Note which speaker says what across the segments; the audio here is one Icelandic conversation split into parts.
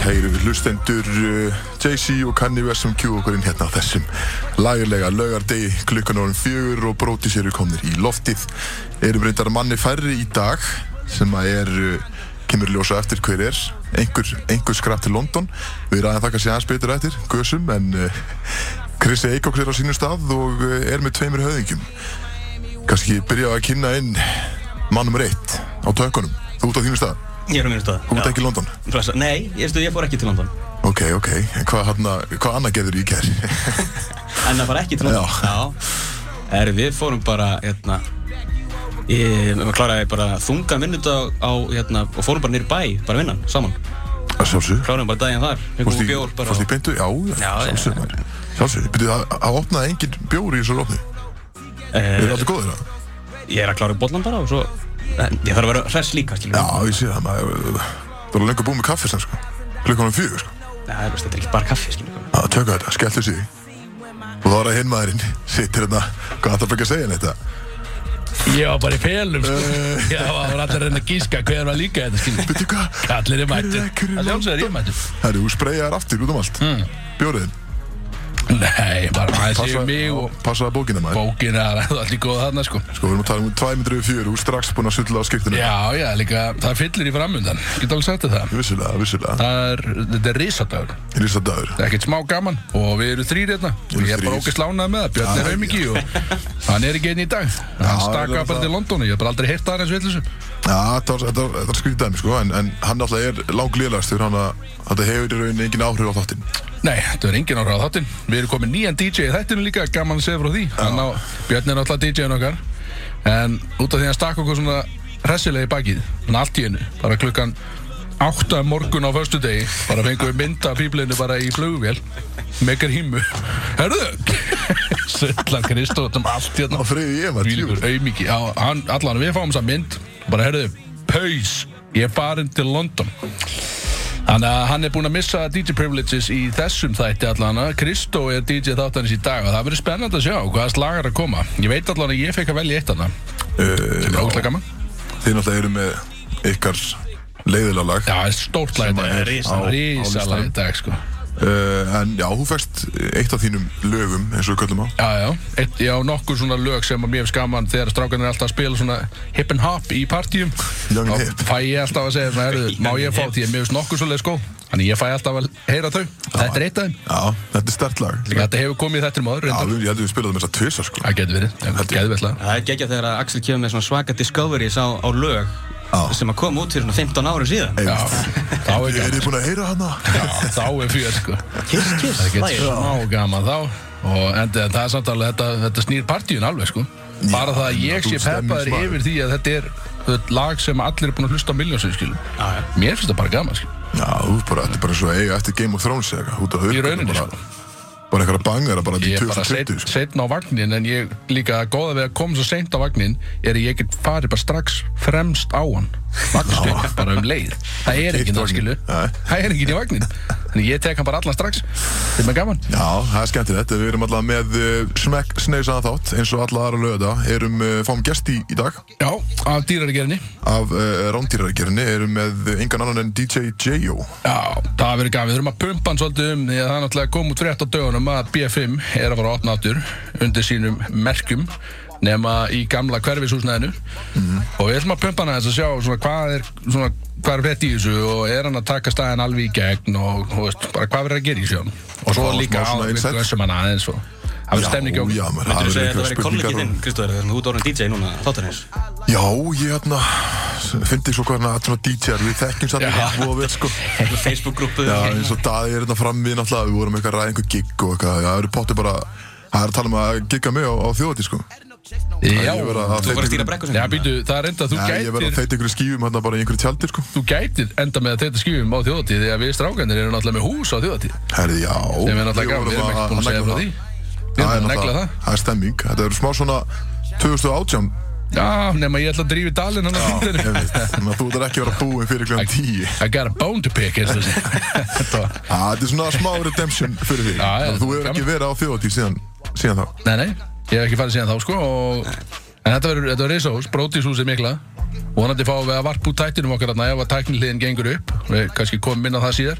Speaker 1: Kæru hlustendur uh, Jay-Z og Kanye West sem kjú okkur inn hérna á þessum lagarlega laugardegi klukkan árum fjögur og bróti sér komnir í loftið erum reyndar manni færri í dag sem að er uh, kemur ljósa eftir hver er einhver, einhver skrapp til London við ræðum það kannski aðeins betur eftir gösum en uh, Kristi Eikoks er á sínum stað og uh, er með tveimur höðingjum kannski byrja á að kynna inn mannum reitt á tökunum þú ert á þínum stað,
Speaker 2: Ég er á mínu stöðu.
Speaker 1: þú ert ekki í London
Speaker 2: Blessa. Nei, ég, veistu, ég fór ekki til London.
Speaker 1: Ok, ok, en hvað, hana, hvað annað gerður í kær?
Speaker 2: En það fara ekki til London.
Speaker 1: Já.
Speaker 2: Já. Er, við fórum bara, hérna, ég, maður kláraði bara þunga vinnudag á, hérna, og fórum bara niður í bæ, bara vinnan, saman.
Speaker 1: Að sjálfsög
Speaker 2: Kláraðum bara daginn þar, við komum bjór bara.
Speaker 1: Fórst í
Speaker 2: og-
Speaker 1: beintu? Já, já,
Speaker 2: Já, já.
Speaker 1: sjálfsög maður. Sjálfsög, byrjuð það það opnaði engin bjór í þessu lofni Er það
Speaker 2: Eh,
Speaker 1: allir góðir það?
Speaker 2: ég er að klára í bollan bara og svo, en ég þarf að vera hress líka, skiljum.
Speaker 1: Já, ég sé það, maður Það var lengur búið með kaffi sem sko Klukkanum fjögur sko
Speaker 2: Það er, veist, þetta er ekki bara kaffi, skiljum.
Speaker 1: Það tökka þetta, skelltu sig Og þá er það hinn maðurinn Sittir hérna, hvað það fyrir að segja henni þetta?
Speaker 3: Ég var bara í felum sko.
Speaker 1: Eh.
Speaker 3: Ég var var allir að reyna að gíska hver var líka þetta skilur
Speaker 1: Byrju hvað?
Speaker 3: Allir er mættur
Speaker 1: Lekur í
Speaker 3: Það sjálfsögður ég
Speaker 1: London.
Speaker 3: mættur
Speaker 1: Herru, þú spreyjaðir aftur út um allt Bjóriðin,
Speaker 3: Nei, bara aðeins yfir mig og
Speaker 1: passaði bókina maður
Speaker 3: bókina Það er allir góð þarna sko
Speaker 1: Sko, við erum að tala um 204 Þú er strax búin að sulla á skiptinu
Speaker 3: Já, já, líka það fyllir í framundan Geta alveg sagt þér það
Speaker 1: Vissulega, vissulega
Speaker 3: Það er, þetta er risadagur
Speaker 1: Rísa dagur
Speaker 3: Það er ekkert smá gaman og við erum þrýr hérna og
Speaker 1: Við erum
Speaker 3: ég er bara
Speaker 1: þrír.
Speaker 3: ógæst lánað með það, Björn
Speaker 1: Já,
Speaker 3: er haumingi og hann er ekki einn í dag hann
Speaker 1: Já, það
Speaker 3: stakka
Speaker 1: er
Speaker 3: bara
Speaker 1: það.
Speaker 3: til London og ég hef bara aldrei heyrt það hans villisum
Speaker 1: Já, þetta var- þetta var- þetta var skrítið dæmi sko, en, en hann náttúrulega er langlegaðast fyrir hann að þetta hefur í rauninni engin áhrif á þáttinn.
Speaker 3: Nei, þetta er engin ára á þáttinn Við erum komin nýjan DJ í þættinu líka, gaman að segja frá því hann á, Björn er náttúrulega DJ-in okkar en út af því að hann stakka okkur svona hressilega í bakið, hann allt í hennu bara klukkan 8 um morgun á förstu degi, bara fengum við mynda píblinu bara í flugvél, megar hímu Herðu, Söllan Kristóttum allt hérna
Speaker 1: Á friði ég maður,
Speaker 3: Þvílíkur
Speaker 1: tjúr.
Speaker 3: auðmiki Já, hann, allan, við fáum þess mynd Bara, herðu, paus Ég er farin til London Þannig að hann er búinn að missa DJ privileges í þessum þætti allan Kristó er DJ þáttanins í dag og það verður spennandi að sjá hvaða slagar er að koma Ég veit allan að ég fekk að velja eitt hana sem er ógæslega gaman
Speaker 1: Eh, Þið náttúrulega eru með ykkar leiðilega lag,
Speaker 3: Já, það er stórt lag í dag.
Speaker 1: er á- á
Speaker 3: Risalag í
Speaker 1: listanum.
Speaker 3: dag, sko
Speaker 1: uh, en já, þú fæst eitt af þínum lögum, eins og við köllum á.
Speaker 3: Já, já, Eitt, já, nokkur svona lög sem að mér finnst gaman þegar strákan er alltaf að spila svona hip and hop í partíum
Speaker 1: Young and
Speaker 3: Þá
Speaker 1: hip.
Speaker 3: fæ ég alltaf að segja svona, herðu, má ég fá því að mér finnst nokkur svoleið sko Þannig ég fæ alltaf að heyra þau, þetta er eitt af þeim
Speaker 1: Já, þetta er stert lag.
Speaker 3: Líka þetta hefur komið þetta um áður
Speaker 1: Já,
Speaker 3: reyndar
Speaker 1: við, ég held að við spilaðum þess að tvisa, sko.
Speaker 3: Það getur verið, það getur verið slag
Speaker 2: Það er geggjað þegar að Axel kemur með svona svaka discoveries á, á lög
Speaker 1: Já.
Speaker 2: sem að koma út fyrir svona 15 árum síðan.
Speaker 3: Já, þá er
Speaker 1: Eru
Speaker 3: gaman
Speaker 1: þið búin að heyra hana?
Speaker 3: Já, þá er fjör sko
Speaker 2: Kiss, kiss,
Speaker 3: Það
Speaker 2: lagið.
Speaker 3: getur smá gaman þá Og en það er samt alveg, þetta, þetta snýr partíun alveg sko Bara það að ég
Speaker 1: þú
Speaker 3: sé peppaður
Speaker 1: stemningsmaður.
Speaker 3: yfir því að þetta er þetta lag sem allir er búin að hlusta á miljónsvið skilum
Speaker 2: Já, já.
Speaker 3: Mér finnst það bara gaman skilum
Speaker 1: Já, þú er bara, þetta er bara svo eiga eftir Game of Thrones eða eitthvað, út á
Speaker 3: Í
Speaker 1: hörku.
Speaker 3: rauninni, sko.
Speaker 1: bara, bara einhverja bangara, bara til
Speaker 3: Ég er bara
Speaker 1: 2020, sko.
Speaker 3: setn á vagnin en ég líka góða við að koma svo seint á vagnin er að ég get farið bara strax fremst á hann vagnstöng, bara um leið það er ekki
Speaker 1: Keypt
Speaker 3: það
Speaker 1: vagninn.
Speaker 3: skilu
Speaker 1: Nei.
Speaker 3: það er ekki í vagnin þannig ég tek hann bara allan strax þetta er með gaman
Speaker 1: Já, það er skemmtilegt. Við erum alltaf með uh, smekk sneisaðan þátt eins og alla aðra löða. Erum, uh, fáum gest í, í dag
Speaker 3: já, af dýrarigerinni
Speaker 1: af uh, rándýrargerinni. Erum með uh, engan annan en DJ J.O.
Speaker 3: já, það verður gaman við þurfum að pumpa hann svolítið um því að það er náttúrulega kom út frétt á dögunum að B5 er að fara að opna aftur undir sínum merkjum nema í gamla hverfishúsnæðinu
Speaker 1: Mhm.
Speaker 3: og við ætlum að pumpa hann aðeins að sjá svona, hvað er, svona, hvað er frétt í þessu og er hann að taka staðin alveg í gegn og þú veist, bara hvað verður að gera í sjón og svo
Speaker 1: Já,
Speaker 3: líka
Speaker 1: smá svona
Speaker 3: áður við
Speaker 1: insight.
Speaker 3: glössum hann aðeins og það verður stemning í okkur
Speaker 1: Já, maður,
Speaker 2: Myndur þú segja að
Speaker 1: einhverjar
Speaker 2: þetta væri kollegið
Speaker 1: spurningar
Speaker 2: þinn,
Speaker 3: hérna.
Speaker 2: Kristóður, þegar þú ert orðin DJ núna, þáttanins?
Speaker 1: og- Já, ég hérna, fyndi svo hvernig að svona DJ-ar, við þekkjum satt ekki búið að vera, sko.
Speaker 2: Facebook-grúpu?
Speaker 1: Já, eins og daði er hérna frammi náttúrulega, við vorum eitthvað að ræða einhver gig og eitthvað. Já, það eru potið bara, það er að tala um að gigga mig á, á þjóðati, sko.
Speaker 3: já,
Speaker 1: Ég verð að
Speaker 2: Þú var að stýra hérna.
Speaker 1: þeyta ykkur-
Speaker 2: brekkusinn?
Speaker 3: já býtu, það er enda að þú
Speaker 1: Nei, ég verð að
Speaker 3: gætir
Speaker 1: þeita ykkur skýfum hérna bara í einhverju tjaldi, sko.
Speaker 3: þú gætir enda með að þetta skýfum á þjóðatíð því að við strákanir erum náttúrulega með hús á þjóðatíð
Speaker 1: Herði, já.
Speaker 3: sem er náttúrulega gaman,
Speaker 1: vorum
Speaker 3: við erum
Speaker 1: að-
Speaker 3: ekkert búin að segja
Speaker 1: negla
Speaker 3: frá því
Speaker 1: það.
Speaker 3: við erum að
Speaker 1: er
Speaker 3: negla
Speaker 1: náttúrulega-
Speaker 3: það
Speaker 1: Það er stemming, þetta eru smá svona 2018
Speaker 3: já, nema ég ætla að drífi dalinn hann á
Speaker 1: Ég
Speaker 3: myndinu
Speaker 1: veit, Þannig að þú ætlar ekki að vera búinn fyrir kl. 10
Speaker 3: I got a bone to pick eins og þessi Þetta var-
Speaker 1: Á, Þetta er svona smá redemption fyrir því
Speaker 3: Já, já,
Speaker 1: Þú hefur ekki verið á þjóðatíð síðan, síðan þá
Speaker 3: nei, nei, ég hef ekki farið síðan þá sko og En þetta verður, þetta verður reisahús, brótishúsið mikla Vonandi fáum við að varpa út tættinum okkar þarna ef að tækniliðin gengur upp Við kannski komum inn á það síðar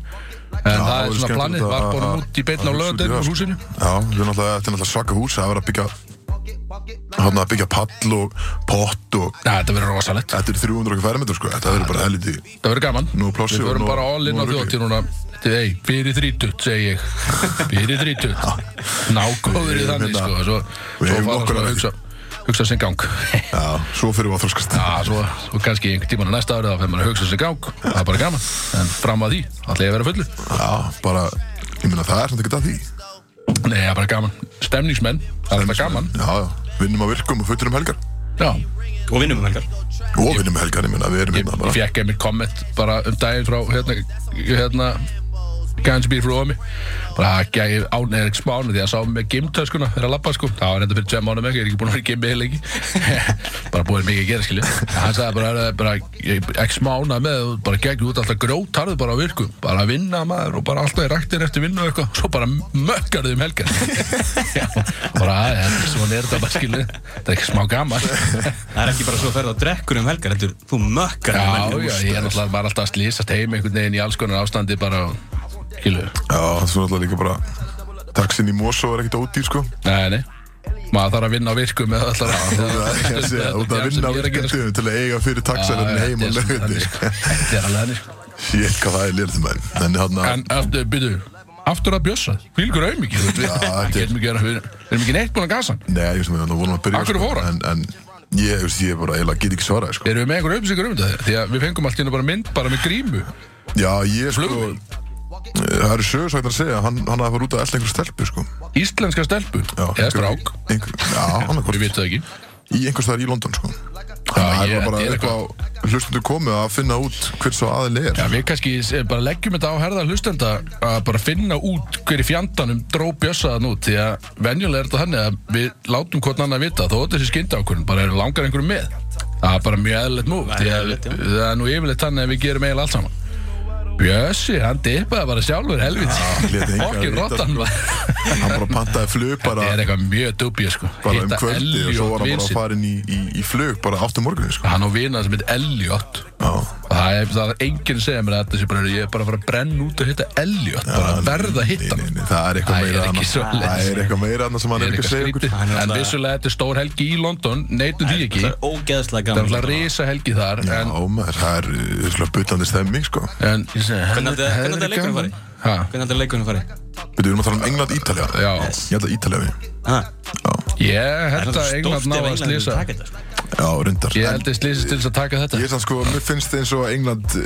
Speaker 3: En það er svona planið, varpa honum út í sko. beitna á lögadegn úr húsinu
Speaker 1: Já, við erum náttúrulega, þetta er náttúrulega svaka hús, það verður að byggja, hann að byggja pall og pott og,
Speaker 3: Já, þetta verður rosalegt
Speaker 1: þetta er 300 okkar fermetur sko, þetta verður bara helviti,
Speaker 3: Það verður gaman
Speaker 1: Nú er plássi
Speaker 3: Við
Speaker 1: og
Speaker 3: verum
Speaker 1: nú-
Speaker 3: bara all in á
Speaker 1: nú er rugli.
Speaker 3: þjóttir núna Þetta er, Ei, fyrir þrítut, segi ég Fyrir þrítut Nákvæður í
Speaker 1: Við erum
Speaker 3: þannig,
Speaker 1: hérna-
Speaker 3: sko Svo,
Speaker 1: við
Speaker 3: svo
Speaker 1: eigum
Speaker 3: fara
Speaker 1: nokkur
Speaker 3: svona að
Speaker 1: af því.
Speaker 3: hugsa, hugsa sem gang
Speaker 1: já, svo fyrir við að þroskast.
Speaker 3: Já, svo, svo kannski einhvern tíman næsta árið þá fer maður að hugsa sem gang Það er bara gaman En fram að því, ætla ég að vera fullu
Speaker 1: Já, bara, ég meina það er samt ekki að því.
Speaker 3: Nei, það er bara gaman Stemningsmenn, það er bara gaman
Speaker 1: Já, já, vinnum á virkum og fötur um helgar.
Speaker 3: Já,
Speaker 2: Og vinnum um helgar.
Speaker 1: Og vinnum um helgar, ég meina, við erum
Speaker 3: ég,
Speaker 1: hérna
Speaker 3: ég
Speaker 1: bara.
Speaker 3: fekk einmitt komment bara um daginn frá hérna, hérna Gans býr frá Ómi bara gæði án eða ekki spánu því að sá mig með gimtöskuna fyrir að labba sko það var enda fyrir tveim mánuðum ekki, ég er ekki búinn að vera í gimmi heil ekki bara búinn mikið að gera skilju hann sagði bara, "Herra, bara ég er ekki spánað með þú bara gegn út alltaf grótarðu bara á virkum bara að vinna maður og bara alltaf í raktir eftir vinnu og eitthvað svo bara mökkarðu um helgar Já, bara aðeins svona er þetta bara skilju það er ekki smá gaman
Speaker 2: Það er ekki bara svo að ferða að drekkur um helgar, heldur, þú mökkar um
Speaker 3: Já,
Speaker 2: helgar.
Speaker 3: já, ég er náttúrulega bara alltaf að slýsast heim einhvern veginn í alls konar ástandi bara og skilur.
Speaker 1: Já, svo náttúrulega líka bara, taxin í Mosó er ekkit ódýr sko.
Speaker 3: Nei, nei. Maður þarf að vinna á virkum eða alltaf ráð.
Speaker 1: Það er ekki að segja, út að vinna á virkum
Speaker 3: sko.
Speaker 1: tíðum til að eiga fyrir
Speaker 3: Ah,
Speaker 1: hérna taxarinn heim og lögði.
Speaker 3: Þetta er alveg þannig. sko.
Speaker 1: Ég hvað það er lirð menn Þannig hann að
Speaker 3: En aftur, byrju, aftur að bjössa. Hvilgur auðmikið, þú
Speaker 1: Já,
Speaker 3: veit. Við
Speaker 1: þetta er-
Speaker 3: getum ekki að við við erum ekki neitt búin að gasa hann.
Speaker 1: Nei, ég veist mér, þannig að vonum að byrja
Speaker 3: Af hverju
Speaker 1: sko,
Speaker 3: fór hann?
Speaker 1: En, en ég, veist, ég bara, ég get ekki svarað sko.
Speaker 3: Erum við með einhver auðvisingur um þetta? Því að við fengum allt í hérna bara mynd bara með grímu.
Speaker 1: Já, ég sko Eh,
Speaker 3: Flugvél?
Speaker 1: Það eru sögursvægt að segja Hann, hann hafði farið út að elda einhver stelpu sko.
Speaker 3: Íslenska stelpu,
Speaker 1: Já,
Speaker 3: eða strák,
Speaker 1: einhver, Já, hann
Speaker 3: við
Speaker 1: hvort
Speaker 3: vitum það ekki.
Speaker 1: Í einhvers staðar í London sko.
Speaker 3: Já,
Speaker 1: Það
Speaker 3: ég-
Speaker 1: er bara
Speaker 3: þetta er
Speaker 1: eitthvað á hlustundu komið að finna út hver svo aðil er
Speaker 3: Já, við kannski eh, bara leggjum þetta á herða hlustenda að bara finna út hverju fjandanum dró bjössaðan út því að venjulega er þetta þannig að við látum hvort annar vita þó þetta sé skynda ákvörðin, bara erum langar einhverjum með það er bara mjög eðlilegt múf
Speaker 2: Það er
Speaker 3: því að
Speaker 2: eðlilegt, já.
Speaker 3: það er nú yfirleitt þannig að við gerum eiginlega allt saman Bjössi, hann dippaði bara sjálfur
Speaker 1: lét
Speaker 3: helvit
Speaker 1: engan
Speaker 3: okkur
Speaker 1: vita,
Speaker 3: rottan var
Speaker 1: Hann bara pantaði flug bara,
Speaker 3: það er eitthvað mjög dubið sko
Speaker 1: bara um
Speaker 3: Hitta
Speaker 1: kvöldi Og svo
Speaker 3: Elliot
Speaker 1: var hann bara
Speaker 3: vin
Speaker 1: að
Speaker 3: sinn.
Speaker 1: fara inn í, í, í flug Bara áttum morgunni sko.
Speaker 3: hann á vinað sem heit Elliot
Speaker 1: Já
Speaker 3: Og Það er, það er enginn segja mér að þetta sé bara, ég er bara að fara að brenna út og hitta Elliot, bara að verða að hitta
Speaker 1: Nei,
Speaker 3: hann.
Speaker 1: nei, nei, Það er
Speaker 3: Það
Speaker 1: eitthvað
Speaker 3: er
Speaker 1: meira
Speaker 3: ekki
Speaker 1: annað
Speaker 3: svoleiðis.
Speaker 1: Það er eitthvað meira annað sem hann
Speaker 3: Það
Speaker 1: er ekki að segja okkur
Speaker 2: Hann er
Speaker 3: En
Speaker 2: náttúrulega-
Speaker 3: vissulega þetta er stór helgi í London, neytum því ekki. Það
Speaker 2: Það er ógeðslega
Speaker 3: er
Speaker 2: gaman.
Speaker 3: alltaf risa helgi þar,
Speaker 1: Já,
Speaker 3: en...
Speaker 1: maður, það er uh, svona bullandi stemming, sko.
Speaker 3: en ég segi,
Speaker 2: Hvernig átti-
Speaker 3: hefði
Speaker 2: hvernig átti
Speaker 3: verið
Speaker 2: leikurinn
Speaker 3: gaman.
Speaker 2: farið?
Speaker 3: Ha,
Speaker 2: Hvernig heldur leikunum farið?
Speaker 1: Við erum að tala um England-Ítalja.
Speaker 3: Já.
Speaker 1: Ég held að Ítalja við.
Speaker 2: Ha?
Speaker 1: Já,
Speaker 3: ég held
Speaker 2: Það
Speaker 3: að
Speaker 2: er
Speaker 3: England
Speaker 2: stórt
Speaker 3: ná
Speaker 2: ef
Speaker 3: að
Speaker 2: England myndi
Speaker 3: slýsa.
Speaker 2: taka þetta, sko.
Speaker 1: já, reyndar.
Speaker 3: Ég
Speaker 1: En
Speaker 3: held að slýsa til þess að taka
Speaker 1: Ég
Speaker 3: þetta.
Speaker 1: er sann sko, mér finnst eins og að England uh,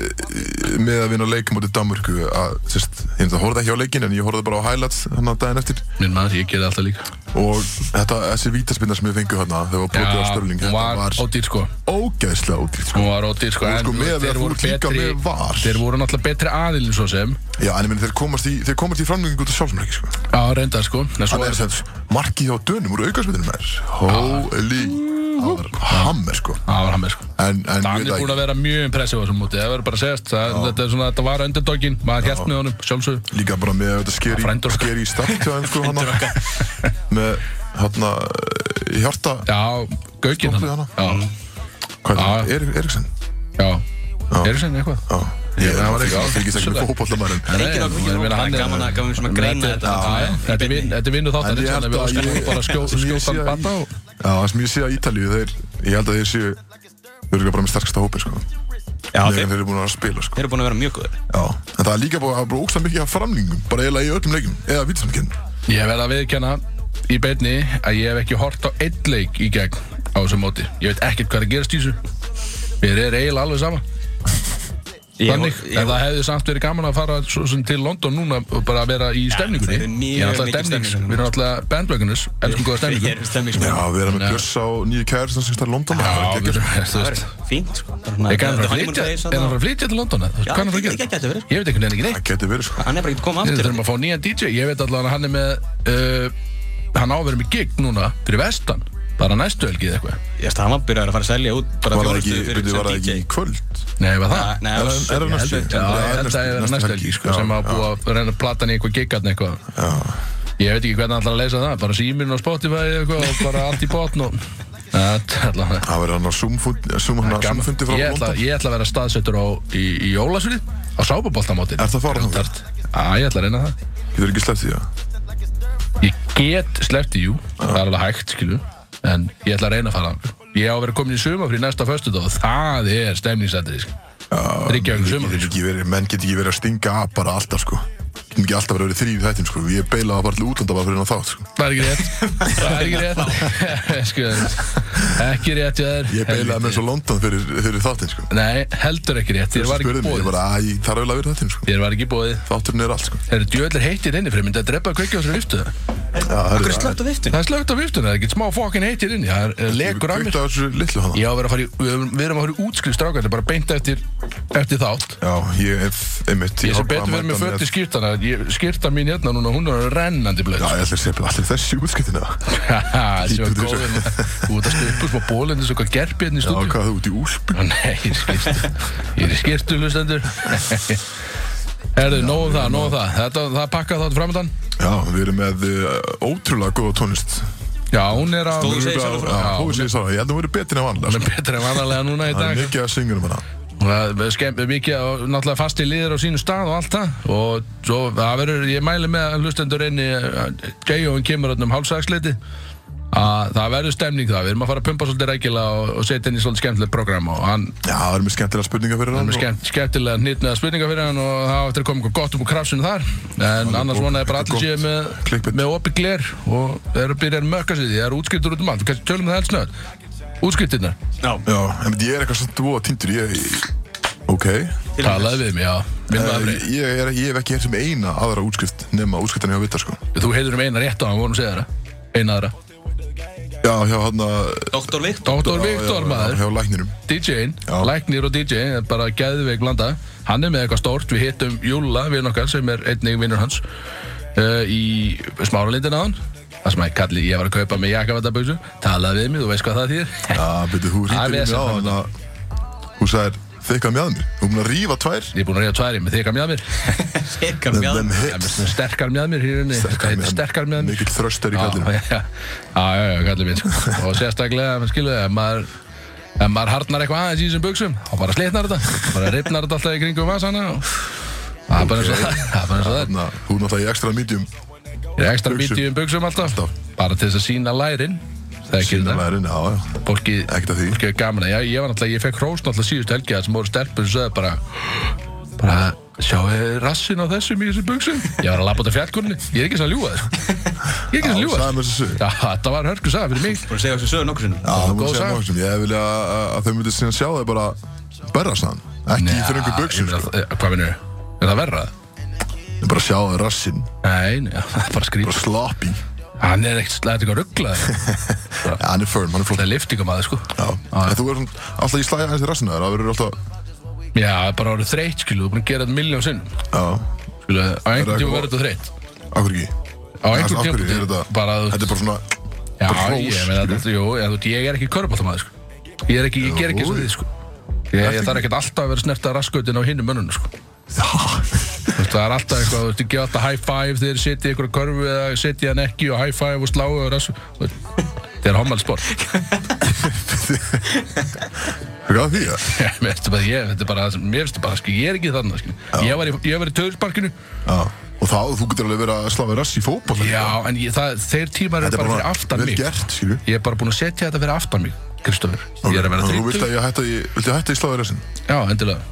Speaker 1: með að vinna leikum út í Danmörku að, sérst, ég náttúrulega horfði ekki á leikin en ég horfði bara á highlights hann að daginn eftir
Speaker 3: Minn maður, ég gerði alltaf líka.
Speaker 1: og þetta, þessi vítaspinnar sem ég fengu hann að þegar var
Speaker 3: Já,
Speaker 1: brotið á störling,
Speaker 3: hún
Speaker 1: þetta
Speaker 3: var
Speaker 1: var
Speaker 3: ódýr sko.
Speaker 1: ógæðslega ódýrt, sko.
Speaker 3: Hún var ódýr sko,
Speaker 1: Og
Speaker 3: en
Speaker 1: sko, með að
Speaker 3: þeir
Speaker 1: þú
Speaker 3: voru
Speaker 1: ert líka
Speaker 3: betri...
Speaker 1: með VAR.
Speaker 3: Þeir voru náttúrulega betri aðilin svo sem.
Speaker 1: Já, en ég minn, þeir komast í, þeir komast í framlengingu út af sjálfsmarki, sko.
Speaker 3: Já, reyndar sko. En svo
Speaker 1: Það er
Speaker 3: er
Speaker 1: sem sagt, markið hjá dönum úr aukarsmyndinu með Holy Það var hammer sko
Speaker 3: Það var hann með sko.
Speaker 1: En, en
Speaker 3: Hann er
Speaker 1: ég veit
Speaker 3: búinn
Speaker 1: ekki
Speaker 3: Ah. að vera mjög impressiv á þessum móti, það verður bara að segjast það, þetta, er svona, þetta var underdogin, maður hjælt með honum sjálfsög
Speaker 1: Líka bara með þetta
Speaker 3: Frændur okkar.
Speaker 1: skeri Skeri í start hjá þeim sko hana Með hana eh, Hjarta
Speaker 3: Já, Gaukinn
Speaker 1: Stoppið
Speaker 3: hann
Speaker 1: hana.
Speaker 3: Já,
Speaker 1: Hvað
Speaker 3: Já,
Speaker 1: er það? Er, Eriksson?
Speaker 3: já, er það eitthvað?
Speaker 1: Já Ég
Speaker 3: það var
Speaker 1: var ekki
Speaker 3: ekki-
Speaker 1: Það fylgist ekki
Speaker 3: Vissulega.
Speaker 1: með fókballamærin
Speaker 2: Það er enginn ákveð,
Speaker 3: Ég meina,
Speaker 2: það
Speaker 3: hann
Speaker 2: er
Speaker 3: er-
Speaker 2: gaman að gaman sem að
Speaker 3: Þetta
Speaker 2: greina
Speaker 3: er-
Speaker 2: þetta.
Speaker 3: já, já, Þetta er vin- þetta er vinnu
Speaker 1: En
Speaker 3: þáttan
Speaker 1: ég held
Speaker 3: Við
Speaker 1: að
Speaker 3: óskum
Speaker 1: ég-
Speaker 3: bara að skjó-
Speaker 1: sem ég
Speaker 3: skjóta
Speaker 1: sé
Speaker 3: hann
Speaker 1: að-
Speaker 3: bata á
Speaker 1: Já, það sem ég sé að Ítalíu þeir Ég held að þeir séu Þeir eru bara með sterksta hópi sko
Speaker 2: Já,
Speaker 1: Megan
Speaker 2: þeir
Speaker 1: þeir eru búin að vera að spila sko
Speaker 2: þeir eru búin að vera mjög góður.
Speaker 1: Já En það er líka búin að bróksa mikið af framlingum Bara eiginlega í öllum leikum Eða vitsamkinn
Speaker 3: Ég verð að viðkjanna í beinni að ég hef ekki hort á einn leik í gegn á þessum móti Ég veit ekkert hvað er að gerast í þessu Mér er eiginlega alveg sama
Speaker 2: Ég-
Speaker 3: Þannig,
Speaker 2: ég-
Speaker 3: en það hefði samt verið gaman að fara svo sem til London núna og bara að vera í stemningunni
Speaker 2: það er mjög
Speaker 3: Ég er alltaf
Speaker 2: mikil
Speaker 3: stemnings,
Speaker 2: stemning núna.
Speaker 3: við erum alltaf bandwagoners, elskum góða sko.
Speaker 2: Við
Speaker 3: stemningu
Speaker 2: erum stemmingsmenn.
Speaker 1: Já, við erum
Speaker 3: Nei.
Speaker 1: með bjössa og nýju kæri sem stær London
Speaker 3: Já,
Speaker 1: það
Speaker 3: við
Speaker 1: var
Speaker 3: erum,
Speaker 1: geggjað, sko.
Speaker 3: þú
Speaker 2: Það
Speaker 3: veist
Speaker 2: verður fínt, sko.
Speaker 3: Er hann að flytja, er hann að flytja til London? eða? Hvað er hann að fara
Speaker 2: ég-
Speaker 3: að
Speaker 2: ég gæti
Speaker 3: gera?
Speaker 2: verið.
Speaker 3: Ég veit einhvern veginn ekki neitt
Speaker 1: Það geti verið sko
Speaker 2: Hann er bara ekki að koma
Speaker 3: Við
Speaker 2: aftur.
Speaker 3: þurfum að fá nýjan DJ Ég veit allavega að hann er með uh, Hann á að vera með gig núna fyrir vestan Bara næstu helgi eða eitthvað
Speaker 2: Ég veist, hann var byrjaður að fara að selja út bara
Speaker 1: Var það ekki,
Speaker 2: þjónustu fyrir
Speaker 1: byrju,
Speaker 2: sem
Speaker 1: var það
Speaker 2: DJ.
Speaker 1: ekki í kvöld?
Speaker 3: Nei, var það?
Speaker 2: Nei,
Speaker 1: Er
Speaker 2: það
Speaker 1: það- er
Speaker 2: var-
Speaker 1: það næstu?
Speaker 3: Já, ég held að það er næstu helgi sko, sem að búa að reyna að plata hann í eitthvað gig hann eitthvað
Speaker 1: Já,
Speaker 3: Ég veit ekki hvernig hann ætlar að leysa það Bara síminn og Spotify eða eitthvað og bara allt í botn og Þetta er allavega
Speaker 1: Það verður hann á Zoom-fundi Zoom, hann á
Speaker 3: Gaman.
Speaker 1: Zoom-fundi frá
Speaker 3: ég ætla,
Speaker 1: London
Speaker 3: ég ætla að vera staðsettur á, í, í Jólasvið á sábaboltamótin
Speaker 1: Er það að fara þangað?
Speaker 3: Já, ég ætla að reyna það
Speaker 1: Getur ekki sleppt því að
Speaker 3: Ég get sleppt í jú, það er alveg hægt skilu En ég ætla að reyna að fara þangað Ég á að vera komin í sumafrí næsta föstudag og það er stemningsættið Ríkjavík
Speaker 1: Menn
Speaker 3: sumafrí
Speaker 1: get ekki verið- menn get ekki verið að stinga að bara alltaf sko Getum ekki alltaf verið að vera þrýr í þættin sko Ég beilaði bara til útlanda bara fyrir hann þátt sko
Speaker 3: Það er ekki rétt Það er ekki rétt Sko, Ekki rétt hjá þér
Speaker 1: Ég beilaði með
Speaker 3: Helviti.
Speaker 1: svo London fyrir, fyrir þáttin sko
Speaker 3: Nei, heldur ekki rétt Þér var ekki
Speaker 1: Spurði mig, Ég
Speaker 3: bóðið
Speaker 1: bara, æ, það er auðvitað verið þáttin sko
Speaker 3: Þér var ekki bóðið
Speaker 1: Þátturinn er allt sko
Speaker 3: Þeir eru djöðlir heittir inni fyrir myndi að drepa að kveikja á þessari viftu það
Speaker 1: Já, það
Speaker 2: Akkur
Speaker 1: er
Speaker 2: er slögt á viftun?
Speaker 3: Það er slögt á viftuna, það er ekkert smá fokkin heitir inn í, Það er eh, lekur af mér
Speaker 1: Kveikt á þessu litlu hana
Speaker 3: Já, við erum að fara í, við erum, við erum að fara í útskrif strákar bara beint eftir, eftir þátt
Speaker 1: Já, ég er, einmitt
Speaker 3: Ég sem
Speaker 1: ákvað að
Speaker 3: betur verið
Speaker 1: mæta
Speaker 3: með sko. fötti skýrtana ég, Skýrta mín hérna núna, hún er rennandi blöð
Speaker 1: Já, ég ætla að segja bara allir þessi útskiptina
Speaker 3: Þessi var
Speaker 1: Lítið
Speaker 3: góð
Speaker 1: þessu.
Speaker 3: hérna. Þú ert að stupa smá bólinn eins og hvað gerpi hérna í
Speaker 1: Já,
Speaker 3: stúdíu
Speaker 1: hvað þú út í úlpu
Speaker 3: Nei, ég er í skýrtu Ég er í skýrtu, hlustendur Herðu, nóg um það, nóg um það Þetta, það pakka þátt framöndan
Speaker 1: Já, við erum með uh, ótrúlega góða tónlist
Speaker 3: Já, hún er að
Speaker 2: Stóðu
Speaker 3: Hún
Speaker 2: sig. Segðu sjálfur frá.
Speaker 1: Já, Hún segir svo, ég held að hún verið betri en vanlega
Speaker 3: er
Speaker 1: sko.
Speaker 3: betri en vanalega núna í
Speaker 1: Það
Speaker 3: dag
Speaker 1: er mikið að syngur um hana
Speaker 3: Það er skemmt mikið og náttúrulega fasti liðir á sínu stað og allt það og svo, það verður, ég mæli með að hlustendur inn í J.O.n kemur þarna um hálfsagsleiti að það verður stemning það, við erum að fara að pumpa svolítið rækila og, og setja inn í svolítið skemmtilegt program og hann
Speaker 1: Já, það er mjög skemmtilega spurningar fyrir hann
Speaker 3: er með
Speaker 1: og-
Speaker 3: skemmt, skemmtilega hnýtnaða spurningar fyrir hann og það á eftir að koma eitthvað gott upp úr krafsinu þar en annars
Speaker 1: gott,
Speaker 3: vonaði bara
Speaker 1: þetta er
Speaker 3: allir séu með,
Speaker 1: gott. Clickbait.
Speaker 3: með opið gler og þeir eru að byrja að mökka sig í því, það eru útskiptur út um allt, kannski tölum við það helst nöð útskiptirnar,
Speaker 2: Já,
Speaker 1: Já, en ég er eitthvað svona voða tindur Ég, ok
Speaker 2: til þess.
Speaker 3: talaði við mig, já, minn
Speaker 1: Eh,
Speaker 3: maður Freyr.
Speaker 1: Ég, er, ég hef ekki hér sem eina aðra útskrift nema útskriftan hjá Vita, sko
Speaker 3: Þú heiður um eina rétt á hann, vorum að segja það Eina aðra
Speaker 1: Já, hjá hann að
Speaker 2: Doktor Viktor
Speaker 3: Dr. Viktor maður,
Speaker 1: Hjá lækninum
Speaker 3: DJ-in,
Speaker 1: Já.
Speaker 3: læknir og DJ er bara gæðveik blanda Hann er með eitthvað stórt, við hittum Júlla, vinn okkar sem er einnig vinnur hans uh, Í smáralindina hann Það sem að kalli, ég var að kaupa með jakavataböksu Talaði við mig, þú veist hvað það þýðir
Speaker 1: Já, betur, þú
Speaker 3: Það er
Speaker 1: hýttir mig
Speaker 3: vesen
Speaker 1: á hann að Þú sagðir, þykka mjög að mér Þú mun að rífa tvær
Speaker 3: Ég er búinn að reyja tværi með þykka mjadmir
Speaker 2: Sekar
Speaker 1: Them-
Speaker 2: mjög
Speaker 1: them hips
Speaker 3: Sterkar mjadmir hér inni
Speaker 1: Sterkar mjaðmir.
Speaker 3: Sterkar mjadmir
Speaker 1: Mikill þröstur í
Speaker 3: Já,
Speaker 1: kallinu
Speaker 3: já, já, já, já, kallið minn sko. og sérstaklega, maður skilur það, ef maður ef maður harnar eitthvað aðeins í þessum buksum þá bara slitnar þetta, bara ripnar þetta alltaf í kringum vasana og það er bara eins og það það er bara eins og það,
Speaker 1: Þannig að þú er náttúrulega í ekstra medium
Speaker 3: er ekstra
Speaker 1: Buxum.
Speaker 3: bítið um buksum alltaf
Speaker 1: Alltaf.
Speaker 3: bara til þess að sína lærin það er ekki
Speaker 1: Þannig
Speaker 3: það,
Speaker 1: að hérna, já, já
Speaker 3: fólki
Speaker 1: Ekkert að því.
Speaker 3: fólki er gaman, já, ég var náttúrulega, ég fekk hrós náttúrulega síðust helgi að sem voru stelpur sem sögðu bara bara, sjáu rassin á þessum í þessum buksum ég var að labba út af fjallkunni, ég er ekki sann að ljúga þér ég er ekki sann að
Speaker 1: Já,
Speaker 3: ljúga þér
Speaker 1: sagði mér þessu
Speaker 3: Já, þetta var hörku saga fyrir mig
Speaker 2: Búin að segja þessu sögur nokkur sinnum
Speaker 1: Já, það
Speaker 3: góð
Speaker 1: múið segja
Speaker 3: saga.
Speaker 1: nokkuð sem ég vilja að- að að þau myndið síðan sjá þau bara berra sann, ekki
Speaker 3: Nei,
Speaker 1: Njá, fyrir einhver
Speaker 3: ég
Speaker 1: buksum
Speaker 3: meina,
Speaker 1: sko.
Speaker 3: eh, Hvað minnur? Er það verra?
Speaker 1: Ég bara sjá þau rassinn,
Speaker 3: Nei, nei, það er bara
Speaker 1: bara
Speaker 3: skrýt
Speaker 1: sloppy
Speaker 3: Hann er ekkert slæðið eitthvað rugglað
Speaker 1: Já, hann er firm, hann er
Speaker 3: Það
Speaker 1: flott
Speaker 3: er liftingamæði, sko
Speaker 1: Já, en þú er svona, alltaf ég slæði aðeins í rassinu það verður alltaf,
Speaker 3: Já, bara orðið þreytt, skilu, þú er búin að gera þetta miljón sinn
Speaker 1: já,
Speaker 3: Skilu, á einhvern
Speaker 1: það
Speaker 3: tíma
Speaker 1: eitthvað-
Speaker 3: verður þetta þreytt
Speaker 1: akkur ekki
Speaker 3: Á einhvern
Speaker 1: Af hverju
Speaker 3: tíma
Speaker 1: er þetta-
Speaker 3: bara að þú-
Speaker 1: Þetta er bara svona,
Speaker 3: Já,
Speaker 1: bara hrós,
Speaker 3: ég meina
Speaker 1: skilur.
Speaker 3: þetta, jú, ég, þú, veist, ég er ekki körbáltamæði, sko Ég er ekki, ég ger ekki
Speaker 1: Jú.
Speaker 3: svo því, sko Ég,
Speaker 1: Ertu
Speaker 3: ég þarf
Speaker 1: ekki?
Speaker 3: ekkert alltaf að vera snert að raskautin á hinum mönnunum, sko
Speaker 1: já,
Speaker 3: Þú veist, Það er alltaf eitthvað, þú veist, ég gefa alltaf high five þegar ég setja ykkur að körfu eða setja hann ekki og high five og sláu og rassu Það er hommalsport
Speaker 1: hvað er að því að?
Speaker 3: Ég- Mér finnst bara, ég, þetta er bara, mér finnst bara, skil, ég er ekki þannig, skil. Ég var í, ég var í töðursparkinu,
Speaker 1: Já, og þá, þú getur alveg verið að sláði rass í fótball
Speaker 3: já, en ég, það, þeir tímar
Speaker 1: þetta
Speaker 3: eru
Speaker 1: er
Speaker 3: bara fyrir
Speaker 1: bara
Speaker 3: aftan
Speaker 1: vel
Speaker 3: mig.
Speaker 1: gert, skilju
Speaker 3: Ég er bara búinn að setja þetta fyrir aftan mig, Kristofur. Ég er að vera
Speaker 1: Þannig að Þú vilt
Speaker 3: þrýttur.
Speaker 1: að ég hætti, vilt ég hætti í sláði rassin?
Speaker 3: Já, endilega.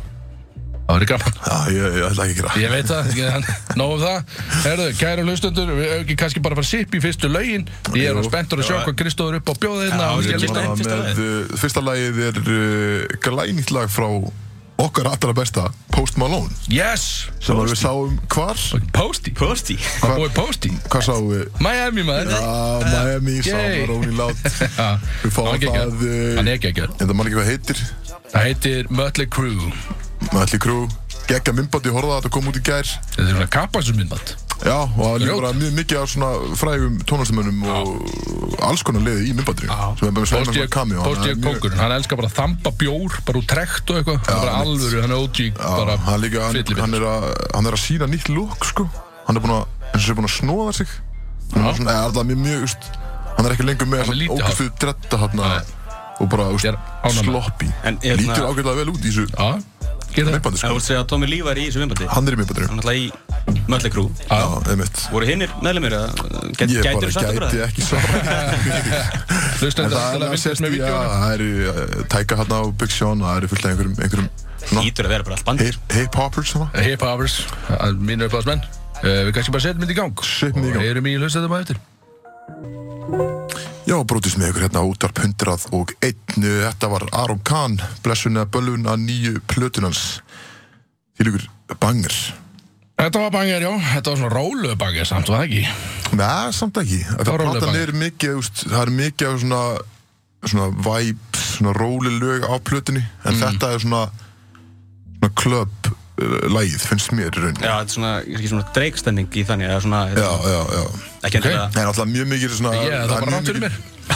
Speaker 3: Það verður gaman.
Speaker 1: Já, ég, ég ætla ekki að gera
Speaker 3: Ég veit það, ég- en nóg um það. Herðu, kæru hlustundur, við höfum ekki kannski bara að fara sipp í fyrstu lögin. Ég er
Speaker 1: Jú.
Speaker 3: orðinn spenntur að sjá hvað Kristofur er upp á bjóða hérna.
Speaker 2: Já,
Speaker 3: og hann
Speaker 2: við
Speaker 3: skal
Speaker 2: getum
Speaker 3: líta.
Speaker 1: Bara
Speaker 2: það. fyrsta
Speaker 1: með, uh, fyrsta lagið er uh, glænýtt lag frá okkar allra besta Post Malone
Speaker 3: Yes!
Speaker 1: sem að við sáum hvar
Speaker 3: Posty.
Speaker 2: Posti
Speaker 3: Hann búið Posty.
Speaker 1: hvað sáum við?
Speaker 3: Miami, maður.
Speaker 1: Já, Miami, sáum
Speaker 3: Yay.
Speaker 1: við Róni Lát
Speaker 3: Já,
Speaker 1: við
Speaker 3: hann
Speaker 1: fáum
Speaker 3: er geggjaður.
Speaker 1: það uh,
Speaker 3: Hann er geggjör.
Speaker 1: en það man ekki hvað heitir
Speaker 3: Það heitir Mötley Crüe.
Speaker 1: Mölli Krú gegga myndbátt, ég horfði að þetta kom út í gær
Speaker 3: Þetta er svona kappansumindband
Speaker 1: já, og það er líka
Speaker 3: Ljót.
Speaker 1: bara mjög mikið af svona frægum tónastamönnum og alls konar liði í myndbáttinu sem er bara með
Speaker 3: Pósti
Speaker 1: svona kami
Speaker 3: er kókurinn, hann elskar bara að þamba bjór bara úr trekt og eitthvað Hann er bara alvöru, hann er OG bara
Speaker 1: hann, líka, hann,
Speaker 3: fyllibit.
Speaker 1: hann, er að, hann er að sína nýtt lúk sko. hann er búin að, eins og sé búin að snóða sig hann er svona, eða alltaf mjög mjög úst, hann hann er ekki lengur með
Speaker 3: er lítið
Speaker 1: ógæslu dretta hann og bara þú veist,
Speaker 3: Ég er ánægð með.
Speaker 1: sloppy
Speaker 2: En, hérna-
Speaker 1: lítur ágætlega vel út í þessu
Speaker 3: Já, gera það.
Speaker 1: minnbandi
Speaker 2: Það
Speaker 1: sko.
Speaker 2: voru að segja að Tommy Lee var í þessu vinnbandi
Speaker 1: hann er í minnbandinu
Speaker 2: Hann er alltaf í Mötley Crüe
Speaker 1: já, einmitt
Speaker 2: Voru hinnir meðlumir að gæ,
Speaker 1: ég
Speaker 2: gætir
Speaker 1: bara
Speaker 2: þú sagt okkur að
Speaker 1: gæti
Speaker 2: það?
Speaker 1: ekki svara
Speaker 3: Hlusta þetta
Speaker 1: En það er
Speaker 3: alltaf að
Speaker 1: að
Speaker 3: vindast
Speaker 1: sérst
Speaker 3: með
Speaker 1: í að
Speaker 3: vídjóna.
Speaker 1: það eru uh, tæka hérna á Big Sean og það eru fullt af einhverjum, einhverjum svona
Speaker 2: Ítur að vera bara allt bandi
Speaker 1: hip- hip-hoppers svona.
Speaker 3: Hip Hoppers, mínu uppláðsmenn. Uh, við kannski bara setjum þetta í gang.
Speaker 1: Setjum þetta í gang.
Speaker 3: Og heyrum í hlusta þetta maður eftir.
Speaker 1: Já, brótist með ykkur hérna á útarp 100 og einn, þetta var Aron Kahn, blessun eða bölvun að nýju plötunans. Til ykkur banger.
Speaker 3: Þetta var banger, já. Þetta var svona rólu banger samt, var það ekki?
Speaker 1: Nei, samt ekki. Það
Speaker 3: var róleg
Speaker 1: platan
Speaker 3: banger.
Speaker 1: er mikið, úst, það er mikið af svona, svona vibes, svona róli lög á plötunni, en þetta er svona, svona club uh, lagið, finnst mér í rauninni.
Speaker 2: Já, þetta er svona, ekki svona dreikstending í þannig eða svona,
Speaker 1: Já, já, já.
Speaker 2: ekki endur
Speaker 1: Það er alltaf mjög mikið svona...
Speaker 3: Ég, það var
Speaker 1: mjög
Speaker 3: rátt fyrir
Speaker 1: mikið-
Speaker 3: mér.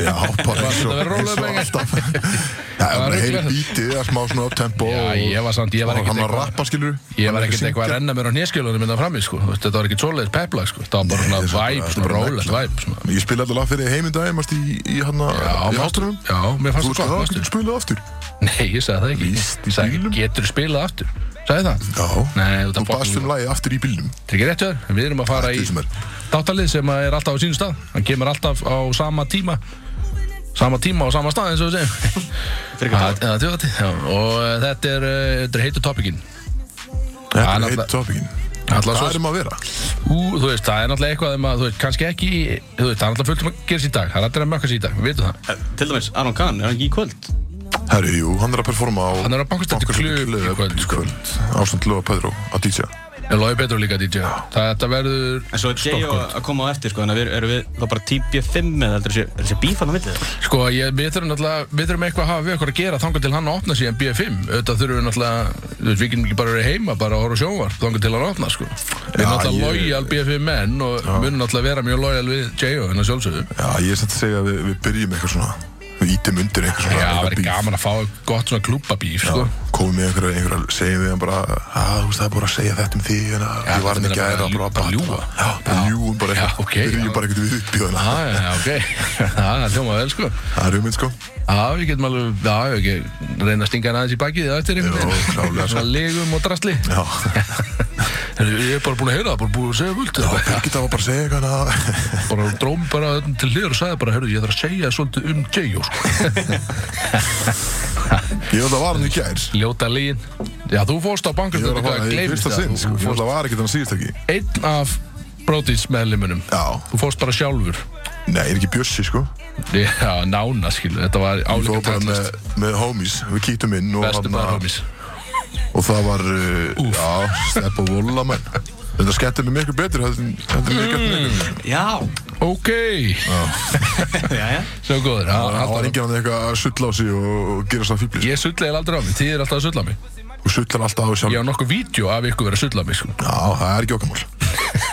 Speaker 1: Já, bara eins og,
Speaker 3: þetta verður
Speaker 1: eins
Speaker 3: rólegur
Speaker 1: og
Speaker 3: bengi.
Speaker 1: alltaf Já,
Speaker 3: var
Speaker 1: bara heil
Speaker 3: ruglað.
Speaker 1: bítið, það er smá svona upptempo
Speaker 3: Já, ég var samt, ég var ekkert
Speaker 1: Hann var að
Speaker 3: eitthvað-
Speaker 1: rappa, skilur
Speaker 3: Ég var ekkert eitthvað að renna mér á nýskjölunum minna frammi, sko. Þú veist, Þetta var ekkert svoleiðis peplag, sko. Það var bara svona
Speaker 1: Nei, þetta er bara-
Speaker 3: vibe,
Speaker 1: þetta
Speaker 3: svona
Speaker 1: er bara
Speaker 3: rólegt
Speaker 1: negla.
Speaker 3: vibe, svona.
Speaker 1: Ég spila alltaf lag fyrir heimindagi, mást í, í hann að í
Speaker 3: mér-
Speaker 1: ástunum
Speaker 3: Já, mér fannst
Speaker 1: Þú veist
Speaker 3: það
Speaker 1: að
Speaker 3: gott,
Speaker 1: það
Speaker 3: veistu.
Speaker 1: getur spilað aftur
Speaker 3: Nei, ég sagði það ekki.
Speaker 1: Víst í
Speaker 3: Ég sagði
Speaker 1: bílum.
Speaker 3: ekki, getur spilað aftur. Sagði það?
Speaker 1: Já,
Speaker 3: Nei, þú ert
Speaker 1: þú
Speaker 3: að
Speaker 1: baðst um
Speaker 3: fokkin-
Speaker 1: lagi aftur í bílnum
Speaker 3: Þetta er ekki rétt hjá þér, en við erum að fara
Speaker 1: Ekki
Speaker 3: í
Speaker 1: sem er.
Speaker 3: þáttalið sem að er alltaf á sínum stað Hann kemur alltaf á sama tíma Sama tíma á sama stað eins og við segjum
Speaker 2: Fyrir hvað
Speaker 3: Að- eða þjóðhátíð, já. Og eh, þetta er, eh, þetta er heitu topikinn
Speaker 1: Þetta
Speaker 3: er
Speaker 1: er
Speaker 3: náttúrulega-
Speaker 1: eitt topikinn
Speaker 3: Náttúrulega
Speaker 1: Hvað
Speaker 3: svo-
Speaker 1: erum að vera?
Speaker 3: Ú, þú veist, það er náttúrulega eitthvað um að, þú veist, kannski ekki í- Þú veist, það er náttúrulega fullt um að gera sér í dag Það er allir að mökka sér í dag, við veitum það
Speaker 2: Eh, Til dæmis, Aron Kahn, er hann ekki í kvöld?
Speaker 1: Herri, jú, hann er að performa á
Speaker 3: Hann er á Bankastræti Klub í kvöld, sko.
Speaker 1: Ástand Lóa Pedro að DJ
Speaker 3: En Lói Petru líka DJ Það þetta verður
Speaker 2: En svo er J.O.
Speaker 3: stórkvöld.
Speaker 2: að koma á eftir, sko, þannig að við erum við þá bara típja 5 eða heldur þessi, er þessi bífann á millið?
Speaker 3: Sko, ég, við þurfum náttúrulega, við þurfum eitthvað að hafa við okkur að gera þangað til hann að opna síðan BF5 auðvitað þurfum við náttúrulega, þú veist, við getum ekki bara verið heima bara að horfa á sjónvarp þangað til hann að opna, sko Við erum
Speaker 1: Já,
Speaker 3: náttúrulega
Speaker 1: ég-
Speaker 3: lojal BF5 menn og munum náttúrulega vera mjög lojal við J.O. en að sjálfsögðu
Speaker 1: Já, ég er satt að segja að við, við byrjum eitthvað svona Við ítum undir
Speaker 3: Já,
Speaker 1: eitthvað svona
Speaker 3: það
Speaker 1: eitthvað
Speaker 3: verður
Speaker 1: beef.
Speaker 3: gaman að fá gott svona klúbbabíf, sko
Speaker 1: komið með einhverja, einhverja segjum við hann bara að þú veist það er bara að segja þetta um því en að ég var hann
Speaker 3: þetta er
Speaker 1: ekki
Speaker 3: bara
Speaker 1: að gæra
Speaker 3: ljú-
Speaker 1: bara
Speaker 3: bara
Speaker 1: að
Speaker 3: ljúga.
Speaker 1: já, bara
Speaker 3: Já.
Speaker 1: ljúum bara
Speaker 3: Já,
Speaker 1: eitthvað,
Speaker 3: ok,
Speaker 1: byrjum
Speaker 3: já.
Speaker 1: bara ekkert við upp í þannig
Speaker 3: Já, já, ok, það er hljómað vel, sko
Speaker 1: það er hugmynd sko
Speaker 3: Já, við getum alveg, já, við getum reyna að stinga hann aðeins í bakið eða eftir einhvern
Speaker 1: Jó, klálega, sko.
Speaker 3: Svona legum og drasli
Speaker 1: já,
Speaker 3: Heyrðu, Ég er bara búin að heyra það, bara búin að segja völd
Speaker 1: já, Birgitta var bara að segja eitthvað að-
Speaker 3: bara dróm bara öllum til hliður og sagði bara, herru, ég þarf að segja svolítið um J.O. sko.
Speaker 1: ég var það var hann í gær
Speaker 3: Ljóta lín. Já, þú fórst á
Speaker 1: ég var
Speaker 3: bankastöðu
Speaker 1: að fara í fyrsta sinn sko, ég var það var ekkert hann síðast ekki
Speaker 3: Einn af brótins meðlimunum.
Speaker 1: Já.
Speaker 3: Þú fórst bara sjálfur.
Speaker 1: nei, er ekki bjössi sko
Speaker 3: Já, nána, skilu. Þetta var
Speaker 1: Ég fór
Speaker 3: álíka
Speaker 1: bara með,
Speaker 3: tætlist.
Speaker 1: með homies, við kýttum inn og,
Speaker 3: Bestu
Speaker 1: þarna-
Speaker 3: maður homies.
Speaker 1: og það var, uh, já, stepp og vola menn Þetta skemmtir mig miklu betur, þetta er- þetta er miklu betur
Speaker 3: Mm.
Speaker 2: Já,
Speaker 3: Ok.
Speaker 2: já, já.
Speaker 3: Svo góður. Já,
Speaker 1: Það var
Speaker 3: alltaf-
Speaker 1: enginn hann eitthvað að sulla á sig og, og gera það fýblis
Speaker 3: Ég sullaði eiginlega aldrei á mig. Þið er alltaf að sulla á mig.
Speaker 1: Þú sullar alltaf á þig
Speaker 3: Ég
Speaker 1: sjálf
Speaker 3: á nokkuð vídeo af ykkur verið að sulla á mig, sko.
Speaker 1: Já, það er ekki okkar mál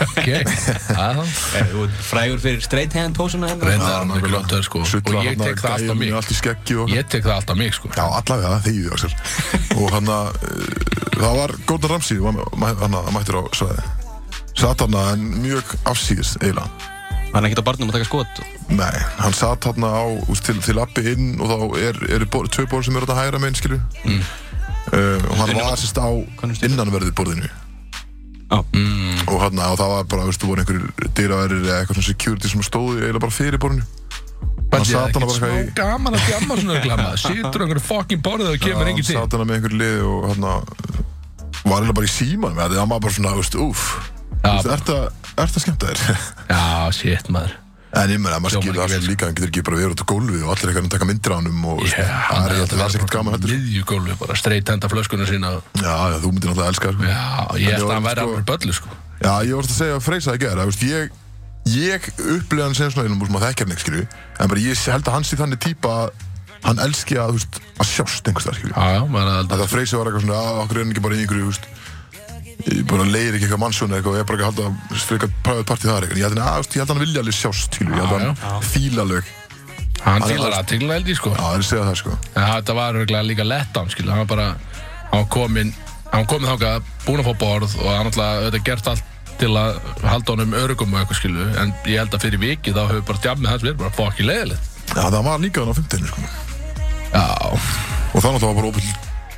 Speaker 3: Ok. Já,
Speaker 2: Er Eh, þú ert frægur fyrir hérna. straight hand pósuna hennar?
Speaker 1: Já,
Speaker 3: Reyndar, mjög
Speaker 1: nákvæmlega.
Speaker 3: glott, sko.
Speaker 1: Sulla
Speaker 3: Og ég
Speaker 1: þarna
Speaker 3: tek það allt á
Speaker 1: gæjanum
Speaker 3: mig.
Speaker 1: Allt í skeggi og
Speaker 3: Ég tek það allt á mig, sko.
Speaker 1: Já, allavega, það þegið Axel Og hann að uh, Það var Gordon Ramsay Hann að mættur á svæði Satt hann en mjög afsýðis eiginlega
Speaker 2: Hann er ekkert á barnum að taka skot
Speaker 1: Nei, hann satt hann á úst, til, til appi inn og þá er, eru bor, tvö borð sem eru að hægra meginn, skilju mm. og hann var sérst á
Speaker 2: Hvernig stendur?
Speaker 1: innanverðu borðinu
Speaker 3: Mm.
Speaker 2: Já.
Speaker 1: og hann og það var bara, veistu, voru einhverjir dyraverðir eða eitthvað svona security sem stóðu eiginlega bara fyrir borðinu
Speaker 3: Hann
Speaker 1: sat
Speaker 3: sat
Speaker 1: hann
Speaker 3: hana
Speaker 1: bara
Speaker 3: bara
Speaker 1: eitthvað
Speaker 3: smá
Speaker 1: í-
Speaker 3: gaman að djamma svona reklama Sýtur á einhverju fucking borðið og kemur engin til
Speaker 1: satt hann með einhverju lið og hann var eiginlega bara í símanum eða það var bara svona, veistu, úf
Speaker 3: Já.
Speaker 1: veistu, ert að, ert að skemmta þér
Speaker 3: Já, shit maður
Speaker 1: En ég meina, maður
Speaker 3: Hljómar
Speaker 1: skilur
Speaker 3: ekki
Speaker 1: það
Speaker 3: vel, sko.
Speaker 1: allir líka, hann getur ekki bara verið út á gólfi og allir eitthvað að taka myndir á honum og veistu, það er alltaf alls ekkert gaman heldur. sko.
Speaker 3: Miðjugólfi, bara streit henda flöskuna sína og-
Speaker 1: Já, já, þú myndir náttúrulega elska það, sko.
Speaker 3: Já, ég
Speaker 1: En
Speaker 3: held að
Speaker 1: var
Speaker 3: hann væri
Speaker 1: sko-
Speaker 3: alveg böllu sko
Speaker 1: Já, ég varst að segja að freysa það í gera, veist, ég, ég upplega hann sem svona einum úr sem að þekkja hann ekki, skilju, en bara ég held að hann sé þannig típa að hann elski að, þú veist, að sjást einhvers þar, skilju.
Speaker 3: Já, já, maður er
Speaker 1: Að
Speaker 3: aldrei
Speaker 1: það freysa var eitthvað svona, að okkur er hann ekki bara í einhverju, þú veist, ég bara leir ekki eitthvað mannsjónu eitthvað og ég er bara ekki að halda freka private party þar eitthvað. Ég held að, hann- að, þú veist, ég held að hann vilja alveg sjást, skilju, ég held að
Speaker 3: Já,
Speaker 1: hann fíla alveg.
Speaker 3: Hann
Speaker 1: Hann er
Speaker 3: fílar
Speaker 1: alveg-
Speaker 3: aðtingla held ég sko
Speaker 1: Já, það er að segja það, sko.
Speaker 3: En þetta var örgulega líka lett á hann skilja Hann var bara, hann var komin Hann var komin þáka, búin að fá borð og hann alltaf, auðvitað gert allt til að halda honum örugum og eitthvað skilu en ég held að fyrir vikið þá hefur bara djammið hans verið bara fokkin leiðilegt
Speaker 1: Já, það var líka hann á 15 sko.
Speaker 3: Já,
Speaker 1: Og það náttúrulega var bara óbyrl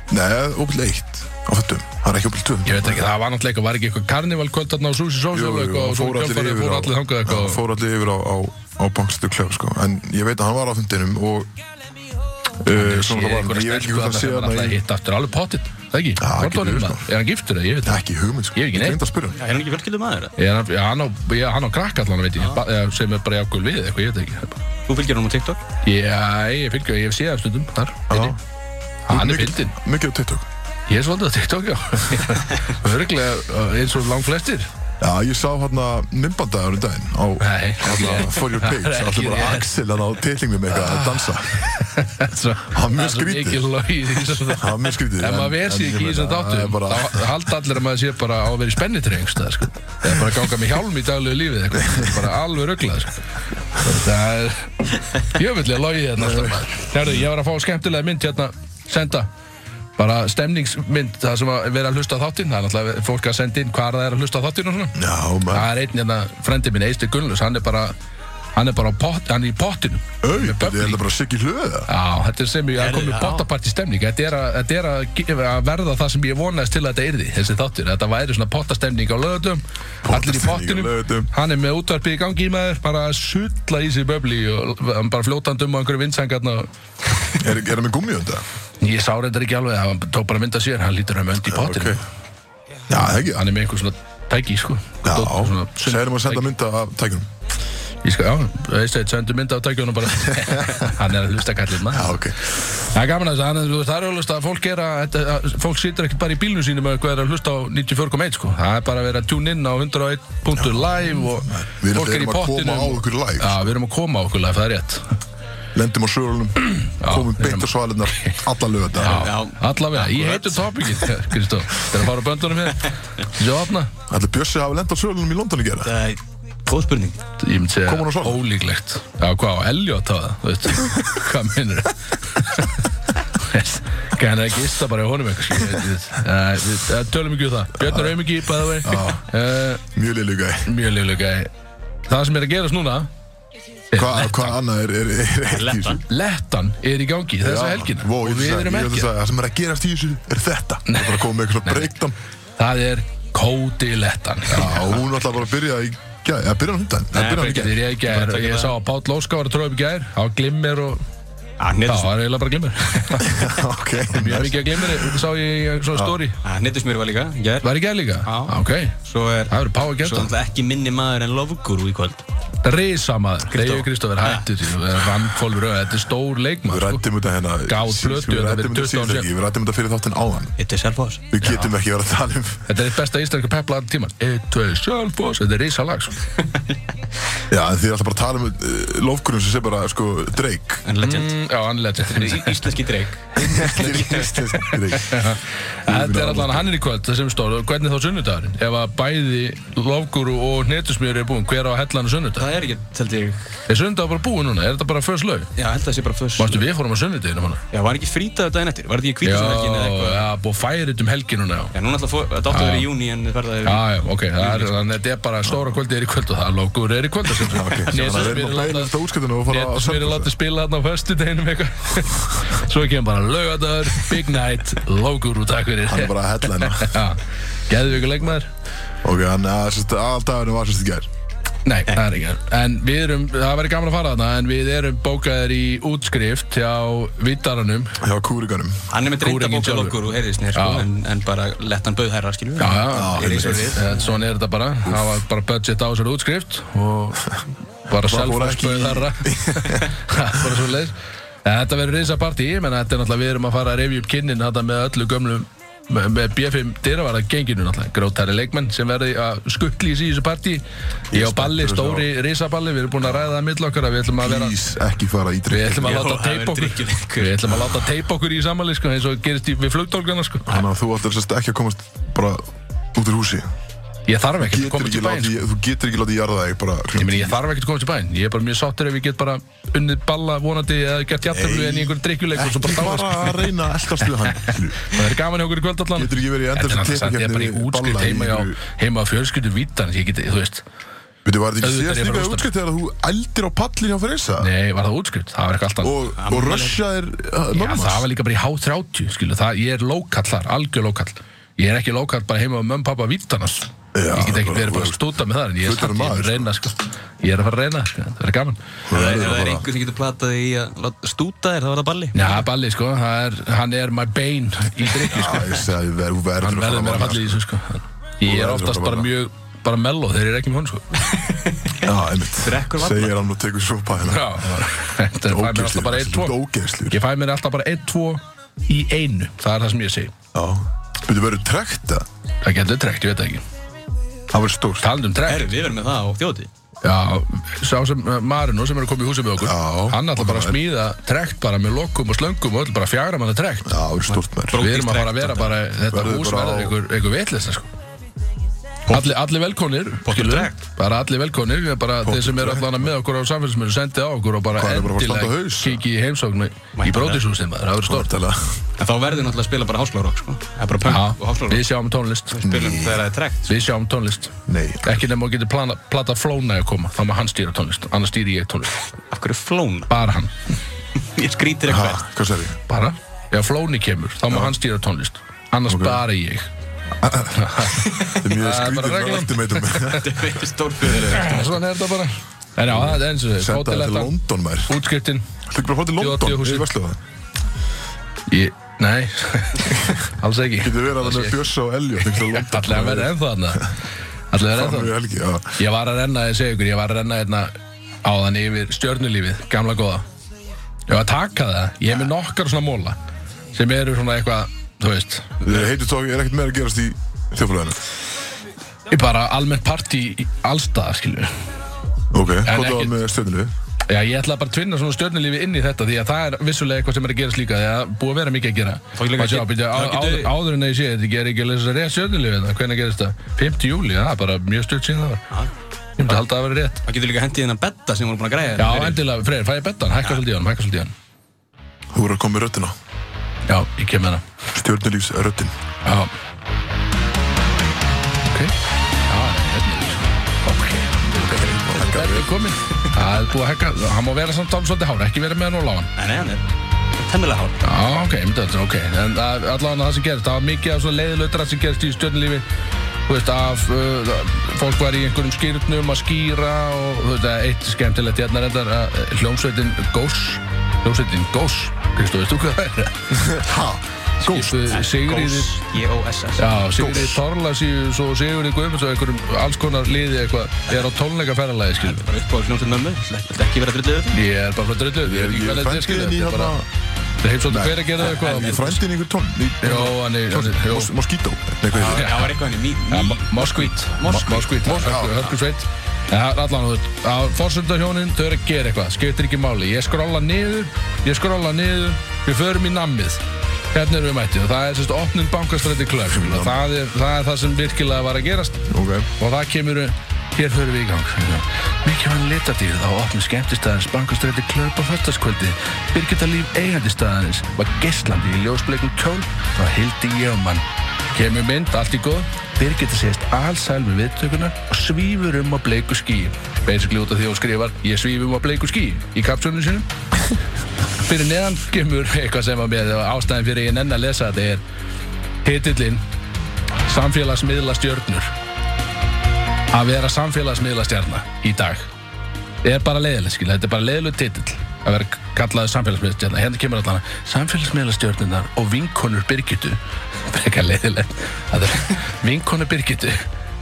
Speaker 1: Nei, óbyrl 1 á 15 Það er ekki óbyrl 2
Speaker 3: ég veit ekki, það var náttúrulega eitthvað, var ekki eitthvað karnivalkvöld þarna á Susi Sósjál
Speaker 1: Jú, jú,
Speaker 3: og svo
Speaker 1: fór allir
Speaker 3: kjálfarið
Speaker 1: yfir
Speaker 3: fór
Speaker 1: á-
Speaker 3: allir þangað
Speaker 1: Já,
Speaker 3: eitthvað og-
Speaker 1: fór allir yfir á, á, á bankstu klef sko. en ég veit að hann var á fundinum og uh,
Speaker 3: Ég
Speaker 1: svona það var hann. ég veit ekki hvað það sé hann
Speaker 3: alltaf
Speaker 1: í-
Speaker 3: hérna, hitt aftur alveg pottitt Það ekki,
Speaker 1: það
Speaker 3: hvort
Speaker 1: getur
Speaker 3: honum
Speaker 1: verið,
Speaker 3: maður?
Speaker 1: sko.
Speaker 3: Er hann giftur eða, ég veit það
Speaker 1: ekki hugmynd sko.
Speaker 3: Ég hef ekki
Speaker 1: ég
Speaker 3: neitt.
Speaker 1: reyndi að spyrja hann
Speaker 2: Já, er hann ekki fjölskyldum maður? eða?
Speaker 3: Er hann- já, Hann á, já, hann á krakk allan veit ég ba- eða sem er bara jákul við eitthvað, ég veit ekki Það er bara-
Speaker 2: Þú fylgir honum á TikTok?
Speaker 3: Já, ég fylgja, ég hef séð það stundum þar veit ég. Hann er
Speaker 1: Mikið-
Speaker 3: fyndin,
Speaker 1: mikið á TikTok
Speaker 3: ég er svolítið að TikTok já Örglega eins og lang flestir
Speaker 1: já ég sá hann að myndbandaður í daginn á
Speaker 3: Nei.
Speaker 1: hérna, for your page
Speaker 3: Það er
Speaker 1: allir
Speaker 3: ekki
Speaker 1: bara
Speaker 3: rétt.
Speaker 1: Axel hann á titlingnum eitthvað að dansa
Speaker 3: Það
Speaker 1: er
Speaker 3: Það er
Speaker 1: mjög skrítið.
Speaker 3: svo mikið logið í þessum
Speaker 1: það var mjög skrítið
Speaker 3: Ef maður verð sér
Speaker 1: en ég
Speaker 3: ekki í
Speaker 1: meina,
Speaker 3: þessum
Speaker 1: það er
Speaker 3: þáttum
Speaker 1: bara-
Speaker 3: þá halda allir að maður sé bara á að vera í spennitri einhverstað sko. eða bara að ganga með hjálm í daglegu lífið eitthvað. Það er bara alveg rugglað sko. það er jöfnvillega logið hérna alltaf maður. Herðu, ég var að fá skemmtilega mynd hérna senda bara stemningsmynd það sem að vera að hlusta á þáttinn það er náttúrulega fólk að senda inn hvað það er að hlusta á þáttinn og svona
Speaker 1: já maður
Speaker 3: það er einn hérna frendi minn Eistur Gunnlaus hann er bara hann er bara á pott, hann er í pottinum
Speaker 1: Au,
Speaker 3: með
Speaker 1: þetta er
Speaker 3: bubbly.
Speaker 1: þetta bara Siggi hlöða
Speaker 3: Já, þetta er sem ég að
Speaker 2: Herri,
Speaker 3: koma í
Speaker 2: já.
Speaker 3: pottaparti stemning Þetta er, að, þetta er að, gefa- að verða það sem ég vonaðist til að þetta yrði Þessi þáttur, þetta væri svona pottastemning á lögutum Allir í
Speaker 1: Pottastemning á
Speaker 3: pottinum
Speaker 1: laugadögum.
Speaker 3: Hann er með útvarpið í gangi í maður Bara að sulla í sig böbli Og hann bara fljótandum á einhverju vindsangarna og-
Speaker 1: er er hann með gummiönda?
Speaker 3: Ég sá reyndar ekki alveg að hann tók bara mynda sér Hann lítur hann með önd í
Speaker 1: ok
Speaker 3: pottinu
Speaker 1: já það er ekki
Speaker 3: Hann er með einhver svona tæki, sko
Speaker 1: Já,
Speaker 3: Dót- svona sund-
Speaker 1: segjum að senda mynda af tækjum
Speaker 3: Ég skal, já, veist þetta, sendu mynda á tækjónu bara Hann er að hlusta kallið maður
Speaker 1: Já, ok
Speaker 3: Það er gaman að þess að þú veist, það er alveg að fólk er að, þetta- að fólk situr ekkert bara í bílnum sínum og er að hlusta á 94.1 sko. Það er bara að vera að tune inn á 101.live og fólk er í
Speaker 1: Við erum hérna að
Speaker 3: pottinu.
Speaker 1: koma á okkur live
Speaker 3: Já, við erum að koma á okkur live, það er rétt.
Speaker 1: Lendum á sölunum, komum beint á svalinnar Alla lögur þetta
Speaker 2: Já.
Speaker 3: Allavega, ég heitum topikið, Kristof. Það er að fara á böndunum hér. Þessi að opna.
Speaker 1: Allir Bjössi hafi lend á sölunum í London í gera
Speaker 2: Það er góð spurning.
Speaker 3: Ég myndi segja
Speaker 1: Kom hún á svona?
Speaker 3: ólíklegt. Já, hvað á Elliot hafa það, þú veist. hvað minnur það? Gæðan er ekki ista bara í honum eitthvað, skilur við, við. Uh, við uh, tölum ekki um það. Björn er auðmikið, by the way. Uh,
Speaker 1: Mjög liðlu gæ
Speaker 3: Mjög liðlega gæði. Það sem er að gerast núna
Speaker 1: Hvað hva annað er, er, er ekki í þessu?
Speaker 2: Lettan.
Speaker 3: Lettan er í gangi þessa helgina
Speaker 1: Vó,
Speaker 3: og
Speaker 1: ég
Speaker 3: við
Speaker 1: ætla að
Speaker 3: erum
Speaker 1: segja, ég ætla að
Speaker 3: ekki
Speaker 1: segja, það sem er að gerast í þessu er þetta Það er bara að koma með eitthvað breyktan
Speaker 3: Það er Kóti Lettan
Speaker 1: Já, hún ætla bara að byrja í gæ Já, byrja hún hundan Það
Speaker 2: Nei,
Speaker 1: byrja hún í
Speaker 3: Þegar
Speaker 1: gæ
Speaker 3: ég gær,
Speaker 2: Bara taka
Speaker 3: ég
Speaker 2: það.
Speaker 3: sá að Páll Óskar var að tróða upp í gær á glimmir og
Speaker 2: Hann
Speaker 3: Já,
Speaker 2: er
Speaker 3: það er eiginlega bara glimmir
Speaker 1: Ok,
Speaker 3: Mjög
Speaker 1: nice.
Speaker 3: mikið að glimmir, sá ég í svona story
Speaker 2: Það nýttist mér var líka, í gær.
Speaker 3: Var í gær líka? Ah,
Speaker 2: Já.
Speaker 3: Ok,
Speaker 2: Svo er
Speaker 3: það verður pá að
Speaker 2: svo
Speaker 3: gera
Speaker 2: er það ekki minni maður en Lofguru í kvöld.
Speaker 3: það Risa maður,
Speaker 2: Kristó.
Speaker 3: Leifur Kristófur hættu því Vannfólfur, þetta er stór
Speaker 1: Við
Speaker 3: leikmaður sko.
Speaker 1: rættum þetta hérna
Speaker 3: Gáð
Speaker 1: síðust-
Speaker 3: plötu,
Speaker 1: Við
Speaker 3: þetta
Speaker 1: rættum
Speaker 3: fyrir 20 árum
Speaker 1: þetta síðan
Speaker 3: síðan.
Speaker 1: Við rættum þetta fyrir þáttin áðan
Speaker 2: Þetta er self-hoss.
Speaker 1: Við getum ekki verið að tala um
Speaker 3: Þetta er eitt besta íslenska pepla allan tíman Eitt, tvei, sjálfbós, þetta er risa lag sko.
Speaker 1: Já, en þið ætla bara að tala um uh, lofgrunum sem sé bara, sko, Drake
Speaker 2: En legend.
Speaker 3: Mm, Já, anlega
Speaker 2: Þetta er í- Íslenski dreik.
Speaker 1: Þetta er íslensk Drake
Speaker 3: Þetta er allan hann er í kvöld, það sem stóð, og hvernig þá sunnudagurinn? Ef að bæði lofguru og hnetusmjör er búin, hver á að hella hann á sunnudag?
Speaker 2: Það er ekki, held ég,
Speaker 3: Er sunnudag bara búin núna? Er þetta bara fyrst lög?
Speaker 2: já, held að það sé bara fyrst.
Speaker 3: Mástu við fórum á sunnudaginum hana?
Speaker 2: Já, var ekki frítið daginn eftir? Var þetta ekki
Speaker 3: Já,
Speaker 2: kvítið sem helgin eða eitthvað?
Speaker 3: já, búið færið um helgin núna, já.
Speaker 2: Já, núna ætla að fó- þetta átti að vera í júni en þið ferðaði við.
Speaker 3: Já, já, ok, það er, þannig að þetta er bara stóra kvöldið er í kvöld og það er lofguru er í kvöld sem sagt.
Speaker 1: Þannig að við erum
Speaker 3: Hnetusmjör
Speaker 1: að bæla
Speaker 3: er
Speaker 1: þetta útskjöldinu og fara að
Speaker 3: Netusmjöri látið spila þarna á föstudeginum eitthvað Svo kemur bara lögadagur, big night, lofguru, takk fyrir
Speaker 1: Hann er bara að hella hennar
Speaker 3: Já, geðu ykkur leikmaður
Speaker 1: Ok, hann eh, er sérst Alltafinu var sérst í gær
Speaker 3: Nei, það er ekki En við erum, það verður gaman að fara þarna En við erum bókaðir í útskrift hjá Vítaranum
Speaker 1: Hjá kúriganum
Speaker 2: Hann er með dreynda
Speaker 3: Kúringin
Speaker 2: bókja
Speaker 3: sjálfur.
Speaker 2: loggur og heyrðist nér sko,
Speaker 3: Já.
Speaker 2: en, en bara lett hann bauð herra, skiljum
Speaker 3: Já, já,
Speaker 1: Já,
Speaker 2: Ég reis
Speaker 1: einmitt.
Speaker 2: við.
Speaker 3: Eh, Svona er þetta bara Það var bara budget á þessari útskrift Og bara
Speaker 1: Það fór
Speaker 3: self-mess
Speaker 1: ekki í-
Speaker 3: bauð þarra Það er bara svo leið Þetta verður reysa partí Menn þetta er náttúrulega Við erum að fara að revja upp kynnin Þetta með öllu gömlum með- með B5 dyravarða genginu náttúrulega grótæri leikmenn sem verði að skuttli í þessu partí ég og Balli, stóri risaballi við erum búin að ræða það mill okkar að við ætlum að vera
Speaker 1: Please, ekki fara í
Speaker 3: Við
Speaker 1: Drake
Speaker 3: ætlum að
Speaker 2: Já,
Speaker 3: láta
Speaker 2: það
Speaker 3: teipa
Speaker 2: verður
Speaker 3: okkur
Speaker 2: drykkjuleikur.
Speaker 3: Við ætlum að láta teipa okkur í samanli sko, eins og gerist í, við flugtólkana sko.
Speaker 1: Þannig að þú ætlar sérst ekki að komast bara út úr húsi
Speaker 3: Ég þarf ekkert að
Speaker 1: getur
Speaker 3: koma
Speaker 1: ekki
Speaker 3: til bæinn
Speaker 1: látið,
Speaker 3: sko.
Speaker 1: þú getur ekki látið jarða þig bara
Speaker 3: Ég
Speaker 1: klukkan
Speaker 3: meina, ég þarf ekkert að koma til bæinn Ég er bara mjög sáttur ef ég get bara unnið balla vonandi eða gert jafntöflu
Speaker 1: Nei.
Speaker 3: en í einhverjum drikkjuleik og svo
Speaker 1: Ekki
Speaker 3: bara sko.
Speaker 1: bara
Speaker 3: dáa
Speaker 1: að reyna að elkast við hann skilju.
Speaker 3: Það er gaman hjá okkur í kvöld allan
Speaker 1: Getur ekki verið í
Speaker 3: Þetta er náttúrulega samt, ég
Speaker 1: endalausri
Speaker 3: er bara í
Speaker 1: keppni við
Speaker 3: útskrift
Speaker 1: balla í
Speaker 3: heima, hjá-
Speaker 1: einhverju-
Speaker 3: heima á fjölskyldu vítan Ég get, þú veist,
Speaker 1: Veitu, var þetta ekki
Speaker 3: Auðvitað er
Speaker 1: síðast
Speaker 3: ég bara
Speaker 1: líka
Speaker 3: að rústa.
Speaker 1: útskrift þegar þú eldir á pallin hjá Freysa
Speaker 3: nei, var það útskrift? Það var eitthvað allt annað
Speaker 1: og, og rösjaðir uh,
Speaker 3: Já,
Speaker 1: mammas
Speaker 3: það var líka bara í H30, skilu, það, ég er lókall þar, algjör lókall. Ég er ekki lókall bara heima á mömmu pappa vítanars.
Speaker 1: Já,
Speaker 3: ég get ekki
Speaker 1: bara-
Speaker 3: verið bara að stúta með það, en ég er
Speaker 1: Fullur
Speaker 3: satt, ég er
Speaker 1: maður,
Speaker 3: að reyna, sko. Ég er að fara að reyna, sko, það verður gaman.
Speaker 1: Það
Speaker 2: Það er,
Speaker 1: verður
Speaker 2: það er
Speaker 1: bara-
Speaker 2: einhver sem getur platað í að láta stúta þér, það var það balli.
Speaker 3: Já, Balli, sko, það er, hann er my bane í drikki, sko.
Speaker 1: Já, ég sagði, þú verður- þú verður
Speaker 3: Hann
Speaker 1: að fara
Speaker 3: verður mér að
Speaker 1: varlega,
Speaker 3: falla í
Speaker 1: sko.
Speaker 3: þessu, sko. Ég er
Speaker 1: verður
Speaker 3: oftast
Speaker 1: að
Speaker 3: bara
Speaker 1: fara.
Speaker 3: mjög, bara mello þegar ég er ekki með hún, sko.
Speaker 1: Já, einmitt
Speaker 2: Drekkur varla.
Speaker 1: Segir hann og tekur sopa hérna
Speaker 3: Já, þetta er, fæ mér alltaf bara einn, tvo.
Speaker 1: Ógeðslur
Speaker 3: Ég fæ mér alltaf bara einn, tvo í einu, það er það sem ég segi.
Speaker 1: Já Veitu, verður trekt það?
Speaker 3: Það getur trekt, ég veit það ekki.
Speaker 1: Það verður stórt
Speaker 3: Talandi um trekt.
Speaker 2: Herru, við verðum með það á þjóti.
Speaker 3: Já, sá sem uh, Marino sem er að koma í húsið með okkur
Speaker 1: Já.
Speaker 3: Hann ætla bara að
Speaker 1: Og það er-
Speaker 3: smíða trekt bara með lokkum og slöngum og öll bara fjagra manna trekt
Speaker 1: Já, það verður stórt mér
Speaker 2: Bró-
Speaker 3: Við erum að fara að vera bara, þetta
Speaker 1: Verður
Speaker 3: hús
Speaker 1: bara á-
Speaker 3: verður einhver, einhver vitlista sko Allir, allir velkonir,
Speaker 2: Pottur
Speaker 3: skilur
Speaker 2: trekt.
Speaker 3: Bara allir velkonir, við erum bara
Speaker 1: Pottur
Speaker 3: þeir sem eru
Speaker 1: trekt.
Speaker 3: allan með okkur á samfélagsmyndu sendi á okkur og bara
Speaker 1: Hvað, er bara að fara að standa
Speaker 3: endilega
Speaker 1: haus?
Speaker 3: kikið í heimsóknu í
Speaker 2: Væntanlega.
Speaker 3: brótishúsið maður, það verður stort
Speaker 1: Stortalega
Speaker 2: En þá verður náttúrulega að spila bara háskólarokk, sko. Það er bara punk og
Speaker 3: Já, við
Speaker 2: háskólarokk.
Speaker 3: sjáum tónlist
Speaker 2: Spilum þegar það er trekt.
Speaker 3: Við sjáum tónlist
Speaker 1: Nei
Speaker 3: Ekki nema að geta plana- plata flóna að koma, þá má hann stýra tónlist, annars stýri ég tónlist
Speaker 2: Af hverju flóna?
Speaker 3: Bara hann
Speaker 2: Ég skrítir
Speaker 1: Ha,
Speaker 2: eitthvað.
Speaker 1: Hvað sagði ég?
Speaker 3: bara ef Flóni kemur, þá má hann stýra tónlist annars bara ég
Speaker 1: Það er mjög
Speaker 3: Það er bara
Speaker 1: skrítið með
Speaker 3: reglan.
Speaker 1: ultimatum
Speaker 2: Þetta er stórfjöður.
Speaker 3: svona er þetta bara en já, það er eins og þess,
Speaker 1: Senda það til
Speaker 3: hóteletta
Speaker 1: London mær
Speaker 3: útskriftin
Speaker 1: Þú ekki bara að fara til London
Speaker 3: Þjóðatíðahúsið.
Speaker 1: í Vestlóða
Speaker 3: ég, nei, alls ekki
Speaker 1: Getur verið að það með Bjössa og Elliot Þú ekki
Speaker 3: allir að vera ennþá þarna allir að vera
Speaker 1: Það er
Speaker 3: ennþá
Speaker 1: helgi, já
Speaker 3: ég var að renna, ég segi ykkur, ég var að renna hérna áðan yfir stjörnulífið, gamla góða ég var að taka það ég er með nokkar svona móla sem eru svona eitthvað, þú veist
Speaker 1: Þeir heitir tók, er ekkert meira að gerast í þjóflæðinu
Speaker 3: ég bara almennt partí í allstað, skilur
Speaker 1: Ok, hvað
Speaker 3: ekkert-
Speaker 1: það með stjórnilegu?
Speaker 3: Já, ég ætla bara að tvinna svona stjörnulífi inn í þetta því að það er vissulega eitthvað sem er að gerast líka því að það er búið að vera mikið að gera
Speaker 2: Fá ekki líka
Speaker 3: Maður sjá,
Speaker 2: að-
Speaker 3: byrja, á,
Speaker 2: þá
Speaker 3: áður,
Speaker 2: getur-
Speaker 3: áður en að ég sé þetta, ég er ekki að lesa rétt stjörnulífi þetta, hvernig gerist það? 5. júli, það er bara mjög stutt síðan það var Ég myndi halda að það vera rétt
Speaker 2: Það getur líka hendið þennan betta sem voru búin að græja.
Speaker 3: Já,
Speaker 2: þér fyrir.
Speaker 3: endilega, Freyr, fæ ég bettan, hækka svolítið í hann, hækka svolítið í hann
Speaker 1: Þú voru að koma með röddina
Speaker 3: Já, ég kem með hana
Speaker 1: Stjórnilífs röddin
Speaker 3: Já Ok Já, stjörnulíf Ok Þetta er komin Það er búið að hækka, hann má vera samt alveg svolítið hár, ekki vera með hann og lágan
Speaker 2: Nei, nei, hann er temmilega hár.
Speaker 3: Já, ok, myndi þetta, ok En að- allavega það sem gerist, það var mikið af svona leiðilötra sem gerist í stjörnulífi Þú veist, af uh, fólk var í einhverjum skýrnum að skýra og þú veist, að eitt skemmtilegt hérna reyndar að uh, hljómsveitin Gós Hljómsveitin Gós, Kristó, veistu hvað það er?
Speaker 1: Ha,
Speaker 3: Sko,
Speaker 1: góst
Speaker 3: Skipuð Sigríði
Speaker 2: Gós, G-O-S-S.
Speaker 3: Já, Sigurði Torlasíus og Sigurði Guðmunds og einhverjum alls konar liði eitthvað er á tónleikaferðalagi, skiljum
Speaker 2: Bara upp á hljómsveit mömmu. Þetta ekki vera drullið yfir því.
Speaker 3: Ég er bara frá drullu, ég er ekki vel eitthvað,
Speaker 1: Ég er frændin í
Speaker 3: skiljum
Speaker 1: hérna
Speaker 3: Það er heimt svolítið hver að gera eitthvað
Speaker 1: Ég er frændin í hérna- einhver tón
Speaker 3: Jó, hann er, hann er, jó Ah,
Speaker 1: Moskító Nei, hvað heitir það?
Speaker 2: Það var eitthvað henni
Speaker 3: Ja,
Speaker 2: mý...
Speaker 3: Mo- Moskvít
Speaker 2: Moskvít.
Speaker 3: Moskvít
Speaker 1: já.
Speaker 3: Hörkusveit Það er allan út Á fórsöndahjónin þau eru að gera eitthvað Skiptir ekki máli Ég skrolla niður Ég skrolla niður Við förum í nammið Hérna erum við mættið og það er sérst opnun bankastræti klöf og það er, það er það sem virkilega var að gerast
Speaker 1: Ok
Speaker 3: og það kemur eh, hér förum við í gang mikið hann litadýrð á opnum skemmtistæðins bankastræti klöp á föstaskvöldi Birgitta Líf eigandistæðins var gestlandi í ljósbleikum kjól frá Hildi Jöfmann kemur mynd, allt í góð Birgitta sést alsæl með viðtökunar og svífur um á bleiku skí basically út af því að hún skrifar ég svífur um á bleiku skí í kapsjónu sinum fyrir neðan kemur eitthvað sem að mér ástæðin fyrir ég nenn að lesa þetta er hitillinn samfélagsmiðla stjörnur að vera samfélagsmiðlastjarna í dag er bara leiðileg, skilja, þetta er bara leiðileg titill að vera kallaður samfélagsmiðlastjarna hérna kemur allan að samfélagsmiðlastjarnirnar og vinkonur Birgitu frekar leiðilegt Það er- vinkonur Birgitu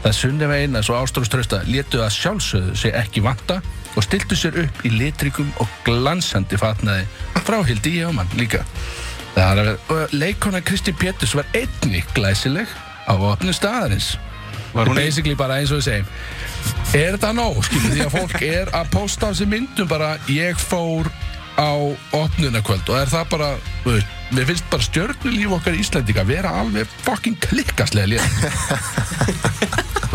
Speaker 3: það sunnum eina svo ástróðströsta létu að sjálfsögðu sig ekki vanta og stiltu sér upp í litrikum og glansandi fatnaði frá Hildi Jómann líka Það er að vera, leikona Kristi Péturs var einnig glæsileg á opnum staðarins
Speaker 2: Var
Speaker 3: Þetta er
Speaker 2: hún ein-
Speaker 3: basically bara eins og við segjum Er þetta nóg, skilur því að fólk er að posta á sér myndum bara Ég fór á opnunarkvöld og er það bara, þú veist, mér finnst bara stjörnulíf okkar Íslandika vera alveg fucking klikkaslega létt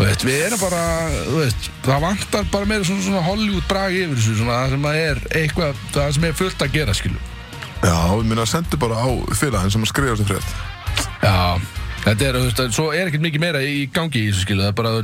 Speaker 3: Þú Veit, við erum bara, þú veist, það vantar bara meira svona, svona Hollywood brag yfir þessu, svona það sem að er eitthvað, það sem er fullt að gera, skilju.
Speaker 1: Já, við minna að senda bara á félaginn sem að skrifa þessu frétt.
Speaker 3: Já, þetta er, þú veist, að- svo er ekkert mikið meira í gangi í þessu, skilju, það er bara,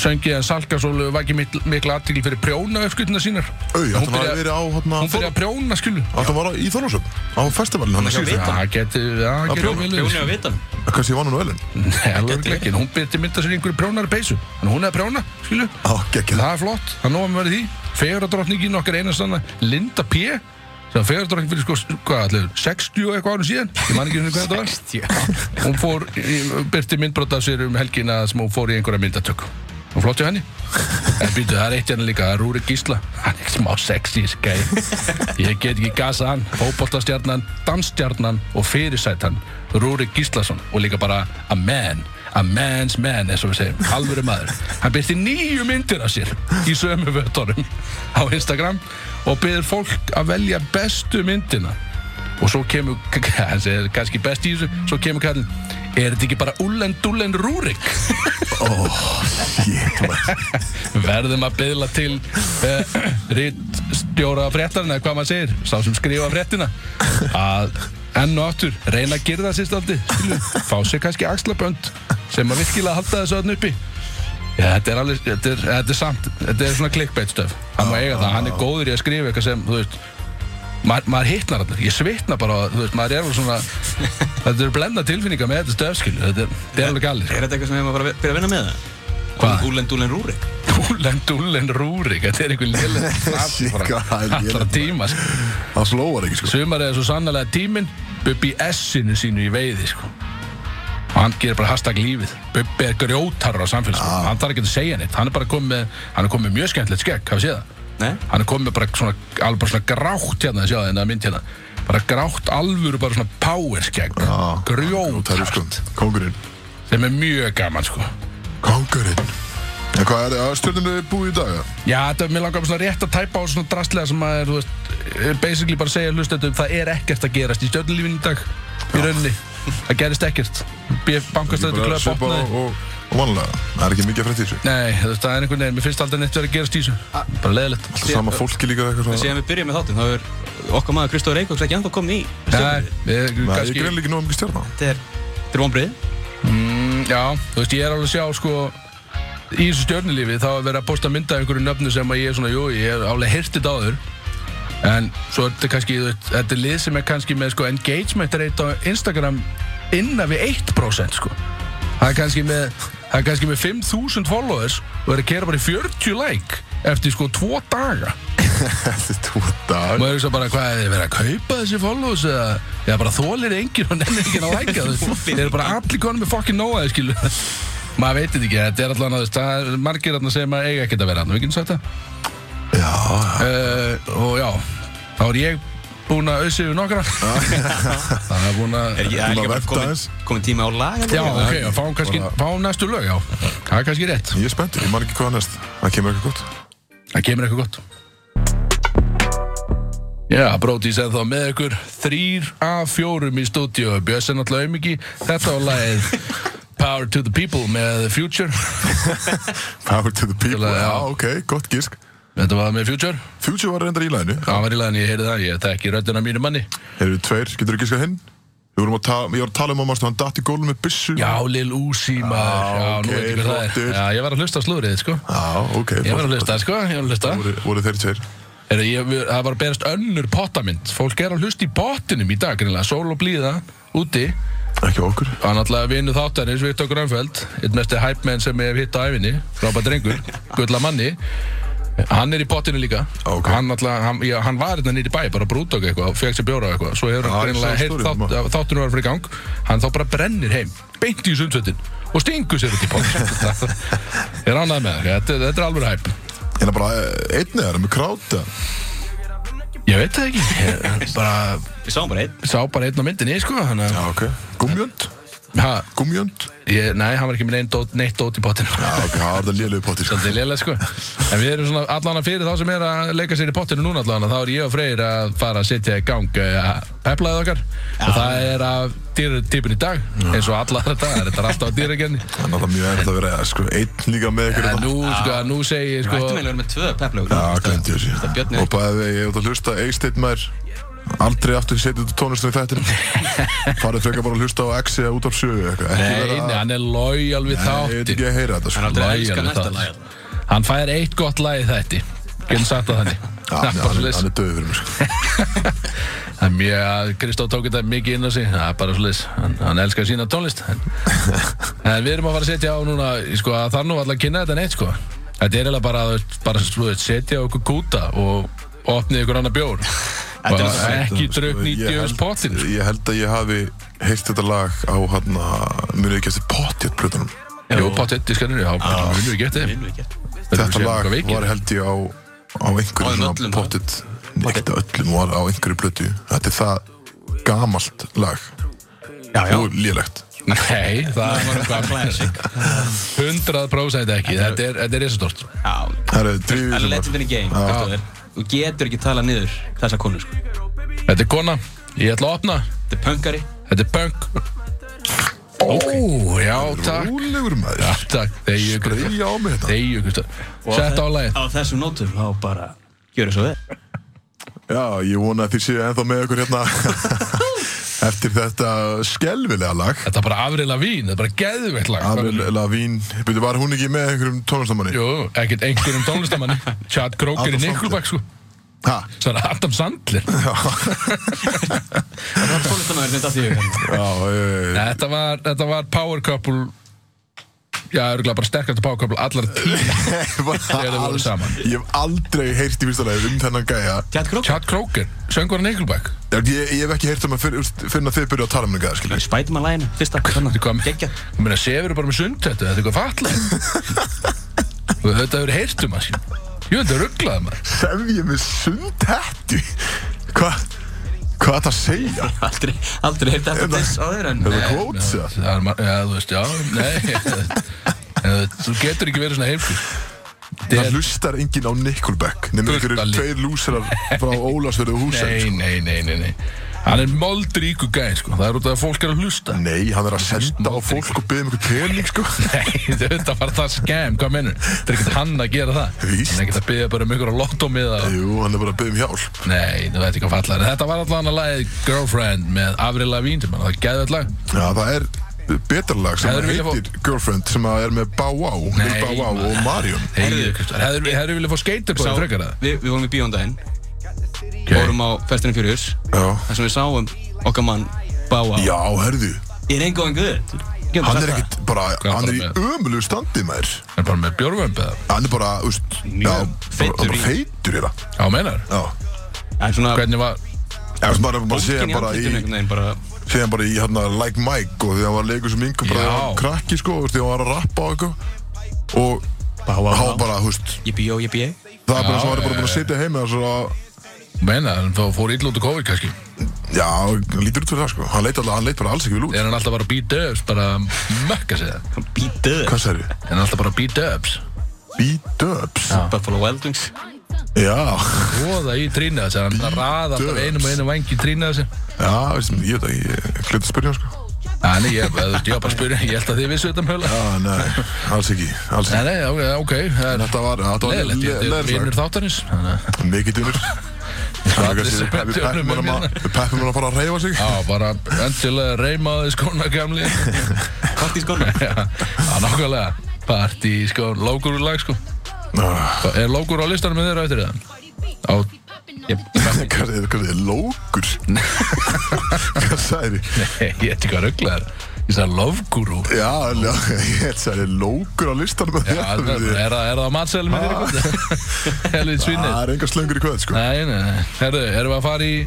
Speaker 3: söngið en Salkarsólu vakið mikla, mikla aðtíkli fyrir prjóna uppskutuna sínar.
Speaker 1: Au,
Speaker 3: hún
Speaker 1: þetta var
Speaker 3: byrja-
Speaker 1: verið á, hérna,
Speaker 3: Hún fyrir að prjóna, skilju.
Speaker 1: þetta var á- í Þorlásöfn, á festivalinu hann
Speaker 2: Já,
Speaker 1: ekki.
Speaker 2: við-
Speaker 3: Já, geti, já, geti
Speaker 1: prjóna,
Speaker 3: vel verið.
Speaker 2: Prjóni að vita hann.
Speaker 1: Kanski ég vann hún á velin.
Speaker 3: Nei, alveg ekki, en hún byrti mynda sér í einhverju prjónari peysu, en hún er að prjóna, skilju.
Speaker 1: Á, geggja.
Speaker 3: Það er flott, það er nóg að vera því Fegurðardrottningin okkar einastanna Linda P sem var fegurðardrottning fyrir sko, hvað allir 60 og eitthvað árum síðan ég man ekki hvernig hvað þetta var hún fór, í- birti myndbrot af sér um helgina sem hún fór í einhverja myndatöku og flott hjá henni en býtu, það er eitt hérna líka, það er Rúrik Gísla hann er smá sexy, þessi gæi ég get ekki gasa hann, fótboltastjarnan dansstjarnan og fyrirsætan Rúrik Gíslason og líka bara a man, a man's man eins og við segjum, alvöru maður hann byrti nýju myndir af sér í sömu vötunum á Instagram og byrður fólk að velja bestu myndina og svo kemur, hann segir kannski best í þessu svo kemur kallin, er þetta ekki bara Ullen Dullen Rúrik?
Speaker 1: Shit, maður.
Speaker 3: verðum að byðla til uh, rittstjóra fréttarinn eða hvað maður segir, sá sem skrifa fréttina að enn og aftur reyna að girða sér staldi fá sér kannski axlabönd sem að virkilega halda þessu öðn uppi Já, þetta er alveg, þetta er, þetta er samt þetta er svona clickbait stöf, hann má eiga það hann er góður í að skrifa eitthvað sem, þú veist maður, maður hittnar þarna, ég svitna bara á- þú veist, maður er alveg svona þetta eru blenda tilfinningar með þetta stöfskilu þetta er, þetta er alveg galið,
Speaker 2: Er þetta eitthvað sem hefum að bara byrja að vinna með það?
Speaker 3: Hvað?
Speaker 2: Úlen Dúlen Rúrik.
Speaker 3: dúlen, dúlen, rúrik þetta er einhver lélega
Speaker 1: Shit, hvað er lélegt,
Speaker 3: allra
Speaker 1: maður.
Speaker 3: tíma sko.
Speaker 1: Það slóar ekki, sko.
Speaker 3: sumar er svo sannlega tíminn Bubbi í S-inu sínu í veiði sko. og hann gerir bara hashtag lífið Bubbi er grjótarur á samfélagsmiðlum
Speaker 1: Ah.
Speaker 3: hann þarf ekki að segja neitt, hann er bara komið með, hann er komið með mjög skemmtilegt skegg, hafið séð það
Speaker 2: Nei?
Speaker 3: hann er komið með bara svona, alveg bara svona grátt hérna, sjáðu hérna mynd hérna bara grátt alvöru, bara svona power skegg
Speaker 1: Það er,
Speaker 3: grjótar,
Speaker 1: Ah, sko, kongurinn.
Speaker 3: sem er mjög gaman sko.
Speaker 1: Kongurinn. En hvað er, að stjórnum við búið í dag, eða?
Speaker 3: Já, þetta er mér langar svona rétt að tæpa á svona drastlega sem að er, þú veist, er basically bara að segja hlustendum það er ekkert að gerast í stjórnulífinu í dag í rauninni, það gerist ekkert bankastættu
Speaker 1: Bara
Speaker 3: klöp
Speaker 1: svipað
Speaker 3: opnaði
Speaker 1: og- og- og vanlega. Það er ekki mikið að frétta í þessu.
Speaker 3: Nei, þú veist, það er einhvern veginn, mér finnst aldrei neitt verið að gerast í þessu bara leðilegt
Speaker 1: Alltaf sama fólki líka eitthvað svona.
Speaker 2: Síðan við byrjum með þáttinn, þá er okkar maður Kristóður Reykjavíks ekki ennþá komin í
Speaker 3: Nei,
Speaker 2: stjórnum.
Speaker 3: við,
Speaker 1: Nei, ég
Speaker 3: kannski,
Speaker 1: greinlega ekki nóg mikið stjórna.
Speaker 2: Þetta er, þetta er vonbrið.
Speaker 3: mm, já, þú veist, ég er alveg að sjá sko í þessu stjórnulífi þá er verið að posta mynda einhverju nöfnu sem að ég er svona, jú, ég er alveg hirtið áður en svo er þetta kannski, þú veist, þetta er lið sem er kannski með sko engagement rate á Instagram innan við 1% sko það er kannski með það er kannski með 5000 followers og er að kera bara í 40 like eftir sko 2 daga
Speaker 1: Þetta er tvo dag.
Speaker 3: maður er svo bara hvað er þið verið að kaupa þessi followers eða eða bara þólir enginn og nefnir enginn að læka þeir eru bara allir konum með fokkin nóaði skilu maður veit þetta ekki, þetta er allan að þú veist, það er margir þarna sem að eiga ekkert að vera hann, við getum sagt það
Speaker 1: Já, já.
Speaker 3: uh, og já, þá er ég búinn að auðsig við nokkra það er búinn að
Speaker 2: Er ég
Speaker 1: Þú
Speaker 2: er
Speaker 1: maður
Speaker 2: líka bara
Speaker 1: vefta
Speaker 2: komin,
Speaker 1: aðeins.
Speaker 2: komin tíma á laga?
Speaker 3: já, ok, já, fáum kannski, fáum næstu lög, já það er kannski rétt,
Speaker 1: Ég er spenntur, ég man ekki hvað er næst. Það kemur eitthvað gott.
Speaker 3: það kemur eitthvað gott Já, Brótis er þá með ykkur þrýr af fjórum í stúdíu Björs er náttúrulega aumingi Þetta var lagið Power to the People með Future
Speaker 1: Power to the people.
Speaker 3: Náttúrulega, já.
Speaker 1: Já, ok, gott gísk.
Speaker 3: Þetta var með Future
Speaker 1: Future var reyndar í læginu.
Speaker 3: Það var í lagin, ég heyrði það, ég þekki röddina mínu manni
Speaker 1: Eru tveir, getur þú gískað hinn? Við vorum að tala, ég var að tala um að maður hann datt í gólum með byssu.
Speaker 3: Já, Lil Uzi maður Já, nú
Speaker 1: ok,
Speaker 3: veit ég hvað það
Speaker 1: flottur.
Speaker 3: er Já, ég var að hlusta á slúrið, sko
Speaker 1: Já, ok.
Speaker 3: Ég var
Speaker 1: flott.
Speaker 3: að hlusta, sko, ég var að hlusta
Speaker 1: Voru, voru þeir tveir.
Speaker 3: Heyrðu, ég, við- Það var að berast önnur pottamind Fólk er að hlusta í pottinum í dag, greinlega Sól og blíða, úti
Speaker 1: Ekki á okkur.
Speaker 3: Það er náttúrulega vinnu þáttarins, Viktor Grönfeld, einn mesti hæpmenn sem ég hef hitt á æfinni, frábært drengur, gulla manni. Hann er í potinu líka.
Speaker 1: Ah, Ok.
Speaker 3: Hann, náttúrulega, hann, já, hann var hérna nýri bæ, bara brútt okkur eitthvað, fekk sér bjóra og eitthvað. Svo hefur
Speaker 1: Já,
Speaker 3: hann
Speaker 1: ég
Speaker 3: greinilega
Speaker 1: sá
Speaker 3: heyrt
Speaker 1: storyið,
Speaker 3: þátt, að þáttunum var fyrir gang. Hann þá bara brennir heim, beint í sundsveitin og stingur sér út í potinu. ég er ánægð með það, þetta, þetta er alveg hæp.
Speaker 1: En það bara eh, einn eða, með kráta.
Speaker 3: Ég veit það ekki, ég bara,
Speaker 2: Við sáum bara einn.
Speaker 3: sá bara einn á myndinni, sko. Þannig,
Speaker 1: Já, ok. Gumjönd.
Speaker 3: að- ha,
Speaker 1: Gumjönd.
Speaker 3: ég, nei, hann var ekki með neinn dót- neitt dót í potinu.
Speaker 1: Já, ok, það var það lélegu potið. sko.
Speaker 3: Þetta er lélega sko En við erum svona allan að fyrir þá sem er að leika sér í pottinu núna eh, allan Þá er ég og Freyr að fara að setja í gang uh, peplaðið okkar Og það er að dýratipin í dag eins og alla aðra dagar, þetta er alltaf að dýragenni
Speaker 1: Það er náttúrulega mjög erfitt að vera sko, einn líka með ykkur
Speaker 3: en
Speaker 1: þetta.
Speaker 3: nú, sko, nú segi ég
Speaker 2: Við
Speaker 3: sko
Speaker 2: ættum eiginlega að vera með tvö pepplög
Speaker 1: Já, glemdi ég
Speaker 2: Þetta
Speaker 1: þessi.
Speaker 2: Björn
Speaker 1: Og bæði vegi, ég er út að hlusta Eysteinn maður aldrei aftur setið út tónlistin í þættinu. Farið frekar bara að hlusta á X eða út af sögu eða eitthvað. Ekki
Speaker 3: nei, nei,
Speaker 1: vera-
Speaker 3: hann er lojal við
Speaker 1: Ég veit
Speaker 3: þáttin
Speaker 1: ekki að heyra þetta
Speaker 2: er
Speaker 1: sko.
Speaker 2: aldrei að
Speaker 3: Lagi
Speaker 2: elska
Speaker 3: alveg
Speaker 2: næsta
Speaker 3: það.
Speaker 2: lag
Speaker 3: Hann fær eitt gott lag í þætti Getum sagt það þannig
Speaker 1: Já,
Speaker 3: Það er bara
Speaker 1: hann er-
Speaker 3: svoleiðis.
Speaker 1: hann er döður fyrir mig sko.
Speaker 3: Það er mjög, Kristóf tók þetta mikið inn á sig Það er bara slis, hann, hann elskar sína tónlist en, en við erum að fara að setja á núna sko, að Það er nú alltaf að kynna þetta neitt sko. Þetta er eiginlega bara að bara, þú veist, setja okkur kúta og opnið ykkur annar bjór
Speaker 2: er
Speaker 3: Bara
Speaker 2: náttúrulega
Speaker 3: ekki
Speaker 1: Sko,
Speaker 3: draugn í
Speaker 1: ég
Speaker 3: djöfus
Speaker 1: held-
Speaker 3: pottin
Speaker 1: Ég held að ég hafi heyrt þetta lag á hann að munið ekki eftir potið plötunum.
Speaker 3: Jó, pottin, diskanir, já, bara vinnum við getið
Speaker 2: Vinnum við ekki
Speaker 1: Þetta lag var held ég á, á
Speaker 2: Á þeim
Speaker 1: einhverju
Speaker 2: öllum,
Speaker 1: svona pottet Ekkert á öllum, var á einhverju blötu Þetta er það gamalt lag
Speaker 2: Já, já
Speaker 1: og lélegt
Speaker 3: Nei, það var
Speaker 2: Hvað
Speaker 3: eitthvað
Speaker 2: classic
Speaker 3: 100% ekki, þetta er, þetta er risastort
Speaker 2: Já
Speaker 1: Það er drífið
Speaker 2: Það er
Speaker 1: sem var
Speaker 2: legend in the game
Speaker 1: Já.
Speaker 2: veistu það er. Þú getur ekki talað niður þessa konu sko
Speaker 3: Þetta er kona, ég ætla að opna
Speaker 2: Þetta er punkari
Speaker 3: Þetta er punk Ó, já, takk
Speaker 1: Rólegur
Speaker 3: Já,
Speaker 1: maður
Speaker 3: takk, þegju Kristján
Speaker 1: Breyja á mig þetta
Speaker 3: Þegju Kristján Sett á lagið
Speaker 2: Á þessum nótum þá bara Gjör þess að vel
Speaker 1: Já, ég vona að þið séu ennþá með okkur hérna Eftir þetta skelvilega lag
Speaker 3: Þetta er bara afriðla vín, þetta er bara geðveikt lag
Speaker 1: Avril Lavín Byrju, var hún ekki með einhverjum tónlistamanni?
Speaker 3: Jú, ekkert einhverjum tónlistamanni Chad Kroger í
Speaker 1: Adam Sandler.
Speaker 3: Nickelback, sko
Speaker 1: Ha?
Speaker 3: Svo er Adam Sandler
Speaker 1: Já,
Speaker 2: Það er tónlistamæður sem þetta því
Speaker 1: já, já, já.
Speaker 3: Þetta var, þetta var power couple Já, örgulega bara sterkast power couple allar tíma
Speaker 1: Bara
Speaker 3: Þegar þau voru
Speaker 1: alls-
Speaker 3: saman.
Speaker 1: Ég hef aldrei heyrt í fyrsta lagi um þennan gæja
Speaker 2: Tjátt krók
Speaker 3: Chad Kroger, söngur hann Nickelback
Speaker 1: Ég, ég hef ekki heyrt um að finna þið byrja að tala um þetta skilja
Speaker 2: Spætum að lægina Fyrsta Þannig
Speaker 3: Þetta kom
Speaker 2: Gekkja
Speaker 3: Ég meina, sefur bara með sundhættu, þetta er eitthvað fatlega Og þetta hefur heyrt um að sín Jú, þetta er rugglaði maður
Speaker 1: Sef ég með sundhettu? Hvað? Hvað er það að segja?
Speaker 2: Aldrei Aldrei heyrði þetta þess á þeir en
Speaker 1: Er það kvóts? eða?
Speaker 3: Það er maður, já, þú veist, já, nei En Þú getur ekki verið svona heimsku
Speaker 1: Það hlustar enginn á Nickelback Nefnir
Speaker 3: Fullt
Speaker 1: einhverjur
Speaker 3: af lið.
Speaker 1: tveir lúsirar frá Ólasverðu og
Speaker 3: Nei,
Speaker 1: Húsæk
Speaker 3: nei, nei, nei, nei Hann er moldríku gæn, sko Það er út af að fólk er að hlusta
Speaker 1: Nei, hann er að senda á fólk og byggja um einhver pening sko
Speaker 3: Nei, þetta var það skem, hvað mennur? Þetta er ekkert hann að gera það
Speaker 1: Víst.
Speaker 3: Hann er ekkert að byggja bara um ykkur á lottómiða og...
Speaker 1: Jú, hann er bara að byggja um hjálp
Speaker 3: Nei, þú veit ekki hvað fallar Þetta var allan að lagið Girlfriend með Avril Lavigne sem hann, það er geðvægt lag
Speaker 1: Já, það er betra lag sem
Speaker 3: Hefðir viljað
Speaker 1: heitir Girlfriend sem að er með Bow Wow Lil
Speaker 3: Nei,
Speaker 1: Bow Wow og Marion
Speaker 3: Heiðu, Kristján, hefur hefur viljað fá
Speaker 2: Sá-
Speaker 3: skaterbóði frekar það?
Speaker 2: Við við vorum í bíóndaginn Vorum á Fast and Furious
Speaker 1: Já,
Speaker 2: Þar sem við sáum okkar mann Báa
Speaker 1: já, herðu
Speaker 2: Ég er einn góðan guð Getum
Speaker 1: Hann
Speaker 2: sagt
Speaker 1: er
Speaker 2: það.
Speaker 1: ekkit bara,
Speaker 3: er
Speaker 1: hann er í
Speaker 3: bara
Speaker 1: ömulegu standi maður
Speaker 3: Er bara með björnvömb eða?
Speaker 1: Hann er bara, úst, já,
Speaker 2: feitur
Speaker 1: bara
Speaker 2: í-
Speaker 1: feitur í það
Speaker 3: Já, meinar
Speaker 1: Já
Speaker 2: Það er svona
Speaker 3: Hvernig var
Speaker 1: Já, sem bara, bara sé hann
Speaker 2: Bólkin í
Speaker 1: bara í,
Speaker 2: andlitinu einhvern veginn bara
Speaker 1: sé hann bara í hérna Like Mike og þegar hann var að leikur sem yngum bara
Speaker 3: Já.
Speaker 1: þegar hann var krakki sko, og þegar hann var að rappa og eitthvað og
Speaker 2: Báa
Speaker 1: hann var bara, húst,
Speaker 2: Ég bíó, ég bíó
Speaker 1: það er
Speaker 3: Já,
Speaker 1: bara eins og hann er
Speaker 3: já,
Speaker 1: bara búin að sitja heima og svo að,
Speaker 3: Meinar, hann fó- fór illa út úr COVID kannski
Speaker 1: já, hann lítur út fyrir það sko hann leit, alltaf, hann leit bara alls ekki vel út
Speaker 3: Er hann alltaf bara beat ups, bara mökka sig það
Speaker 2: Bítið
Speaker 1: Hvað sagði þið?
Speaker 3: Er hann alltaf bara beat ups
Speaker 1: B-dubs?
Speaker 2: Buffalo Wild Wings
Speaker 1: Já,
Speaker 3: Voða í trýna þessi, hann raða alltaf
Speaker 1: ups.
Speaker 3: einum og einum vangi í trýna þessi
Speaker 1: já, veist, ég veit ekki, ég hlut að spyrja hann sko
Speaker 3: Þannig, ég, þú veist, ég var bara að spyrja, ég held að þið vissu þetta um höla
Speaker 1: Já, nei, alls ekki, alls
Speaker 3: Nei,
Speaker 1: ekki
Speaker 3: nei, ok, ok, það er
Speaker 1: Þetta var, þetta var
Speaker 3: leðilegt, ég er vinnur
Speaker 1: leðilegt
Speaker 3: þáttarins þannig að-
Speaker 1: Mikið dunur
Speaker 3: allir sem
Speaker 1: Við
Speaker 3: betur honum
Speaker 1: peppum
Speaker 3: um
Speaker 1: honum að- við peppum hann að fara að reyfa sig
Speaker 3: Já, bara endilega reymaði skóna gamli
Speaker 2: Hvort í skónu
Speaker 3: Já, já, nákvæmlega Party, sko, lókur úr lag, sko
Speaker 1: Ah,
Speaker 3: Er lókur á listanum með þeirra eftir það? Á,
Speaker 1: Hvað er hvað er lókur? Hvað sagði þið?
Speaker 3: nei, ég veit ekki hvað ruggla er Ég sagði lofgúrú
Speaker 1: Já, já, ég held að það er lókur á listanum að
Speaker 3: Já, er,
Speaker 1: þér.
Speaker 3: það- er það á matselum með þér
Speaker 1: Ah.
Speaker 3: í kvöld? Helvið svinnið
Speaker 1: Það er engar slöngur í kvöld, sko.
Speaker 3: Nei, nei, nei Herðu, erum við að fara í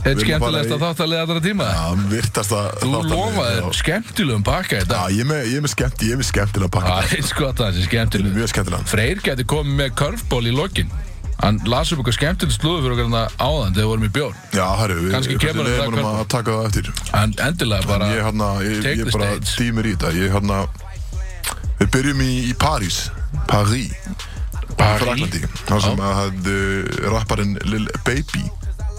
Speaker 3: Eitt
Speaker 1: Við erum að fara
Speaker 3: skemmtilegasta
Speaker 1: í-
Speaker 3: þáttalega allra tíma?
Speaker 1: Það virtast að...
Speaker 3: Þú
Speaker 1: þáttarnir,
Speaker 3: lofaðir sko.
Speaker 1: já.
Speaker 3: skemmtilegum pakka í
Speaker 1: Já,
Speaker 3: dag
Speaker 1: ég er með, ég er með skemmt, ég er með skemmtilega pakka.
Speaker 3: Það er sko að það sé
Speaker 1: Ég er með
Speaker 3: skemmtileg
Speaker 1: mjög skemmtilega.
Speaker 3: Freyr gæti komið með körfból í lokin Hann las upp eitthvað skemmtilegt slúðu fyrir okkar þarna áðan þegar við vorum í bjór
Speaker 1: Já, herru, við
Speaker 3: Kannski kemur
Speaker 1: við
Speaker 3: hann
Speaker 1: leyfum
Speaker 3: það
Speaker 1: honum að taka það eftir.
Speaker 3: En endilega bara
Speaker 1: Ég hérna, ég,
Speaker 3: take
Speaker 1: ég
Speaker 3: the
Speaker 1: bara
Speaker 3: stage.
Speaker 1: dýmir í þetta. Ég hérna, við byrjum í, í París. París. Í Fraklandi. Það sem að hafði rapparinn Lil eh, Baby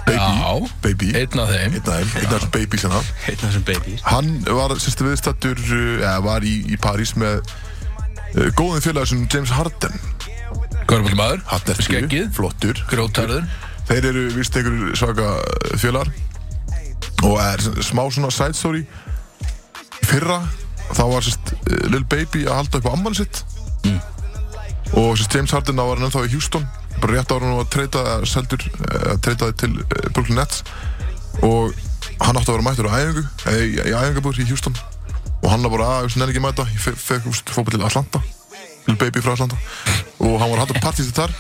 Speaker 1: Baby,
Speaker 3: Já.
Speaker 1: baby
Speaker 3: Einn af þeim
Speaker 1: Einn af þeim, einn af þessum baby sem það
Speaker 2: Einn af þessum babies.
Speaker 1: Hann var sérst viðstattur, eh, eða var í, í París með uh, góðum félagar sem James Harden
Speaker 3: Körbólmaður
Speaker 1: Harden er
Speaker 3: Skeggið.
Speaker 1: flottur
Speaker 3: Grótarður
Speaker 1: Þeir eru vist einhver svaka eh, félagar og er s- smá svona side story Í fyrra þá var sérst eh, Lil Baby að halda upp á amman sitt og sérst James Harden þá var hann ennþá í Houston bara rétt ára hann var að treyta að seldur að treyta til eh, Brooklyn Nets og hann átti að vera mættur á æfingu eða í, í æfingabúr í Houston og hann var bara að, ég nefnir ekki að mæta ég fe- fekk úst fókbað til Atlanta Lil Baby frá Atlanta og hann var að halda partí sitt þar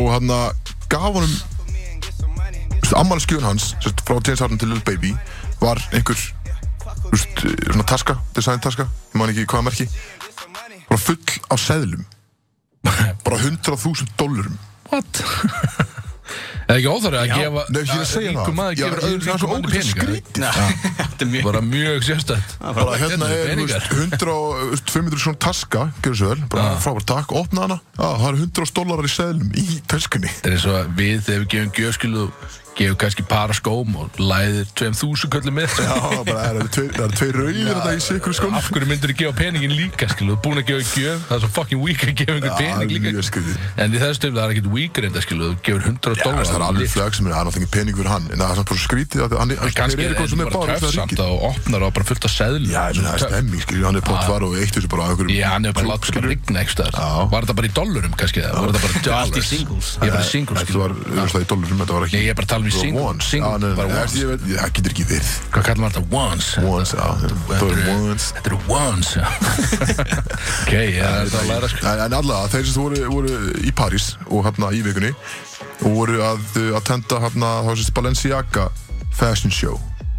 Speaker 1: og hann gaf honum ammalskjöðun hans sérst, frá James Harden til Lil Baby var einhver úst, svona taska, design taska ég man ekki hvaða merki bara full af seðlum bara 100.000 dólarum
Speaker 3: What? Eða ekki óþarið að gefa
Speaker 1: Nei, ég er að segja það
Speaker 3: Ríkum maður
Speaker 1: Já,
Speaker 3: gefur
Speaker 1: ég-
Speaker 3: öðrum
Speaker 1: það er
Speaker 3: ríkum
Speaker 1: svo
Speaker 3: manni
Speaker 1: ógeðslega
Speaker 3: peninga
Speaker 1: skrítið.
Speaker 2: Þetta er mjög...
Speaker 3: Bara mjög sérstætt
Speaker 1: bara
Speaker 3: Hérna
Speaker 1: hérna
Speaker 3: eru
Speaker 1: er þú veist,
Speaker 3: peningar.
Speaker 1: 100 og þú veist, 500 svona taska gerðu svo vel, bara frábært takk, opna hana já, það eru 100 dólarar í seðlum í töskunni
Speaker 3: Þetta er eins og að við þegar við gefum gjöfskilu gefum kannski para skóm og læðir 2000 köllum með
Speaker 1: já, bara það eru tveir- það eru tveir rauðir þetta í sikru skónum
Speaker 3: Af hverju myndir þú gefa peningin líka skilu Þú ert búin að gefa í gjöf Það er svo fucking weak að gefa einhver
Speaker 1: Já,
Speaker 3: pening líka
Speaker 1: mjög skrítið.
Speaker 3: En í þessu stöfum það er ekkert weak reynda skilu Þú gefur 100
Speaker 1: Já,
Speaker 3: dólar
Speaker 1: það er alveg flag sem er, það er náttúrulega engin pening fyrir hann en það er samt bara svo skrítið að hann hann-
Speaker 3: Kannski
Speaker 1: þeir
Speaker 3: er
Speaker 1: eru
Speaker 3: þetta
Speaker 1: sem
Speaker 3: bara töff samt að þú opnar og bara fullt af seðlum
Speaker 1: Já, ég meina, það er stemming, skiljið, hann er pott var og eitt þessu bara á einhverjum
Speaker 3: Já, hann hefur bara látið bara
Speaker 1: klúbb, skilurðu.
Speaker 3: rigna eitthvað
Speaker 1: Já.
Speaker 3: Var þetta bara í dollurum kannski eða Var þetta bara dollars
Speaker 2: Allt í singles.
Speaker 3: Ég er bara singles
Speaker 1: Þetta var, þú veist það, í dollarum, þetta var ekki
Speaker 3: Nei, ég er bara að tala um í
Speaker 1: Þetta var
Speaker 3: single-
Speaker 1: ones.
Speaker 3: single,
Speaker 1: Já, nei, nei,
Speaker 3: bara
Speaker 1: nei,
Speaker 3: ones.
Speaker 1: ég veit- Það getur ekki verið
Speaker 3: Hvað kallar maður þetta? Ones
Speaker 1: Ones, já, það
Speaker 3: Þetta
Speaker 1: eru
Speaker 3: eru-
Speaker 1: ones
Speaker 3: Þetta eru ones já. Ok, já, það er þetta að læra sko
Speaker 1: En, en allavega, þeir sem voru, voru í París og hérna í vikunni og voru að, uh, að tenda hérna, þá sést Balenciaga Fashion Show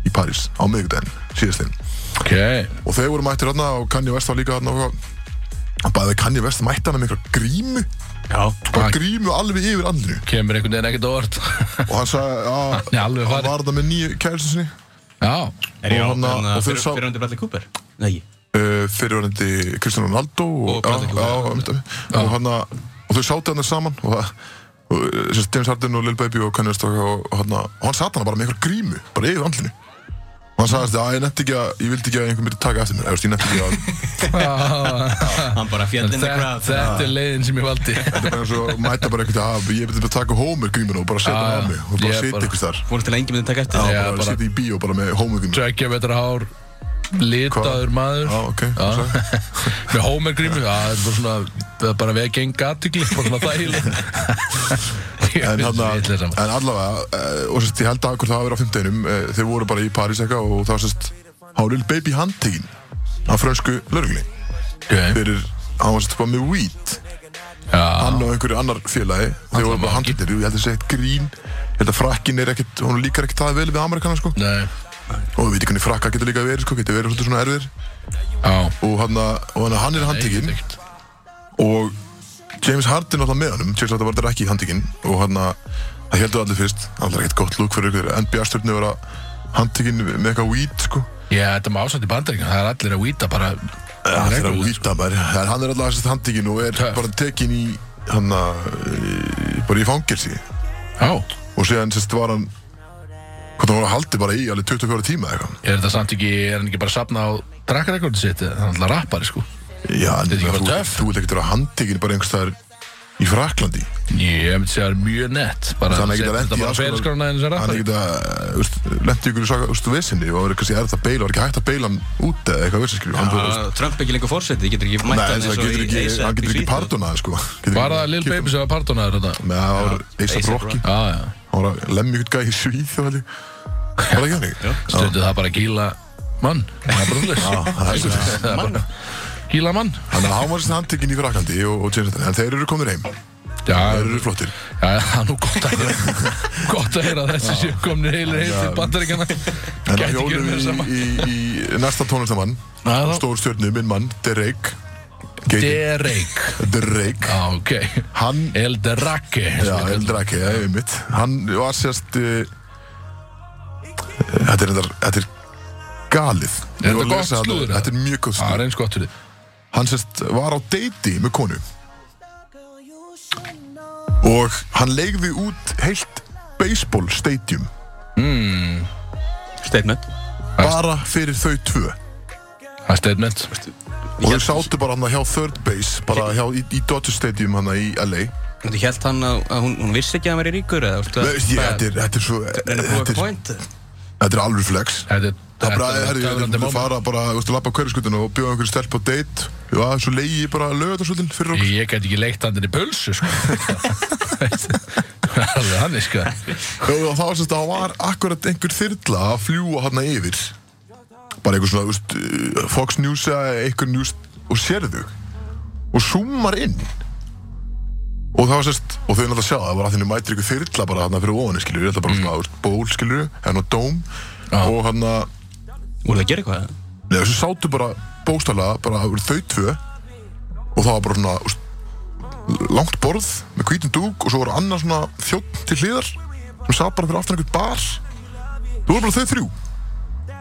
Speaker 1: í París á miðvikudaginn, síðastinn
Speaker 3: Ok,
Speaker 1: og þeir voru mættir hérna og Kanye West var líka hérna og bæði Kanye West mætti hann með einhverja grímu
Speaker 2: Já.
Speaker 1: bara
Speaker 3: Ah.
Speaker 1: grímu alveg yfir andru
Speaker 3: kemur einhvern veginn ekkert á orð
Speaker 1: og hann sagði að
Speaker 3: Nei, alveg
Speaker 1: hann
Speaker 3: farið.
Speaker 1: var það með nýju kæristun sinni
Speaker 3: Já,
Speaker 2: Er ég á
Speaker 1: Og hann að-
Speaker 2: hérna,
Speaker 1: og þeir
Speaker 2: fyrir-
Speaker 1: sá-
Speaker 2: fyrirhundi Bradley Cooper? Nei, ekki.
Speaker 1: uh, fyrirverandi Kristján Ronaldo
Speaker 2: Og
Speaker 1: og,
Speaker 2: Bradley
Speaker 1: já,
Speaker 2: Cooper,
Speaker 1: já, einmitt, og, hann að- og þau sátu hann saman og það og, uh, sem sagt, James Harden og Lil Baby og Kanye West og, og, og, hann að- og hann sat hann bara með einhver grímu bara yfir andlinu og hann sagðist að ég nefndi ekki að ég vildi ekki að einhver myndi taka eftir mér eða, þú veist, ég nefndi ekki að
Speaker 2: Hann bara fjall in the
Speaker 3: Ah, Þetta-
Speaker 2: crowd.
Speaker 3: þetta er leiðin sem ég valdi
Speaker 1: þetta er bara eins og mæta bara einhvern að ég myndi bara taka Homer grímuna og bara
Speaker 3: Já,
Speaker 1: setja hann á
Speaker 3: já.
Speaker 1: mig og bara
Speaker 3: Ah, Ég
Speaker 1: setja
Speaker 3: bara-
Speaker 1: einhvers þar
Speaker 2: Vonast til að enginn myndi taka eftir
Speaker 1: Já,
Speaker 3: Já,
Speaker 2: það.
Speaker 1: bara
Speaker 3: bara-
Speaker 1: setja í bíó bara með Homer grímuna
Speaker 3: Tveggja betra hár Litaður maður
Speaker 1: Já, Ah, ok,
Speaker 3: Já.
Speaker 1: hvað sagði?
Speaker 3: Með Homer grímu Já, það er bara svona Það er bara vegi enga aðtikli Bara svona
Speaker 1: en, hana,
Speaker 3: þægileg
Speaker 1: en allavega uh, og sérst, ég held að hvort það hafi verið á fimmteginum uh, þeir voru bara í París eitthvað og þá sérst Hálil Baby handtekinn af frönsku lörgli
Speaker 3: Ok,
Speaker 1: fyrir, hann var sérst bara með weed
Speaker 3: já
Speaker 1: hann og einhverju annar félagi þeir voru bara handteknir, Jú, ég held að segja eitt grín ég held að frakkin er ekkert, hún líkar ekkert það vel við Amerikana sko,
Speaker 3: Nei
Speaker 1: og við veitum hvernig frakka getur líka verið sko, getur verið svolítið svona erfir
Speaker 3: Já
Speaker 1: og hann, og hann, hann er handtekinn
Speaker 3: ekkert.
Speaker 1: og James Harden alltaf með honum James Harden var þetta ekki í handikinn og hann að það heldur allir fyrst allir ekkert gott lúk fyrir ykkur NBA-stjórni var að handikinn með eitthvað weed sko
Speaker 3: Já, þetta er með ásamt í bandaríkjum Það er allir að víta bara
Speaker 1: ja, það er að
Speaker 3: reglulega.
Speaker 1: weeda bara en hann er alltaf þessast handikinn og er
Speaker 3: Töff.
Speaker 1: bara tekinn í hann að e, bara í fangelsi
Speaker 3: Já
Speaker 1: og síðan sérst var hann hvað það var að haldi bara í alveg 24 tíma eða eitthvað
Speaker 3: Er þetta samt ekki, er hann ekki bara að safna á drakkarekordi sitt, eða? hann er alltaf rappari sko
Speaker 1: já, en
Speaker 3: Þetta er ekki bara
Speaker 1: þú,
Speaker 3: töff.
Speaker 1: þú ert ekkert að vera handikinn bara einhvers þar í Fraklandi
Speaker 3: Ég myndi segja að það er mjög nett bara
Speaker 1: Þannig að
Speaker 3: setja
Speaker 1: geta lent
Speaker 3: þetta
Speaker 1: í
Speaker 3: bara
Speaker 1: alls konar-
Speaker 3: ferilskrána en þessi
Speaker 1: hann
Speaker 3: rappari
Speaker 1: er ekkert að lendi ykkur í saka, úst, vissinni og það verður kannski erfitt að beila, var ekki hægt að beila hann út eða eitthvað vissi, skilju, hann bara, úst,
Speaker 2: Bara, Trump er ekki lengur fórsetið, getur ekki
Speaker 1: nei,
Speaker 2: mætt hann
Speaker 1: þess að
Speaker 2: eins og
Speaker 1: getur
Speaker 2: í
Speaker 1: ekki,
Speaker 2: ASAP
Speaker 1: hann
Speaker 2: í
Speaker 1: getur ekki
Speaker 2: Svíþjóð.
Speaker 1: pardonað, sko, getur
Speaker 3: Var það Lil Baby sem var partónaður þetta?
Speaker 1: með það var A$AP
Speaker 2: A$AP
Speaker 1: Rocky,
Speaker 3: Já, já
Speaker 1: hann var að lemja ykkur gæði í svíð og allir, var það ekki hann ekki?
Speaker 3: Stundu það bara að gíla mann Það er brúðlis
Speaker 1: það er svoleiðis.
Speaker 3: Gíla mann
Speaker 1: Þannig að hann var sérst handtekinn í Fraklandi og, og James Harden, en þeir eru komin heim,
Speaker 3: Já,
Speaker 1: þeir eru flottir.
Speaker 3: já, það er nú gott að heyra Gott að heyra að þessi séu komnir heilir heim til bandaríkjana
Speaker 1: En
Speaker 3: Gæti
Speaker 1: það
Speaker 3: ekki
Speaker 1: hjólum
Speaker 3: verið
Speaker 1: við
Speaker 3: sama
Speaker 1: í, í, í næsta tónlistamann,
Speaker 3: Já, þá-
Speaker 1: stór stjörnu, minn mann, Derek, Geitin,
Speaker 3: Derek
Speaker 1: Derek,
Speaker 3: Já, ok
Speaker 1: hann
Speaker 3: El Derake
Speaker 1: Já, eldra ekki, það er mitt Hann var sérst uh, Þetta er endar, þetta er galið
Speaker 3: Er
Speaker 1: Ég var
Speaker 3: þetta
Speaker 1: að
Speaker 3: gott
Speaker 1: lesa þarna-
Speaker 3: slúður, eða?
Speaker 1: Þetta er mjög góð
Speaker 3: Það er
Speaker 1: slúður
Speaker 3: eins gott fyrir þig.
Speaker 1: Hann sérst var á deiti með konu Og hann leigði út heilt baseball stadium
Speaker 2: Statement
Speaker 1: bara fyrir þau tvö
Speaker 3: Það er statement
Speaker 1: og þau sátu bara hann hjá third base bara hjá, í, í Dodger Stadium hann í LA
Speaker 2: Þú held hann að, að hún, hún vissi ekki að hann væri ríkur eða þú
Speaker 1: Nei,
Speaker 2: veist,
Speaker 1: ég-
Speaker 2: bara-
Speaker 1: Þetta er- þetta er svo
Speaker 2: reyna að búa
Speaker 1: þetta er-
Speaker 2: point
Speaker 1: þetta er alveg flex
Speaker 3: Þetta er
Speaker 1: Það er bara,
Speaker 3: þetta er um
Speaker 1: herri, ég
Speaker 3: töfrandi
Speaker 1: ætlum að
Speaker 3: moment.
Speaker 1: fara bara, þú veist, að lappa hverjaskutinu og bjóða einhverju stelp á date Já, svo leiði ég bara lögatarsvöldin fyrir okkur
Speaker 3: Ég get ekki leikt hann til pulsu sko. Það er alveg hann sko.
Speaker 1: Og þá sérst að það var akkurat einhver þyrla að fljúa hana yfir Bara einhver svona, þú veist, eh, Fox News eða einhver news og sérðu Og zoomar inn Og það var sérst, og þau náttúrulega sjá það, það var að þenni mætir einhver þyrla bara hana fyrir ofan, skilur Þetta er bara svona, þú veist, ból, skilur, hennar dóm
Speaker 3: Mm. Já.
Speaker 1: Og hana,
Speaker 2: Voru það að gera eitthvað?
Speaker 1: Nei, þessu sátu bara bóstalega, bara það voru þau tvö og það var bara svona úst, langt borð með hvítum dúk og svo voru annar svona þjótt til hliðar sem sá bara fyrir aftan einhvern bar þú voru bara þau þrjú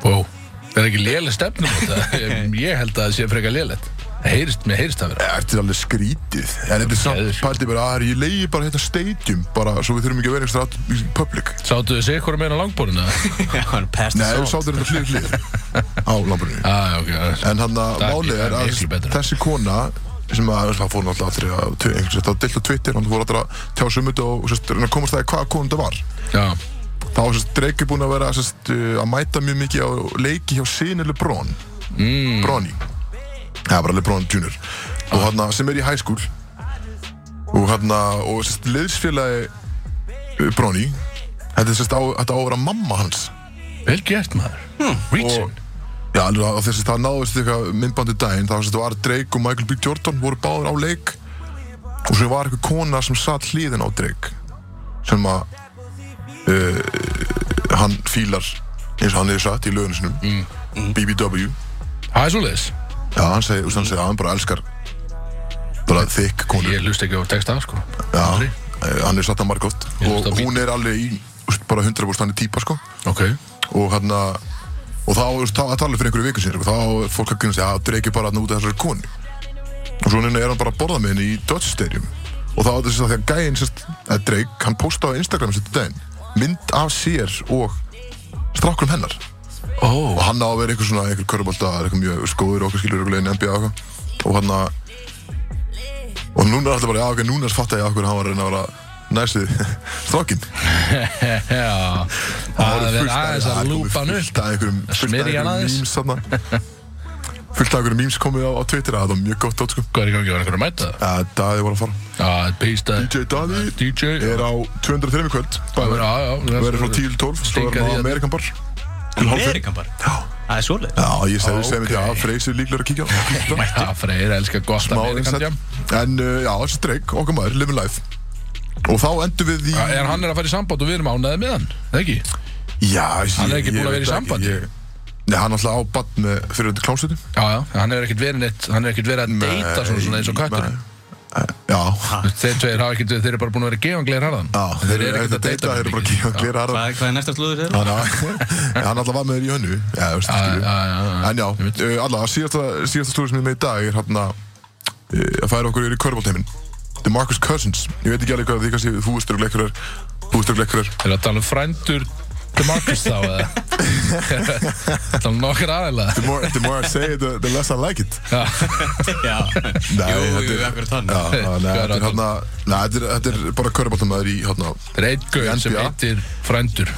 Speaker 3: Wow. Það er ekki léleg stefnum þetta. Ég held að það sé frekar lélegt. Það heyrist, mér heyrist það vera.
Speaker 1: Þetta er alveg skrítið en þetta er
Speaker 3: Geður.
Speaker 1: samt pældi bara að ég leiði bara hérna stadium bara svo við þurfum ekki að vera einhvers staðar í public
Speaker 3: Sáttu þið sig hvora meina langbórinu?
Speaker 2: Hann passed
Speaker 1: Nei,
Speaker 2: us
Speaker 1: þau
Speaker 2: on.
Speaker 1: sátu hérna hlið við hlið á lambrunni
Speaker 3: ah, ok. það er-
Speaker 1: En hann að
Speaker 3: Það er-
Speaker 1: málið
Speaker 3: það
Speaker 1: er
Speaker 3: er
Speaker 1: að
Speaker 3: miklu betra.
Speaker 1: þessi kona sem að það fór náttúrulega allir að tvi- einhvers þetta dillt á Twitter, hann fór allir að tjá sig um þetta og sest, reyna að komast það í hvaða konum þetta var
Speaker 3: Já.
Speaker 1: þá var sest, Drake búinn að vera sest, uh, að mæta mjög mikið á leiki hjá sinni Lebron mm. Broni það var Lebron Jr. og hann sem er í high school og hann og sest, liðsfélagi uh, Broni þetta er sest, á, þetta á að vera mamma hans
Speaker 3: Vel gert maður.
Speaker 1: Hmm, og
Speaker 3: Reaching.
Speaker 1: Já, alveg á þess að það náðist eitthvað myndbandi daginn þá sem var Drake og Michael B. Jordan voru báður á leik og svo var eitthvað kona sem satt hliðin á Drake sem að uh, hann fílar eins og hann hefur sagt í lögunu sinum
Speaker 3: Mm,
Speaker 1: BBW
Speaker 3: Það er svoleiðis.
Speaker 1: Já, hann segi, mm. hann segi að hann bara elskar bara þykk konu
Speaker 3: Ég hlust ekki á texta, sko.
Speaker 1: Já,
Speaker 3: Aldrei.
Speaker 1: eh, hann er satt að margótt
Speaker 3: Ég
Speaker 1: og
Speaker 3: hlusta á
Speaker 1: hún er alveg í úst, bara 100% hann er típa sko
Speaker 3: Ok.
Speaker 1: og hann og þá, þú veist, það tala fyrir einhverju viku sér og þá er fólk að kynna sig að dreiki bara hann út af þessari konu og svo núna er hann bara að borða með henni í Dodge Stadium og þá er þess að því að gæinn sérst að Drake, hann postaði á Instagram sér daginn mynd af sér og strákrum hennar
Speaker 3: Ó.
Speaker 1: og hann á að vera einhver svona, einhver körubólta eitthvað mjög skóður og okkur skilur örugglega í NBA og eitthvað og hann að og núna er alltaf bara, já ok, núna fatta ég okkur hann var að reyna að vera næsið strákinn
Speaker 3: Já. Það er aðeins að lúpa hann upp.
Speaker 1: Fullt af einhverjum Fullt af
Speaker 3: Smyrja hann
Speaker 1: einhverjum
Speaker 3: aðeins.
Speaker 1: memes þarna Fullt af einhverjum memes komið á, á Twitter Það var mjög gott átt sko
Speaker 3: Hvað er í gangi? Var einhver að mæta Ah, það?
Speaker 1: Eh, Daði var að fara
Speaker 3: Já, pístaði.
Speaker 1: DJ Daði
Speaker 3: DJ.
Speaker 1: er á 203 í kvöld
Speaker 3: Já,
Speaker 1: Bæður
Speaker 3: já.
Speaker 1: Verður frá 10 til 12 Svo
Speaker 3: Stinga því
Speaker 1: er
Speaker 3: hérna.
Speaker 1: hann á
Speaker 3: að-
Speaker 1: Amerikan bar Til hálf fimm.
Speaker 2: Amerikan bara Það er svoleið
Speaker 1: Já, ég segi okay.
Speaker 3: Ok.
Speaker 1: þetta að Freysir líklega að kíkja á það.
Speaker 3: Já, Freyr elskar gott
Speaker 1: Smá
Speaker 3: Amerikan
Speaker 1: innsett.
Speaker 3: jam.
Speaker 1: En uh, já, þessi dreik, okkar maður, living life Og þá endur við í
Speaker 3: Já, eh. En hann er að fara í samband og við erum ánæðið með hann, eða ekki?
Speaker 1: Já,
Speaker 3: Hann er
Speaker 1: ég-
Speaker 3: ekki
Speaker 1: ég
Speaker 3: búinn að
Speaker 1: veit
Speaker 3: vera í sambandi.
Speaker 1: ég- Nei, hann er alltaf á bann með fyrir þetta klámsveitum
Speaker 3: Já, já, hann hefur ekkert verið neitt, hann hefur ekkert verið að deyta svona, svona eins og kötturinn.
Speaker 1: Já,
Speaker 3: Þeir tveir hafa ekkert, þeir eru bara búin að vera gefanglegar harðan.
Speaker 1: Já,
Speaker 3: þeir eru ekkert að deyta.
Speaker 1: þeir eru bara að kíka og glera harða.
Speaker 2: Hvað hvað er næsta slúður hérna? þeirra?
Speaker 1: Þannig að hann alltaf var með þér í hönnu, já, þú veist,
Speaker 3: Já,
Speaker 1: skilju.
Speaker 3: já, já, já.
Speaker 1: En já, eh, allavega, síðasta, síðasta slúður sem ég er með í dag er hérna eh, að færa okkur yfir í körbólteimin. Demarcus Cousins, ég veit ekki alveg hvað því kannski þú veist eru lekkurar, þú veist eru lekkurar.
Speaker 3: Þeir eru að tala um frændur Demarcus þá, eða? Tala um nokkur aðeinslega.
Speaker 1: The more, the more I say it, the, the less I like it.
Speaker 2: Já
Speaker 1: Nei,
Speaker 2: Jú,
Speaker 1: þetta
Speaker 2: jú,
Speaker 1: er-
Speaker 2: akkurat hann
Speaker 1: Já, já,
Speaker 3: Hvað er
Speaker 1: nei, þetta er
Speaker 3: þetta?
Speaker 1: hérna, nei, þetta er- þetta er bara körbólteimaður í hérna.
Speaker 3: Þeir eru einn gauð sem
Speaker 1: NBA.
Speaker 3: heitir frændur.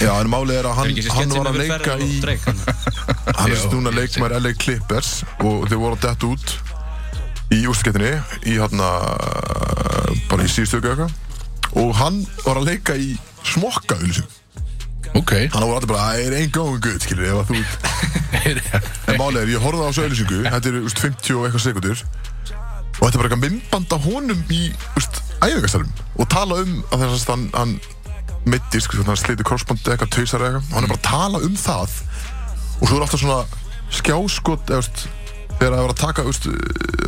Speaker 1: Já, en málið er að hann,
Speaker 2: Ekki sem
Speaker 1: hann
Speaker 2: sketsin
Speaker 1: var
Speaker 2: með
Speaker 1: að
Speaker 2: við
Speaker 1: leika
Speaker 2: ferðar
Speaker 1: í
Speaker 2: og dreik hann.
Speaker 1: Hann er
Speaker 3: Já.
Speaker 1: núna leikmær LA Clippers og þeir voru að detta út í úrstakettinni í hérna bara í síðustöku eitthvað og hann var að leika í smokka auðlýsing.
Speaker 3: Ok.
Speaker 1: Þannig voru allir bara, það er einn góðum gutt, skilur, ef að þú ert. En málið er, ég horfði á þessu auðlýsingu, þetta er úst, 50 og eitthvað sekundur og þetta er bara eitthvað minnband af honum í úst, æfingastalum og tala um að þess að hann, hann mittist, sko, hann sliti korsbandi eitthvað, tausar eitthvað, og hann er bara að tala um það og svo er alltaf svona skjáskot, eða veist, þegar það var að taka veist,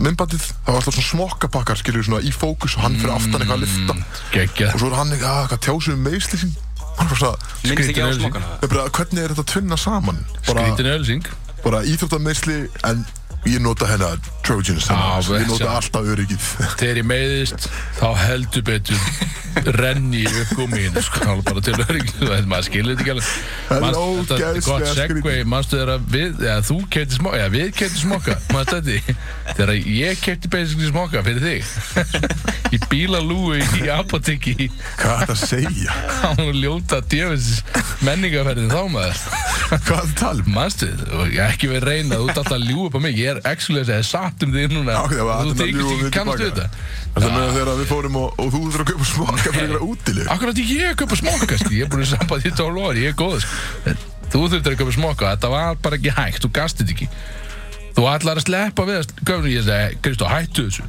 Speaker 1: minnbandið, það var alltaf svona smokkapakkar, skilur, svona í fókus og hann fyrir aftan eitthvað að lifta
Speaker 3: Gekkja.
Speaker 1: og svo er hann eitthvað, að, hvað tjásu um meðslýsing hann er bara svona,
Speaker 2: Minnst ekki á
Speaker 3: Skrýtin
Speaker 2: smokkana
Speaker 1: Ég bara, hvernig er þetta tvinna saman? Bara,
Speaker 3: Skrítin ölsing.
Speaker 1: bara íþróttameysli en ég nota hérna hennar Trojans
Speaker 3: Já,
Speaker 1: þannig að Við
Speaker 3: þessi-
Speaker 1: notum alltaf öryggið
Speaker 3: Þegar ég meiðist, þá heldur betur renni ég upp gummiðin sko, þá er bara til öryggis og maður skilir þetta ekki alveg
Speaker 1: Það er
Speaker 3: Manst- þetta er gott
Speaker 1: ógeðslega
Speaker 3: segway,
Speaker 1: skrítið.
Speaker 3: manstu þegar að við eða þú kefti smokka, eða við kefti smokka manstu þetta, þegar að ég kefti basically smokka fyrir þig í bílalúi í apotekki í-
Speaker 1: Hvað er það að segja?
Speaker 3: á ljóta djöfins menningarferðin þá maður
Speaker 1: Hvað er það að tala um?
Speaker 3: Manstu, og ég ekki verið reyna, þú ert alltaf að ljúga upp á mig, ég er actually að segja satt um þig núna,
Speaker 1: Já, ok, það
Speaker 3: þú
Speaker 1: var alltaf að
Speaker 3: þykist
Speaker 1: ljúga
Speaker 3: ekki
Speaker 1: við
Speaker 3: kannast við
Speaker 1: tilbaka.
Speaker 3: þetta.
Speaker 1: Það er meðan þegar við fórum og, og þú þurftur að kaupa smaka fyrir einhverja útileg
Speaker 3: Akkur átti ég að köpa smokka, skil, ég er búin að samba því tól ári, ég er góð, skil. Þú þurftir að köpa smokka, þetta var bara ekki hægt, þú gasti þetta ekki. Þú ætlar að sleppa við að göfni, ég segi, Kristó, hættu þessu.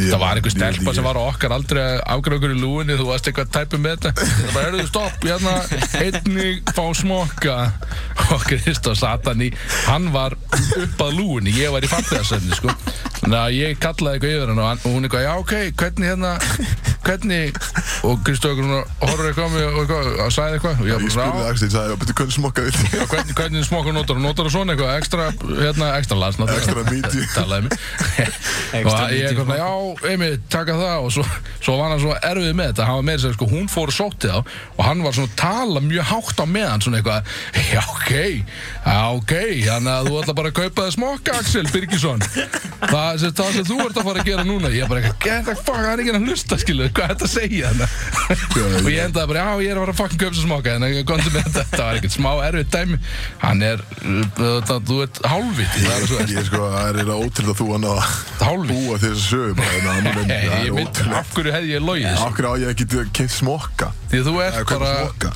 Speaker 1: Ég-
Speaker 3: það var einhver
Speaker 1: ég-
Speaker 3: stelpa
Speaker 1: ég-
Speaker 3: sem var á okkar aldrei að afgræða okkur í lúinni, þú varst eitthvað tæpum með þetta. Það bara, heyrðu, stopp, hérna, einnig fá smokka. Og Kristó Satan í, hann var upp að lúinni, ég var í farþegarsefni, sko. Þannig að ég kallaði eitthvað yfir hann og, hann og hún eitthvað, já, ok, hvernig hérna, hvernig, og Kristó okkur horfður eitthvað á mig og eitthvað, og sagði eitthvað, og ég
Speaker 1: Ég
Speaker 3: bara,
Speaker 1: spurði
Speaker 3: já,
Speaker 1: Axel, ég sagði, betur hvernig smaka við
Speaker 3: Já, hvernig, hvernig smokkur notar og notar og svona eitthvað ekstra, hérna, ekstra las náttúrulega.
Speaker 1: Extra meaty.
Speaker 3: talaði mig og
Speaker 2: Extra
Speaker 3: ég
Speaker 2: meaty
Speaker 3: kom það, já, einmitt, taka það og svo, svo var hann svo erfið með þetta hann var með þess að sko, hún fór og sótti þá og hann var svona að tala mjög hátt á meðan svona eitthvað, já, ok já, ok, þannig að þú ætla bara að kaupa þér smokka, Axel Birgisson það, sem, það sem þú ert að fara að gera núna ég bara, get the fuck, hann er ekki að hlusta skilu, hvað er þetta að segja hann og
Speaker 1: þig
Speaker 3: ég endaði bara, já, ég er að fara að fucking köpsa smoka en ég komði með þetta, þetta var ekkert smá erfitt dæmi hann er, uh, það, þú ert hálfviti, það er svo
Speaker 1: Ég sko, það er eiginlega ótrúlega þú hann að
Speaker 3: hálfviti
Speaker 1: búa þér að sögum Það
Speaker 3: Nei,
Speaker 1: er
Speaker 3: ég mynd,
Speaker 1: ótrúlega
Speaker 3: af hverju hefði ég logið þessu?
Speaker 1: Af hverju á ég að geta keitt smokka?
Speaker 3: Því að þú
Speaker 1: Eða
Speaker 3: ert
Speaker 1: kaupa
Speaker 3: bara
Speaker 1: smokka.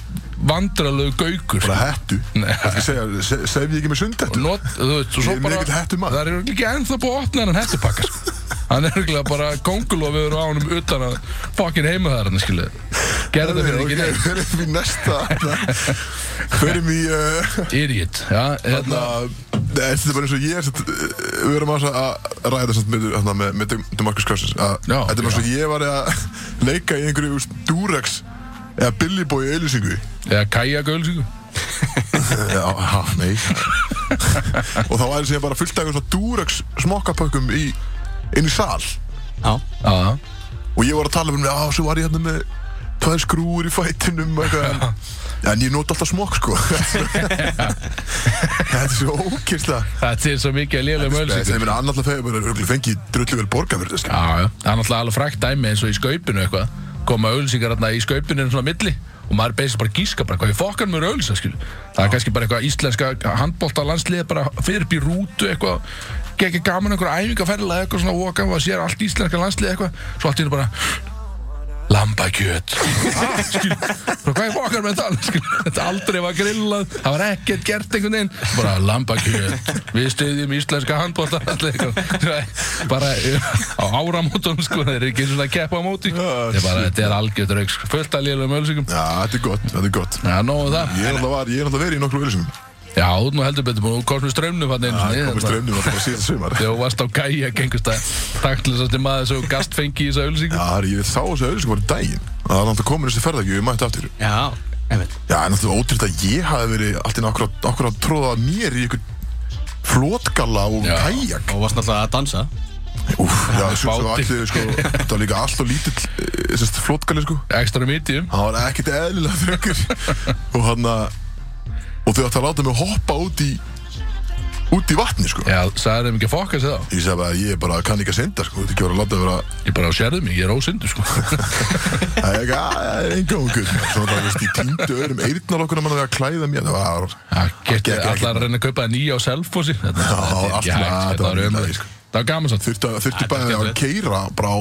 Speaker 3: vandralegu gaukur
Speaker 1: Bara hettu
Speaker 3: Nei.
Speaker 1: Það skal segja, se- sef ég ekki með sundhettu?
Speaker 3: Not, þú veist, og svo
Speaker 1: Ég er
Speaker 3: bara
Speaker 1: mikill hettumaður.
Speaker 3: það er örugglega ekki ennþá búið að opna hennan hettupakka sko. hann er örugglega bara kongulofiður á honum utan að fucking heima þar hann skilu gerði þetta fyrir ekki neitt
Speaker 1: Fyrir við næsta Fyrir við uh,
Speaker 3: idiot, já, hérna
Speaker 1: Þarna, Nei, þetta er bara eins og ég er satt, uh, Við erum aðeins að ræða þetta samt með, þarna, með, með De- Demarcus Cousins að
Speaker 3: Já,
Speaker 1: Þetta er bara eins og ég var að leika í einhverju úst, Durex eða Billy Boy auðlýsingu
Speaker 3: eða kæja gölsíku
Speaker 1: Já, ha, nei Og þá væri síðan bara fullt af einhverjum svona Durex smokkapökkum í, inn í sal
Speaker 2: Já.
Speaker 3: já,
Speaker 1: Og ég var að tala um Já, svo var ég hérna með tvær skrúur í fætinum og eitthvað en- En ég nota alltaf smokk, sko Þetta er svo ókýrslega
Speaker 3: þetta er svo mikið að lélega
Speaker 1: Nei,
Speaker 3: mölsíku
Speaker 1: þeir minna annað alltaf þegar bara örgulega fengið sko. drullu vel borga fyrir þetta
Speaker 3: Já, já, það er náttúrulega alveg frækt dæmi eins og í skaupinu eitthvað koma auðlýsingar þarna í skaupinu en svona milli og maður er beislega bara að gíska bara hvað ég fokkan mér auðlýsa skilu það er kannski bara eitthvað íslenska handbólta landslið bara fyrir upp í rútu eitthvað gekk gaman einhver æfingaferðilega eitthvað svona okkar og sér allt íslenska landslið eitthvað svo allt í hennu bara lambakjöt ah, skil, bara hvað er fokkar með það skil, þetta aldrei var grillað það var ekkert gert einhvern veginn bara lambakjöt, við stuðjum íslenska handbólta bara eh, á áramótum sko, þeir eru ekki svona að keppa á móti
Speaker 1: Ah,
Speaker 3: Þetta er bara, þetta er algjört rauk sko, fullt að lélega mölsingum
Speaker 1: Já, þetta er gott, þetta er gott
Speaker 3: Já, nógu það.
Speaker 1: Ég er alltaf, var, ég er alltaf verið í nokkru auðlýsingum
Speaker 3: Já, þú ert nú heldur betur búin, þú komst með strömmnum hann einu
Speaker 1: Það
Speaker 3: sinni,
Speaker 1: er Ah, komið
Speaker 3: þarna.
Speaker 1: strömmnum alltaf bara síðan sumar Já,
Speaker 3: Þegar þú varst á gæja, gengust að taktlisast maður sem þú gast fengi í þessu ölsingu.
Speaker 1: það er- ég sá þessu auðlýsingum bara í daginn Það er alltaf komin þessi ferðagjöf, ég mætti aftur
Speaker 2: Já, einmitt.
Speaker 1: Já, en alltaf ótrútt að ég hafi verið allt inn okkur að, okkur að tróða mér í ykkur flótgalla og
Speaker 3: Já.
Speaker 1: kajak
Speaker 2: Og varst náttúrulega að dansa.
Speaker 1: Úf, já, svo svo
Speaker 3: báti.
Speaker 1: allir, sko, þetta var líka allt og lítill eh, þessi flótgalli, sko
Speaker 3: Ekstra medium.
Speaker 1: Það var ekkert eðlilega þröngur Og hann að Og þau ætti að láta mig hoppa út í Út í vatni, sko
Speaker 3: Já, sagði þeim ekki að fokka sig þá.
Speaker 1: Ég sagði bara, ég bara kann ekki að synda, sko, þú ert ekki að vera að láta vera
Speaker 3: Ég bara sérðu mig, ég er ósyndu sko
Speaker 1: Það er ekki, að, það er enga ungur Svona það, veist, ég týndu öðrum eyrnar okkur að manna við að klæða mér Það var,
Speaker 3: Það geti
Speaker 1: gekk ekki.
Speaker 3: allar að reyna að kaupa það nýja á selfósi Þetta
Speaker 1: Já,
Speaker 3: þetta er
Speaker 1: allt
Speaker 3: ekki hægt, þetta var
Speaker 1: með- þetta var nýlega,
Speaker 3: ömurlegt.
Speaker 1: sko.
Speaker 3: Það var gaman satt
Speaker 1: þurfti, að- þurfti
Speaker 2: Þetta er
Speaker 1: bara að
Speaker 2: skemmtilegt.
Speaker 1: keira bara á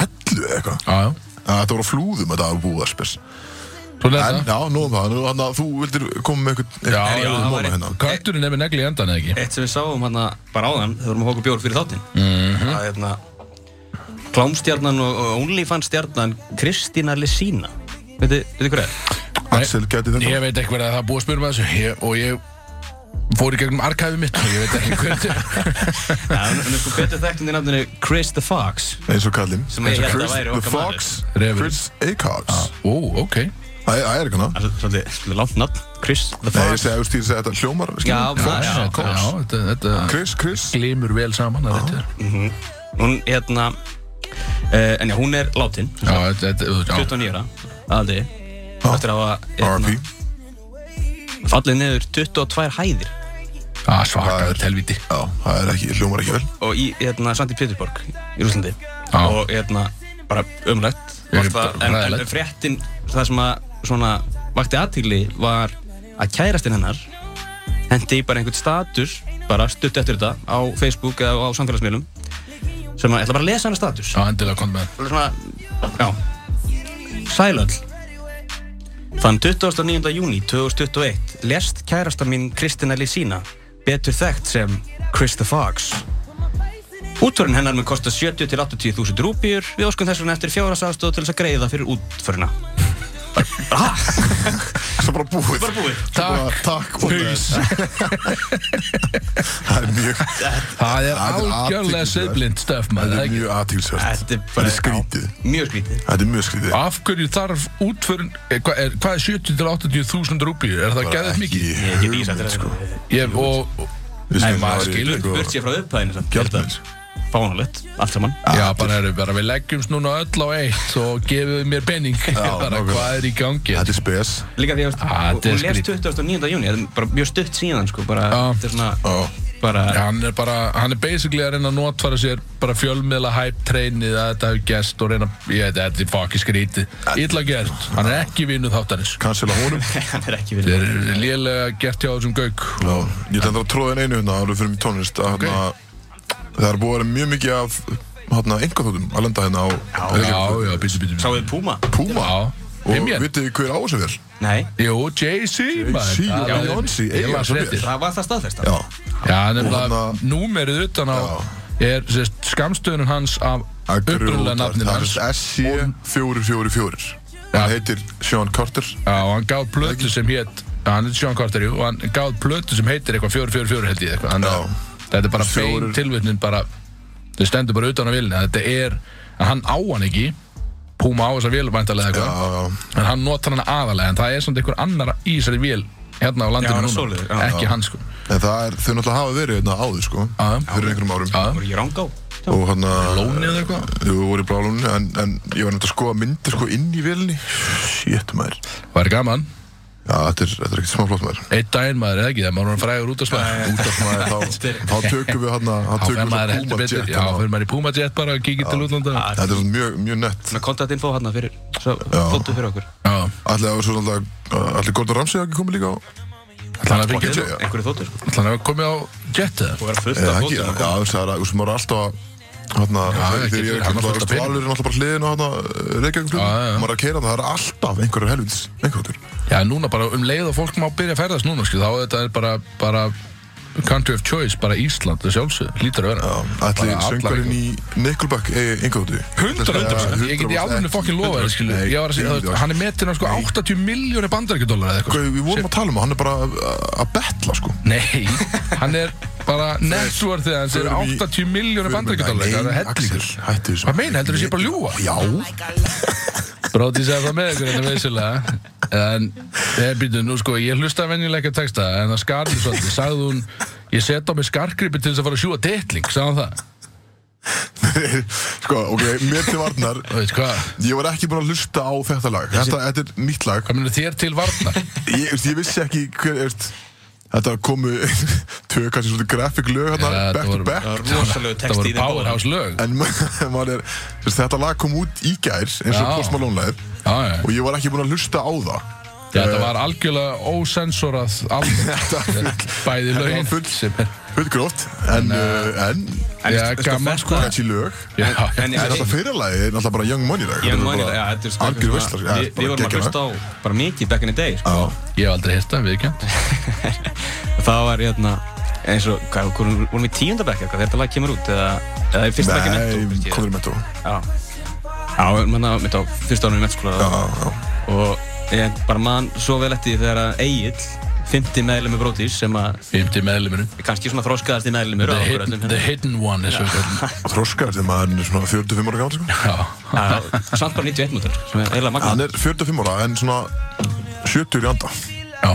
Speaker 1: hellu eða eitthvað
Speaker 3: Já, já,
Speaker 1: Að Þetta voru flúðum, þetta var búið að spes
Speaker 3: svona er
Speaker 1: En,
Speaker 3: þetta
Speaker 1: já, nóðum það, nú, þannig að þú vildir koma með eitthvað
Speaker 3: Já,
Speaker 1: eitthvað
Speaker 3: já,
Speaker 1: móla
Speaker 2: það var
Speaker 1: hérna.
Speaker 3: Kötturinn er með negli í endan eða ekki
Speaker 2: Eitt sem við sáum hann bara áðan, þegar við vorum að hóka bjór fyrir þáttinn. Mm -hmm. Það er hérna klámstjarnan og og OnlyFans-stjarnan Kristína Lessina. Veitu, veitu hver er?
Speaker 1: Axel gæti þetta
Speaker 3: Ég veit ekki verið að það er búið að spyrja með þessu ég, Og ég fór í gegnum arkæfi mitt og Ég veit ekki hver þetta er
Speaker 2: Já, hún hún er sko betur þekkt undir nafninu Chris the Fox.
Speaker 1: eins og kallinn
Speaker 2: Sem ég held að
Speaker 1: Chris
Speaker 2: væri
Speaker 1: the
Speaker 2: okkar
Speaker 1: Fox,
Speaker 3: maður.
Speaker 1: Chris Acox
Speaker 3: Ó, ok
Speaker 1: Það er- það er ekki hana.
Speaker 2: Það er svolítið svolítið langt nafn, Chris the
Speaker 1: Nei, ég
Speaker 2: Fox
Speaker 1: segi að stýri segja þetta hljómar,
Speaker 2: Já,
Speaker 1: skilur.
Speaker 2: já,
Speaker 1: Fox,
Speaker 2: já,
Speaker 1: Cox.
Speaker 3: já, þetta, þetta
Speaker 1: Chris, Chris.
Speaker 3: glimur vel saman að þetta er
Speaker 2: Hún, hérna uh, En já, hún er látin
Speaker 3: Já, þetta, þetta, já,
Speaker 2: 29 ára, aðaldi Eftir að hafa hérna,
Speaker 1: R.I.P.
Speaker 2: fallið niður 22 hæðir
Speaker 3: já svakaður helviti
Speaker 1: Já, það er ekki, hljómar ekki vel.
Speaker 2: Og í, hérna, samt í Pétursborg Í Rúslandi
Speaker 3: Já.
Speaker 2: Og, hérna, bara umlegt
Speaker 3: Ég er
Speaker 2: það,
Speaker 3: bara
Speaker 2: en, en
Speaker 3: hræðilegt.
Speaker 2: fréttin, það sem að Svona, vakti aðtigli var Að kærastinn hennar Hendi bara einhvern status Bara stutt eftir þetta á Facebook eða á samfélagsmiðlum Sem að, ég ætla bara að lesa hennar status
Speaker 3: Já, endilega kom með
Speaker 2: alveg svona, já Sælöll Þann 29. júni 2021 lest kærasta mín Kristina Lysina betur þekkt sem Chris the Fox Útförin hennar mun kosta 70 til 80 þúsund rúpíur við óskum þess vegna eftir fjóra sáðstof til þess að greiða fyrir útförina bara, ah,
Speaker 1: Svo bara búið.
Speaker 2: bara búið
Speaker 1: Svo bara, Takk. og
Speaker 3: Peace.
Speaker 1: bless. Það er mjög,
Speaker 3: Það er
Speaker 1: Það er
Speaker 3: algjörlega
Speaker 1: athyglisvert.
Speaker 3: seðblind stöf maður
Speaker 1: það
Speaker 3: það
Speaker 1: er
Speaker 3: ekki?
Speaker 1: mjög aðtilsvært.
Speaker 2: Þetta er
Speaker 1: Það
Speaker 2: bara-
Speaker 1: er skrítið.
Speaker 2: já, mjög skrítið
Speaker 1: Þetta er mjög skrítið.
Speaker 3: Af hverju þarf útförun eh, Hvað er, hvað er 70 til 80 þúsund rúbíur? Er það gæðið mikið?
Speaker 2: ég er ekki lýsa þetta sko.
Speaker 3: Ég, og, og, Nei, maður skilur,
Speaker 2: burt sér frá upphæðinu samt.
Speaker 1: Gjaldmiðils.
Speaker 2: fánalegt, allt saman
Speaker 3: já, bara, er, bara við leggjumst núna öll á eitt og gefum mér penning bara
Speaker 1: nákvæmlega.
Speaker 3: hvað er í gangi
Speaker 1: Þetta er spes.
Speaker 2: Líka því að
Speaker 3: Ah,
Speaker 2: hún
Speaker 3: þetta er
Speaker 2: hún lest
Speaker 3: skrítið.
Speaker 2: 29. júni, þetta er bara mjög stutt síðan sko, bara,
Speaker 3: Já.
Speaker 2: þetta er svona,
Speaker 1: Já.
Speaker 2: bara,
Speaker 3: Hann er bara, hann er basically að reyna að notfæra sér bara fjölmiðla hype trainið að þetta hefur gæst og reyna, ég veit, þetta er fokki skrítið. Ítla gert, hann er ekki vinnu þáttanins.
Speaker 1: Cancela honum.
Speaker 2: hann er ekki
Speaker 3: Þetta
Speaker 2: verið.
Speaker 3: er lélega gert hjá þessum gauk.
Speaker 1: Já, ég ætla endur að tróða einu hérna áður fyrir mér tónlist að hérna það er búið að vera mjög mikið af hérna engaþóttum að lenda hérna á
Speaker 3: Já, já, bísu, bísu, bísu.
Speaker 2: Sáuðu Puma?
Speaker 1: Puma
Speaker 3: Já,
Speaker 1: og
Speaker 3: Pimjan.
Speaker 1: vitið þið hver á þessu vel?
Speaker 2: Nei,
Speaker 3: Jú, Jay-Z, maður.
Speaker 1: Jay-Z og
Speaker 3: Það er-
Speaker 1: Beyoncé,
Speaker 3: Ég
Speaker 1: eiga
Speaker 3: las
Speaker 1: svo vel.
Speaker 3: fréttir.
Speaker 2: það var það staðfest
Speaker 1: Já,
Speaker 3: Já, nefnilega,
Speaker 1: Og
Speaker 3: númerið utan á er sérst, skamstöðunum hans af upprunlega nafninu
Speaker 1: það er
Speaker 3: hans.
Speaker 1: SC444
Speaker 3: Já.
Speaker 1: hann heitir Sean Carter
Speaker 3: Já, og hann gáð plötu sem hétt hann er Sean Carter, jú, og hann gáð plötu sem heitir eitthvað 444 held ég eitthvað þannig að
Speaker 1: Já.
Speaker 3: þetta er bara
Speaker 1: Fjórir-
Speaker 3: bein tilvitnin bara, þau stendur bara utan á vilni þetta er, en hann á hann ekki Puma á þessa vél væntalega eitthvað
Speaker 1: Já,
Speaker 3: en hann notar hann aðalega, en það er samt einhver annar í þessari vél hérna á landinu
Speaker 2: hann er
Speaker 3: núna
Speaker 2: svoleiðis, já,
Speaker 3: ekki hann sko
Speaker 1: en það er, þau náttúrulega hafa verið hérna áður sko
Speaker 3: Já.
Speaker 1: fyrir einhverjum árum
Speaker 3: Já.
Speaker 2: voru ég rángá?
Speaker 1: og hann að
Speaker 3: Lónið eða eitthvað?
Speaker 1: Jú, voru í blálónu en, en ég var náttúrulega að skoða myndir sko inn í vilni Shit maður
Speaker 3: Væri gaman,
Speaker 1: Já, þetta er, þetta er ekkert smá flott maður
Speaker 3: einn daginn maður eða ekki þegar maður er orðinn frægur út af smæð
Speaker 1: Út af maður, þá, þá tökum við hann að
Speaker 3: þá fer maður heldur
Speaker 1: Puma
Speaker 3: betur,
Speaker 1: Jet
Speaker 3: já,
Speaker 1: hana.
Speaker 3: fer maður í Puma Jet bara og kíkir til útlanda
Speaker 2: Já.
Speaker 1: Þetta er svona mjög, mjög nett
Speaker 2: Svona kontaktinfó hann fyrir, svo fóttu fyrir okkur.
Speaker 3: Já,
Speaker 1: Ætli að svona alltaf Ætli Gordon Ramsay hafi ekki komið líka á
Speaker 3: þannig að fengið
Speaker 1: Jet, já.
Speaker 2: Einhverju þóttu sko.
Speaker 3: Þannig að við komið á Jet eða?
Speaker 2: Og vera fullt
Speaker 1: Eða
Speaker 2: af sko.
Speaker 1: ekki, já,
Speaker 2: fóttum.
Speaker 1: já, það er að þú sem maður er alltaf að Þarna,
Speaker 3: já,
Speaker 1: þegar
Speaker 3: getur-
Speaker 1: ég er
Speaker 3: hann er
Speaker 1: ekki
Speaker 3: fullt af
Speaker 1: bara Valur er alltaf bara hliðin á þarna Reykjavík flugum
Speaker 3: Já, já, já.
Speaker 1: Maður er að keira það, það er alltaf einhverjur helvits Einhverjur
Speaker 3: Já, núna bara um leið og fólk má byrja að ferðast núna, skil, þá þetta er bara, bara country of choice, bara Ísland, það sjálfsög, lítur að vera.
Speaker 1: Ætli
Speaker 3: Bara allar
Speaker 1: söngvarinn
Speaker 3: eitthvað.
Speaker 1: í Nickelback eigi einhverjur
Speaker 3: 100%, ég get í alveg fokkin lofa þér, skil, ég var að segja, það, hann er metin á sko 80 miljónir bandarækjadólar eða eitthvað. sko.
Speaker 1: Við vorum að tala um það, hann er bara að- að betla sko
Speaker 3: Nei, hann er bara networthið hans er
Speaker 1: förum í-
Speaker 3: 80 miljónir bandarækjadólar, það er hellingur.
Speaker 1: Hættu þessu
Speaker 3: Hvað meina, heldur þú sé bara að ljúga?
Speaker 1: Já,
Speaker 3: Bróti segði það með ykkur hérna veysilega En, eða býtu, nú sko, ég hlusta venjulega ekki að texta En það skarði svolítið, sagði hún Ég set á mig skarkripi til þess að fara að sjúga detling, sagði hún það
Speaker 1: sko, ok, mér til varnar
Speaker 3: Og veit hvað,
Speaker 1: Ég var ekki búin að hlusta á þetta lag Þetta, þetta er nýtt lag
Speaker 3: hvað minnur þér til varnar?
Speaker 1: Ég, veist, ég vissi ekki hver veist, Þetta komu Tvö kannski svona grafík lög hérna
Speaker 3: Já,
Speaker 1: Back
Speaker 3: þetta
Speaker 1: to
Speaker 3: voru-
Speaker 1: back
Speaker 2: Það var rosalegu
Speaker 3: Það
Speaker 2: texti í
Speaker 3: voru
Speaker 2: þeim báðum.
Speaker 3: powerhouse lög
Speaker 1: En ma- maður er veist, Þetta lag kom út í gær Eins og
Speaker 3: Já.
Speaker 1: Post Malone lagið
Speaker 3: Já, já,
Speaker 1: Og ég var ekki búin að hlusta á það eh,
Speaker 3: þetta var algjörlega ósensorað alveg Bæði
Speaker 1: Þetta
Speaker 3: lögin
Speaker 1: var full-
Speaker 3: sem er
Speaker 1: Hull gróft En, uh, en
Speaker 2: En
Speaker 3: Já,
Speaker 2: veistu- veistu
Speaker 3: gaman,
Speaker 2: hvað
Speaker 3: sko.
Speaker 2: þetta-
Speaker 1: Catchy lög
Speaker 3: Já,
Speaker 2: En
Speaker 1: En
Speaker 2: ég
Speaker 1: þetta fyrirlagi er náttúrulega bara Young Money lag
Speaker 2: Ég
Speaker 1: Þetta er
Speaker 2: mani
Speaker 1: bara
Speaker 2: það, já, þetta er sko
Speaker 1: Algjör
Speaker 2: eitthvað
Speaker 1: veistla
Speaker 2: svona- Við við vorum að hlusta á bara mikið back in the day, sko.
Speaker 1: Já,
Speaker 3: Ég hef aldrei hérst það, viðkjönd
Speaker 2: Það var, hérna, eins og, hvað, vorum vorum við í tíundabæk eitthvað þegar þetta lag kemur út, eða, eða í fyrsta bekk í mentó,
Speaker 1: nei,
Speaker 2: finnst ég.
Speaker 1: komður í metro
Speaker 2: Já, já menna, mitt á sko, fyrsta ánum í mennskóla
Speaker 1: Já, já
Speaker 2: og ég bara man svo vel eftir því þegar að Egil 50 meðlemi brótis sem að
Speaker 3: Fymti meðluminu
Speaker 2: er kannski svona þróskaðasti meðlemur
Speaker 3: the
Speaker 2: á okkur
Speaker 3: hidden,
Speaker 2: öllum
Speaker 3: the
Speaker 2: hérna.
Speaker 3: hidden one er svo kallað.
Speaker 1: Þroskaðast þegar maður er svona 45 ára gammal sko.
Speaker 3: Já,
Speaker 2: Já, Samt bara 91 mútur sem er eiginlega magna
Speaker 1: Hann er 45 ára en svona 70 í anda
Speaker 3: já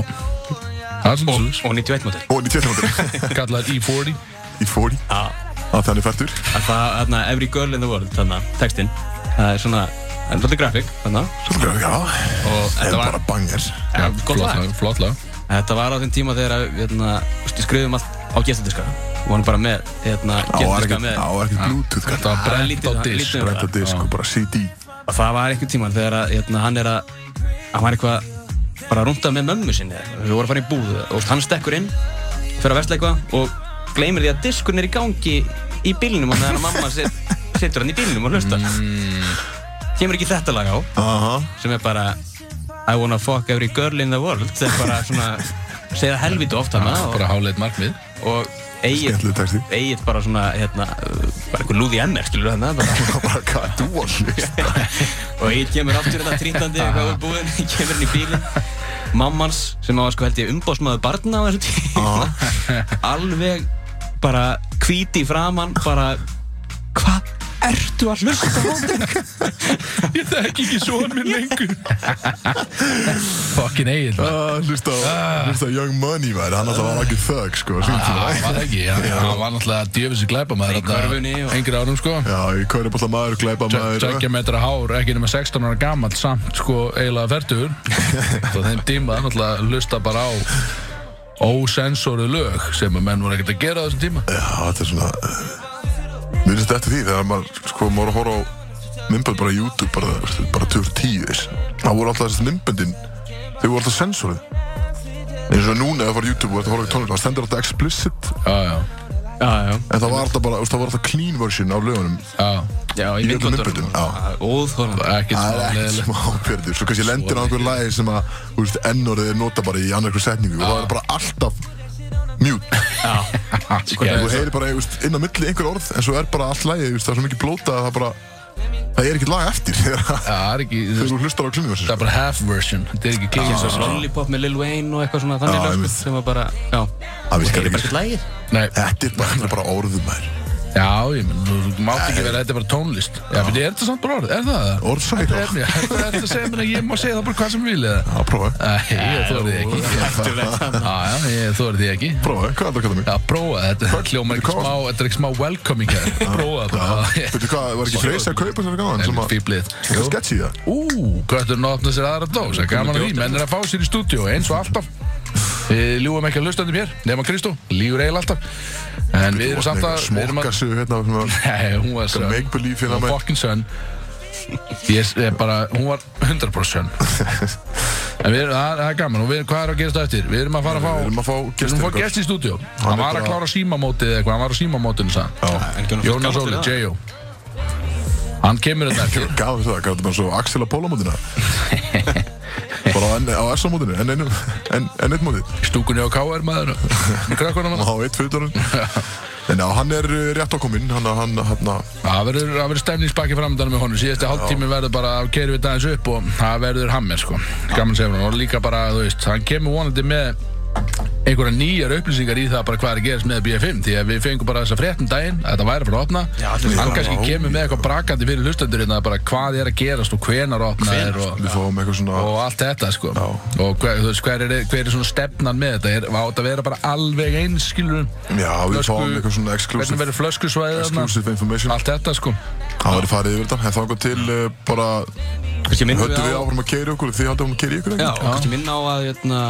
Speaker 3: Það er svona svo
Speaker 2: og 91 mútur
Speaker 1: Og 90 ára
Speaker 3: Kallar E40
Speaker 1: Í 40 Að þannig fættur
Speaker 2: að það, þarna, every girl in the world, þarna, textinn það er svona, það er svolítið grafík, þarna
Speaker 1: Svolítið já
Speaker 2: og
Speaker 1: En
Speaker 2: þetta var,
Speaker 1: bara banger
Speaker 2: ja, gott
Speaker 3: flott
Speaker 2: lag
Speaker 3: lag, Flott lag
Speaker 2: þetta var á þeim tíma þegar að, hérna, við skrifum allt á gestadiska og hann bara með, hérna,
Speaker 1: Á, er
Speaker 2: gestadiska
Speaker 1: ekkert
Speaker 2: með
Speaker 1: á, er ekkert bluetooth
Speaker 3: Þetta
Speaker 1: Þetta
Speaker 3: var brent á
Speaker 2: lítið-
Speaker 3: disk
Speaker 2: lítið-
Speaker 1: brenda disk og bara CD
Speaker 2: og það var einhvern tíman þegar að, hérna, hann er að hann var eitthvað bara að rúnda með mömmu sinni eða eitthvað. við vorum að fara í búð og þú veist, hann stekkur inn fyrir að versla eitthvað og gleymir því að diskurinn er í gangi í bílnum og meðan að mamma set, setur hann í bílnum og hlustar kemur ekki þetta lag á
Speaker 1: Aha
Speaker 2: sem er bara I wanna fuck every girl in the world sem bara svona segja það helviti ofta hana og,
Speaker 3: Bara háleit markmið
Speaker 2: og eigið
Speaker 1: Skemmtileg texti
Speaker 2: eigið bara svona hérna, uh, bara eitthvað lúði emmer skilur þarna bara.
Speaker 1: Bara hvað þú var hlust
Speaker 2: og eigið kemur aftur hérna þetta trýndandi eitthvað úr búinn, kemur inn í bílinn mammans sem var sko held ég umbásmaður barna á þessu tíma alveg bara hvíti í framann bara hvað ertu að hlusta á þetta?
Speaker 3: Ég þekki ekki svona minn lengur Fucking Egil
Speaker 2: Ah.
Speaker 3: maður.
Speaker 1: Ah, Hlusta á Hlusta á Young Money maður Hann alltaf var ekki þögg sko syngdu
Speaker 3: Já,
Speaker 2: Ah.
Speaker 1: það.
Speaker 3: var það ekki, hann hann var náttúrulega djöfis í glæpa maður
Speaker 2: Í körfunni og-
Speaker 3: Engri árum sko
Speaker 1: Já, í kvörubolta maður, eh. glæpa maður
Speaker 3: Tveggja metra hár, ekki nema 16 ára gamall samt sko eiginlega færtugur og þeim tíma náttúrulega lusta bara á ósensoru lög sem að menn voru ekkert að gera á þessum tíma
Speaker 1: Já, þetta er svona Mér finnst eftir því þegar maður sko, maður var að horfa á myndbönd bara á YouTube bara, veistu, bara 2010 -is. það voru alltaf þessi myndböndin þau voru alltaf sensorið eins og núna ef það fara á YouTube og þetta horfa ekki tónlega það stendur alltaf explicit
Speaker 3: Já, já,
Speaker 2: Já, já,
Speaker 1: en það var alltaf bara þú veist, það var alltaf clean version af lögunum
Speaker 3: já,
Speaker 1: Í
Speaker 2: já, í
Speaker 1: öllum
Speaker 2: myndböndunum
Speaker 1: myndböndum, já.
Speaker 2: óþólandi
Speaker 3: ekkert smá
Speaker 1: það er ekkert
Speaker 3: leðileg
Speaker 1: smá ábjörður svo kannski lendir á einhver lagi sem að þú veist, ennorðið er nota bara í annarkur setningu og það er bara alltaf mute
Speaker 2: Já,
Speaker 1: þú heyrir bara þú veist, inn á milli einhver orð en svo er bara allt lagið þú veist, það er svo mikið blóta að það bara það er ekkert lag eftir þegar
Speaker 3: Það er ekki, þú
Speaker 1: Þegar
Speaker 3: veist,
Speaker 1: þú hlustar á klunni
Speaker 3: það er bara half version, þetta er ekki
Speaker 2: eins
Speaker 3: klikkið
Speaker 2: og Lollipop með Lil Wayne og eitthvað svona þannig
Speaker 1: Já,
Speaker 2: lög,
Speaker 1: einmitt.
Speaker 2: sko, sem var bara, já
Speaker 1: Það virkar
Speaker 2: Það er bara
Speaker 1: ekki.
Speaker 2: ekkert lægið
Speaker 3: Nei,
Speaker 1: Þetta er bara, þetta er bara orðum mær
Speaker 3: já, ég menn, þú mátt ekki vera, þetta er bara tónlist Já, betur, er þetta samt bara orð, er það það?
Speaker 1: Orðsæk
Speaker 3: Er það að segja mér að ég má segja það bara hvað sem ég vil eða?
Speaker 1: Já, prófa
Speaker 3: Nei, ég þóri því ekki Já, já, ég þóri því ekki
Speaker 1: Prófa, hvað er þetta að kalla mig?
Speaker 3: Já, prófa þetta, þetta hljómar ekki
Speaker 1: Hvað?
Speaker 3: smá, þetta er ekki smá welcoming hér, prófa það bara.
Speaker 1: Veitu hvað, var ekki freysa að kaupa sér gáðan sem að
Speaker 3: Fýblið.
Speaker 1: Það sketch í það
Speaker 3: Ú, kötturinn opna sér aðra dós, það er gaman að því, menn er að fá sér í stúdíu eins og alltaf. Við ljúum ekki að lustandum hér, nema Kristó, lígur eiginlega alltaf. En við erum samt að, við erum
Speaker 1: Smokka
Speaker 3: að,
Speaker 1: sig hérna sem að-
Speaker 3: nei, hún var sönn,
Speaker 1: Make believe
Speaker 3: hún
Speaker 1: hérna
Speaker 3: var
Speaker 1: með
Speaker 3: fucking sönn. Ég er bara, hún var 100% sönn. En við erum, það er- það er gaman, og við, hvað er að gerast á eftir? Við erum að fara að fá,
Speaker 1: Við erum að fá
Speaker 3: við erum að
Speaker 1: gestir
Speaker 3: fá gest í stúdíu.
Speaker 1: Hann
Speaker 3: Hann
Speaker 1: er
Speaker 3: var að
Speaker 1: bara-
Speaker 3: klára símamótið eða eitthvað, hann var á símamótinu, sagði hann. Jónas Óli, J.O. Hann kemur hérna þetta ekki
Speaker 1: Gaf þetta, gaf þetta bara svo Axel Apollo mótina Bara á, enn- á SO mótinu, enn einum Enn enn einn móti
Speaker 3: stúkunni á KR maður með krakkunum hann
Speaker 1: Og á eitt fyrtdórun En já, hann er uh, rétt á kominn Hann, hann, hann, hann
Speaker 3: Það verður, það verður stemningsbakki framdanum með honum síðasti hálftími verður bara að keiri við dagins upp og það verður hammer sko gaman segir hann og líka bara þú veist hann kemur vonandi með einhverja nýjar upplýsingar í það bara hvað er að gerast með BF5 því að við fengum bara þessa frétt um daginn að þetta væri að fara að opna
Speaker 2: Já, allir
Speaker 3: hann
Speaker 2: fara
Speaker 3: kannski
Speaker 1: á.
Speaker 3: kemur með eitthvað brakandi fyrir lustendur hérna bara hvað er að gerast og hvenar opna er og,
Speaker 1: Við fáum eitthvað svona
Speaker 3: og allt þetta sko og hver, þú veist, hver, er, hver er svona stefnan með þetta er, á þetta að vera bara alveg eins skilur
Speaker 1: Já, við fáum eitthvað svona
Speaker 3: hvernig
Speaker 1: exclusive
Speaker 3: verður flöskusvæði þarna?
Speaker 1: Exclusive information
Speaker 3: allt þetta sko
Speaker 1: Það verður farið yfir þetta En þá kom til uh, bara
Speaker 2: Kanski minna
Speaker 1: Höldu við
Speaker 2: við á
Speaker 1: áfram að keiri okkur og þið haldum að keiri ykkur ekki?
Speaker 2: Já, og kannski minna á að hérna,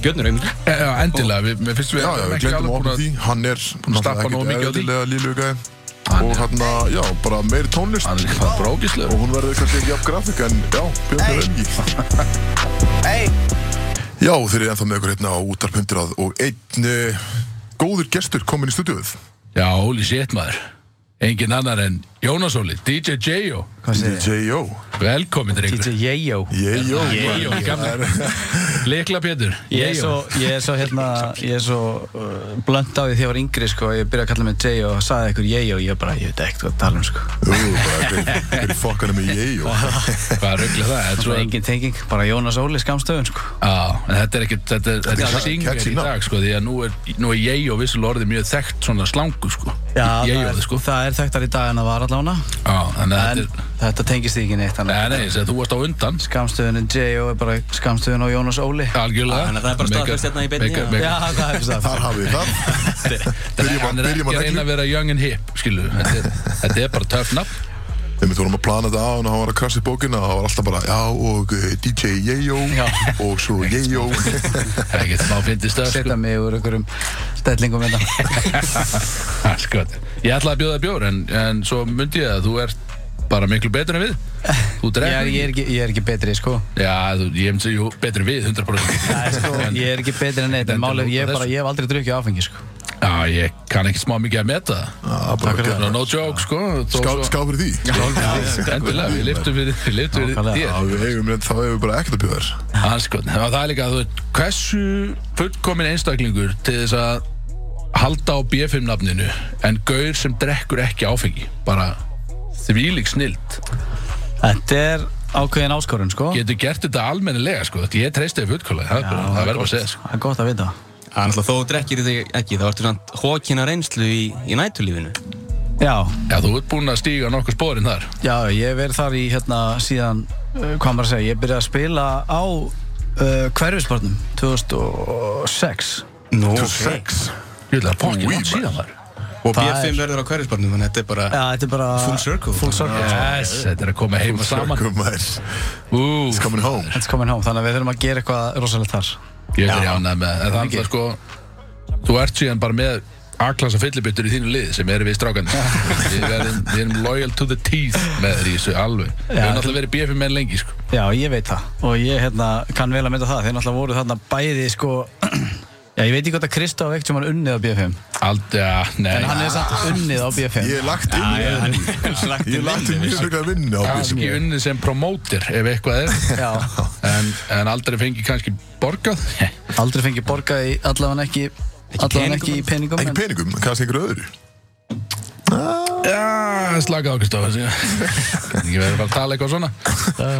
Speaker 2: Björn er auðvitað
Speaker 3: já, Eh, já, endilega, við, mér finnst við
Speaker 1: Já, já, við glemdum að opna því, hann er
Speaker 3: stappa
Speaker 1: náttúrulega
Speaker 3: nógu mikið á
Speaker 1: ekkert
Speaker 3: því.
Speaker 1: eðlilega líflegu gæði og hérna, já, bara meiri tónlist
Speaker 3: hann er líka bara brókislegur
Speaker 1: og hún verður kannski ekki af grafík en já, Björn er engi
Speaker 4: Hey.
Speaker 1: Já, þeir eru ennþá með ykkur hérna á útarpundirað og einn eh, góður gestur kominn í stúdíuð
Speaker 3: já, holy shit maður engin annar en Jónas Óli, DJ J.O.
Speaker 4: Hvað segir þið?
Speaker 1: DJ Jó
Speaker 3: Velkomin, drengur.
Speaker 4: DJ Yeyo
Speaker 1: Ég Jó
Speaker 3: J.O. gamli. Leikla Pétur.
Speaker 4: Ég er
Speaker 3: J.O.
Speaker 4: svo, ég er svo, hérna, ég er svo uh, blönd á því þegar ég var yngri, sko, ég byrjaði að kalla mig J.O. og sagði ykkur J.O. ég bara, ég veit ekkert hvað að tala um, sko.
Speaker 1: Jú, bara hver- hver fokkanum er ég Jó
Speaker 3: Hvað ruggla það? Þetta er
Speaker 4: Svo
Speaker 3: svo-
Speaker 4: engin tenging, bara Jónas Óli skamstöðun, sko.
Speaker 3: Já, en þetta er ekkert, þetta er, þetta
Speaker 1: Catchy-
Speaker 3: er singur
Speaker 1: catchy
Speaker 3: í
Speaker 1: nafn.
Speaker 3: dag, sko, því að nú er, nú er J.O. vissulega orðið mjög þekkt svona slangu, sko.
Speaker 4: það,
Speaker 3: J.O.
Speaker 4: er,
Speaker 3: sko.
Speaker 4: það er þekktar í dag en það var allána,
Speaker 3: Já, þannig að
Speaker 4: en
Speaker 3: þetta er,
Speaker 4: þetta tengist því ekki neitt, þannig
Speaker 3: nei,
Speaker 4: að
Speaker 3: nei, ég segi að þú varst á undan,
Speaker 4: skamstöðunin J.O. er bara skamstöðun á Jónas Óli.
Speaker 3: algjörlega.
Speaker 2: Þannig að það er bara
Speaker 3: Mega-
Speaker 2: staðfest hérna í beinni,
Speaker 3: mega-
Speaker 2: já.
Speaker 3: mega-
Speaker 4: Já, það er það.
Speaker 1: Þar hafið þið það Byrjum
Speaker 3: Hann
Speaker 1: að,
Speaker 3: er
Speaker 1: byrjum
Speaker 3: ekki
Speaker 1: að
Speaker 3: að reyna
Speaker 1: neglu
Speaker 3: að vera young and hip, skilu Þetta er, þetta er bara töff nafn
Speaker 1: Þegar við vorum að plana þetta á hann og hann var að krasja í bókina og hann var alltaf bara, já, og eh, DJ Yeyo
Speaker 4: Já.
Speaker 1: og svo Yeyo
Speaker 3: Það er ekkert smá fyndist það,
Speaker 4: Setta mig úr einhverjum stellingum hérna.
Speaker 3: sko Skot. Ég ætlaði að bjóða þér bjór, en, en svo myndi ég að þú ert bara miklu betur en við Þú
Speaker 4: Ég,
Speaker 3: dregur
Speaker 4: er- ég, er ekki- ég er ekki betri, sko.
Speaker 3: Já, þú, ég myndi segja, jú, betur en við, 100%
Speaker 4: Nei, sko, ég er ekki betri en neitt, en
Speaker 3: Þetta er
Speaker 4: málið,
Speaker 3: út af
Speaker 4: ég, er bara,
Speaker 3: þessu.
Speaker 4: ég hef aldrei drukkið áfengi, sko.
Speaker 3: Já, ég kann ekki smá mikið að meta það
Speaker 1: Það Ah, bara
Speaker 4: fyrir
Speaker 1: að
Speaker 3: No, no joke, sko þó
Speaker 1: Ská,
Speaker 3: svo-
Speaker 1: ská fyrir því
Speaker 3: Já, Endilega, við liftum fyrir, við liftum fyrir
Speaker 4: Nákvæmlega.
Speaker 1: Já,
Speaker 3: þér
Speaker 1: við eigum reynd, þá hefur við bara ekkert að bjóða þér
Speaker 3: Hanskotn, og það er líka að þú veit hversu fullkomin einstaklingur til þess að halda á BFM nafninu en gaur sem drekkur ekki áfengi bara þvílík snild
Speaker 4: Þetta er ákveðin áskorun, sko.
Speaker 3: getur gert þetta almennilega sko þetta ég treysti þið fullkóla, það, er bara- það verður bara að segja sko.
Speaker 4: Það er gott að vita.
Speaker 2: Það er náttúrulega þó þú drekkir þig ekki, þá ertu samt hókina reynslu í, í nætulífinu.
Speaker 4: Já,
Speaker 3: Já, þú ert búinn að stíga nokkur spórin þar
Speaker 4: já, ég hef verið þar í hérna síðan, uh, hvað maður að segja, ég byrjaði að spila á uh, hverfisportnum 2006.
Speaker 2: Nú,
Speaker 1: Þú sex
Speaker 3: Ég vil að fokkin
Speaker 1: Új,
Speaker 3: langt síðan þar
Speaker 2: Og
Speaker 4: Það er-
Speaker 2: BFM verður á hverjusbarnu, þannig að þetta er bara...
Speaker 4: Já, þetta er bara...
Speaker 2: Full circle.
Speaker 4: Full circle. sko.
Speaker 3: Yes, þetta er að koma heima saman
Speaker 1: Come on,
Speaker 3: Ú,
Speaker 1: It's coming home
Speaker 4: It's coming home, þannig að við þurfum að gera eitthvað rosalegt þar.
Speaker 3: Ég er jánað með það. En þannig að sko, þú ert síðan bara með A-klassa fyllibittur í þínu lið sem eru við strákandi. við, erum, við erum loyal to the teeth með þér í þessu alveg. við
Speaker 4: Já,
Speaker 3: höfum alltaf verið BFM menn lengi, sko.
Speaker 4: Já, ég veit það og ég hérna, kann vel að mynda það þeir náttúrulega voru þarna bæði sko Já, ég veit ekki hvort að Kristof ekkert sem hann unnið á BFM
Speaker 3: Aldrei, ja,
Speaker 4: en hann
Speaker 3: nei.
Speaker 4: er samt unnið á BFM
Speaker 1: Ég er lagt inn
Speaker 2: já, hann er slagt
Speaker 1: Ég er lagt inn mjög mikla vinnu á því
Speaker 3: Kanski unni sem promóter ef eitthvað er.
Speaker 4: Já,
Speaker 3: En, en aldrei fengið kannski borgað.
Speaker 4: aldrei fengið borgað í allavega ekki, allavega ekki í peningum
Speaker 1: Ekki
Speaker 4: en,
Speaker 1: peningum, kannski einhverju öðru
Speaker 3: Já, slakað á Kristofa. Ég verður bara að tala eitthvað svona.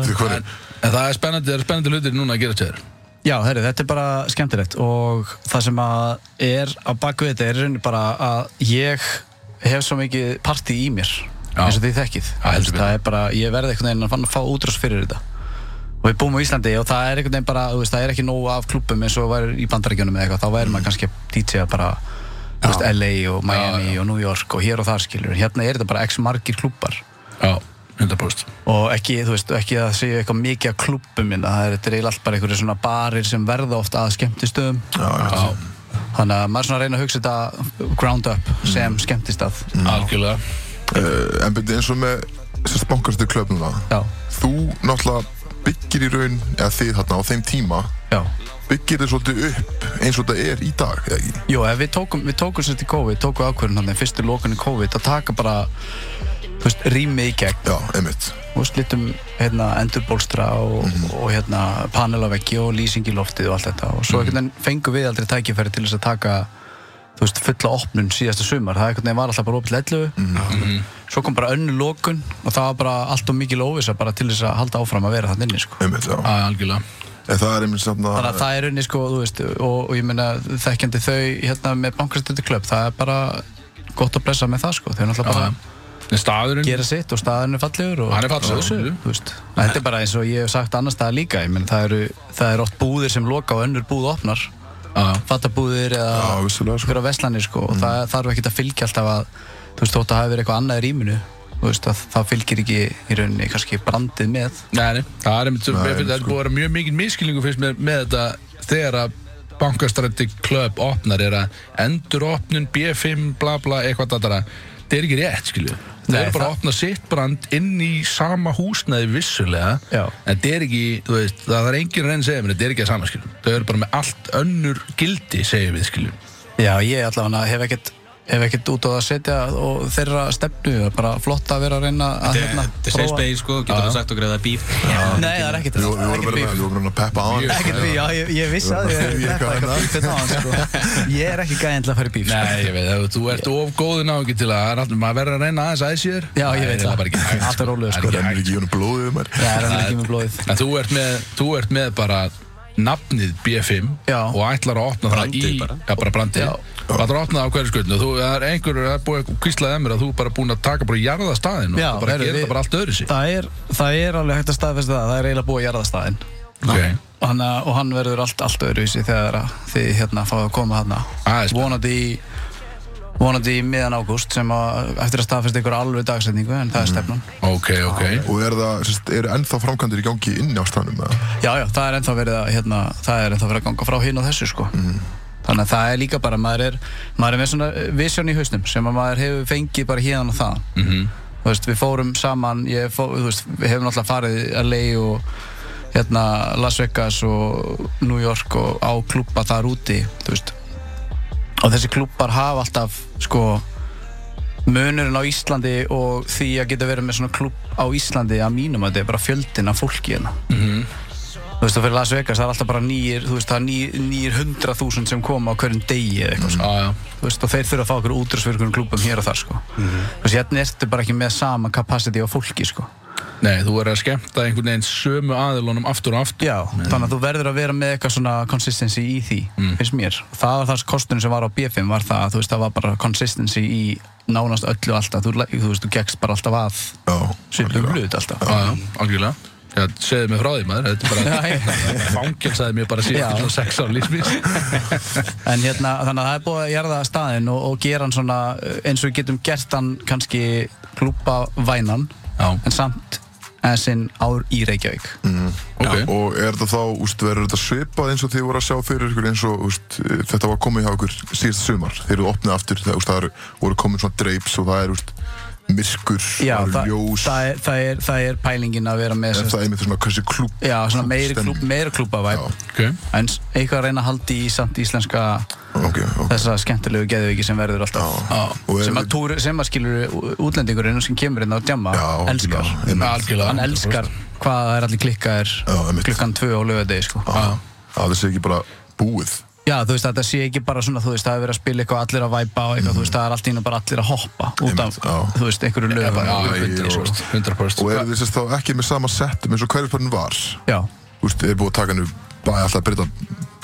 Speaker 1: Þú hvað
Speaker 3: En,
Speaker 1: er
Speaker 3: en það er spennandi, það er spennandi hlutir núna að gera til þér.
Speaker 4: Já, herri, þetta er bara skemmtilegt og það sem að er á baku þetta er í rauninni bara að ég hef svo mikið partí í mér
Speaker 3: Já.
Speaker 4: eins og því þekkið
Speaker 3: heldur betur.
Speaker 4: það er bara, ég verði einhvern veginn að fann að fá útrás fyrir þetta og við búum á Íslandi og það er einhvern veginn bara, þú veist, það er ekki nóg af klúppum eins og var í bandaríkjunum eða eitthvað, þá væri maður kannski að DJ-a bara, þú veist, LA og Miami og New York og hér og þar skilur hérna er þetta bara x margir klúppar
Speaker 3: Já, 100%.
Speaker 4: og ekki, þú veist, ekki að segja eitthvað mikið að klúppum minna, það er þetta er eiginlega allt bara einhverju svona barir sem verða oft að skemmtistöðum
Speaker 1: það?
Speaker 3: Já,
Speaker 4: þannig að maður svona reyna að hugsa þetta ground up sem skemmtistað
Speaker 3: algjörlega.
Speaker 1: Uh, En byrja eins og með Sérst bankastu klöfnum það
Speaker 4: já,
Speaker 1: Þú náttúrulega byggir í raun Eða þið þarna á þeim tíma
Speaker 4: já
Speaker 1: byggir þið svolítið upp eins og þetta er í dag eða ekki?
Speaker 4: Jú, ef við tókum, við tókum sér til COVID, tókum ákvörðun hann, fyrstu lókunni COVID, að taka bara, þú veist, rými í gegn
Speaker 1: Já, einmitt
Speaker 4: og slittum hérna endurbólstra og, og hérna panelaveggi og lýsing í loftið og allt þetta og svo einhvern veginn fengum við aldrei tækifæri til þess að taka þú veist, fulla opnun síðasta sumar það einhvern veginn var alltaf bara opið lellu svo kom bara önnu lokun og það var bara allt og mikil óvisa bara til þess að halda áfram að vera þannig inni sko.
Speaker 1: einmitt, já
Speaker 3: Já, algjörlega.
Speaker 1: En það er einmitt samt
Speaker 4: þannig að
Speaker 1: að
Speaker 4: það er unni sko, þú veist og, og ég meina þekkjandi þau hérna með bankastöldu klöpp, það er bara gott að blessa með það sko, þau er náttúrulega bara
Speaker 3: Já, En staðurinn
Speaker 4: gera sitt og staðan er fallegur Mm. og
Speaker 3: Hann er fallegur.
Speaker 4: og þessu, þú veist. þetta er bara eins og ég hef sagt annars staðar líka ég menn það eru, það eru oft búðir sem loka og önnur búð opnar
Speaker 3: Já,
Speaker 4: fattabúðir eða
Speaker 1: Já, vissulega, sko.
Speaker 4: einhverja verslanir sko og það þarf ekki að fylgja alltaf að þú veist þótt að hafa verið eitthvað annað í rýminu þú veist að það fylgir ekki í rauninni kannski brandið með
Speaker 3: Nei, nei, það er einmitt,
Speaker 1: Nei,
Speaker 3: ég finn að það er
Speaker 1: sko.
Speaker 3: búið að vera mjög mikið miskilningu fyrst með, með þetta þegar að bankastrætti klöp opnar er að endur opnun B5 bla bla eitthvað datara það er ekki rétt skilju það
Speaker 4: Nei,
Speaker 3: er bara
Speaker 4: það-
Speaker 3: að opna sitt brand inn í sama húsnaði vissulega
Speaker 4: Já.
Speaker 3: en það er ekki, þú veist, það er enginn að reyna að segja mér, það er ekki að sama skilju, það er bara með allt önnur gildi segja við skilju
Speaker 4: já ég allavega hef ekkert ef ekkert út á það að setja og þeirra stefnu, það er bara flott að vera að reyna að hérna
Speaker 2: Þetta er safe space sko, getur það sagt okkur að það er bíf
Speaker 4: Nei, það er ekkert
Speaker 1: Við við
Speaker 4: það
Speaker 1: vorum
Speaker 4: er ekkert
Speaker 1: verið
Speaker 4: bíf.
Speaker 1: að- við vorum verið að peppa á hann
Speaker 4: Ekkert bíf, já, ég, ég vissi að
Speaker 1: Við
Speaker 4: ég,
Speaker 1: erum
Speaker 4: ég,
Speaker 1: eitthvað
Speaker 4: eitthvað bíf hérna á hann sko. Ég er ekki gæðin til að fara í bíf sko.
Speaker 3: Nei, ég veit, ef þú ert of góðin á ekki til að það er alltaf- maður verður að reyna aðeins aðeins sér
Speaker 4: Já, ég
Speaker 3: Nei,
Speaker 4: veit
Speaker 3: það
Speaker 4: það.
Speaker 3: er bara ekki hægt,
Speaker 4: Alltaf
Speaker 3: Það
Speaker 4: rólegur,
Speaker 3: er
Speaker 4: sko.
Speaker 3: ekki
Speaker 1: Rennir
Speaker 3: hægt.
Speaker 1: ekki í honum blóðið um
Speaker 4: Já, það er hann ekki með blóðið
Speaker 3: En þú ert með, þú ert með bara nafnið B5
Speaker 4: Já.
Speaker 3: og ætlar að opna
Speaker 2: Brandið
Speaker 3: það í
Speaker 2: bara.
Speaker 3: Já, bara brandið
Speaker 4: Já.
Speaker 3: Það ætlar að opna það á hverju skutnu Þú það er einhverjur, það er búið að kvíslaðið mér að þú er bara búin að taka bara jarða staðin og
Speaker 4: Já,
Speaker 3: þú bara
Speaker 4: heyrðu,
Speaker 3: gerir
Speaker 4: við-
Speaker 3: það bara allt öðru sig
Speaker 4: það er, það er alveg hægt að staðfesta það, það er eiginlega búið að jarða staðinn
Speaker 3: okay.
Speaker 4: og hann, eh, og hann verður allt, allt öðruvísi þegar að þið hérna fáið að koma hérna
Speaker 3: Aðeins.
Speaker 4: vonandi í vonandi í miðan ágúst sem að, eftir að staðfesta ykkur alveg dagsetningu en
Speaker 3: Mm.
Speaker 4: það er stefnan
Speaker 3: ok, ok
Speaker 1: Og er það, sérst, eru ennþá framkvæmdir í gangi inni á staðnum? eða?
Speaker 4: já já, það er ennþá verið að hérna, það er ennþá verið að ganga frá hinn og þessu sko þannig að það er líka bara, maður er maður er með svona eh, vision í hausnum sem að maður hefur fengið bara hérna og það mm -hmm. þú veist, við fórum saman ég fó, þú veist, við hefum alltaf farið að leið og hérna Las Vegas og New York og á klúpa þar úti þú veist og þessi klúpar hafa alltaf sko munurinn á Íslandi og því að geta verið með svona klúpp á Íslandi að mínum að þetta er bara fjöldin af fólki hérna þú veist og fyrir Las Vegas það er alltaf bara nýjir þú veist það er nýjir, nýjir 100.000 sem koma á hverjum degi eða eitthvað
Speaker 3: Já, já,
Speaker 4: mm. veist, og þeir þurfa að fá okkur útrúsverkunum klúpum hér og þar sko þú veist hérna ertu bara ekki með sama capacity á fólki sko
Speaker 3: nei, þú er að skemmta einhvern veginn sömu aðilunum aftur og aftur
Speaker 4: Já, þannig að þú verður að vera með eitthvað svona consistency í því, finnst mér og það var það kostunum sem var á BFM var það, þú veist, það var bara consistency í nánast öllu alltaf, þú, le- þú veist, þú gekkst bara alltaf að
Speaker 1: Já.
Speaker 4: svipum hlut alltaf
Speaker 3: Já, já, algjörlega Já, segðu mig frá því maður, þetta er bara
Speaker 4: Já, já.
Speaker 3: fangelsaði mér bara
Speaker 4: Já.
Speaker 3: síðan til sex ára lífsmís
Speaker 4: en hérna, þannig að það er búið að gera það staðinn og, og gera hann svona uh, eins og við getum gert hann kannski klúpa vænan
Speaker 3: Já.
Speaker 4: en samt en sinn ár í Reykjavík
Speaker 1: Mm.
Speaker 3: Ok,
Speaker 1: Og er þetta þá, úst, verður þetta svipað eins og þið voru að sjá fyrir ykkur eins og úst, þetta var komið hjá ykkur síðast sumar þegar þið opnið aftur, það, úst, það eru, voru komið svona dreifs og það er úst, myrkur,
Speaker 4: Já,
Speaker 1: það
Speaker 4: það,
Speaker 1: eru ljós
Speaker 4: það, er, það, er, það er pælingin að vera með
Speaker 1: en
Speaker 4: sem,
Speaker 1: það er einmitt svona hversi klúb
Speaker 4: já, svona meiri,
Speaker 1: klúbbstemning.
Speaker 4: klúb, meiri klúpavæp
Speaker 3: ok
Speaker 4: en s- eitthvað að reyna að haldi í samt íslenska
Speaker 1: Ok, ok
Speaker 4: þessa skemmtilegu geðviki sem verður alltaf
Speaker 1: Já. Og er-
Speaker 4: sem, að túr, sem að skilur útlendingurinn sem kemur inn á djamma
Speaker 1: Já,
Speaker 4: elskar,
Speaker 1: algjörlega, einmitt.
Speaker 3: Algjörlega,
Speaker 4: hann
Speaker 3: 100%.
Speaker 4: elskar hvað það er allir klikkaðir
Speaker 1: Já, einmitt.
Speaker 4: klukkan tvö á lögadegi sko.
Speaker 1: Já, Ah, að það sé ekki bara búið
Speaker 4: já þú veist þetta sé ekki bara svona þú veist það er verið að spila eitthvað allir að væpa og eitthvað þú veist það er allt ína bara allir að hoppa út af
Speaker 1: já.
Speaker 4: þú veist einhverju
Speaker 3: Já,
Speaker 4: lögum
Speaker 3: bara, já,
Speaker 1: Nei,
Speaker 3: 100%, 100%.
Speaker 4: Sko-
Speaker 1: og eru þið sérst þá ekki með sama settum eins og hverjuspartin var
Speaker 4: já.
Speaker 1: úst, er búið að taka hennu bara alltaf að breyta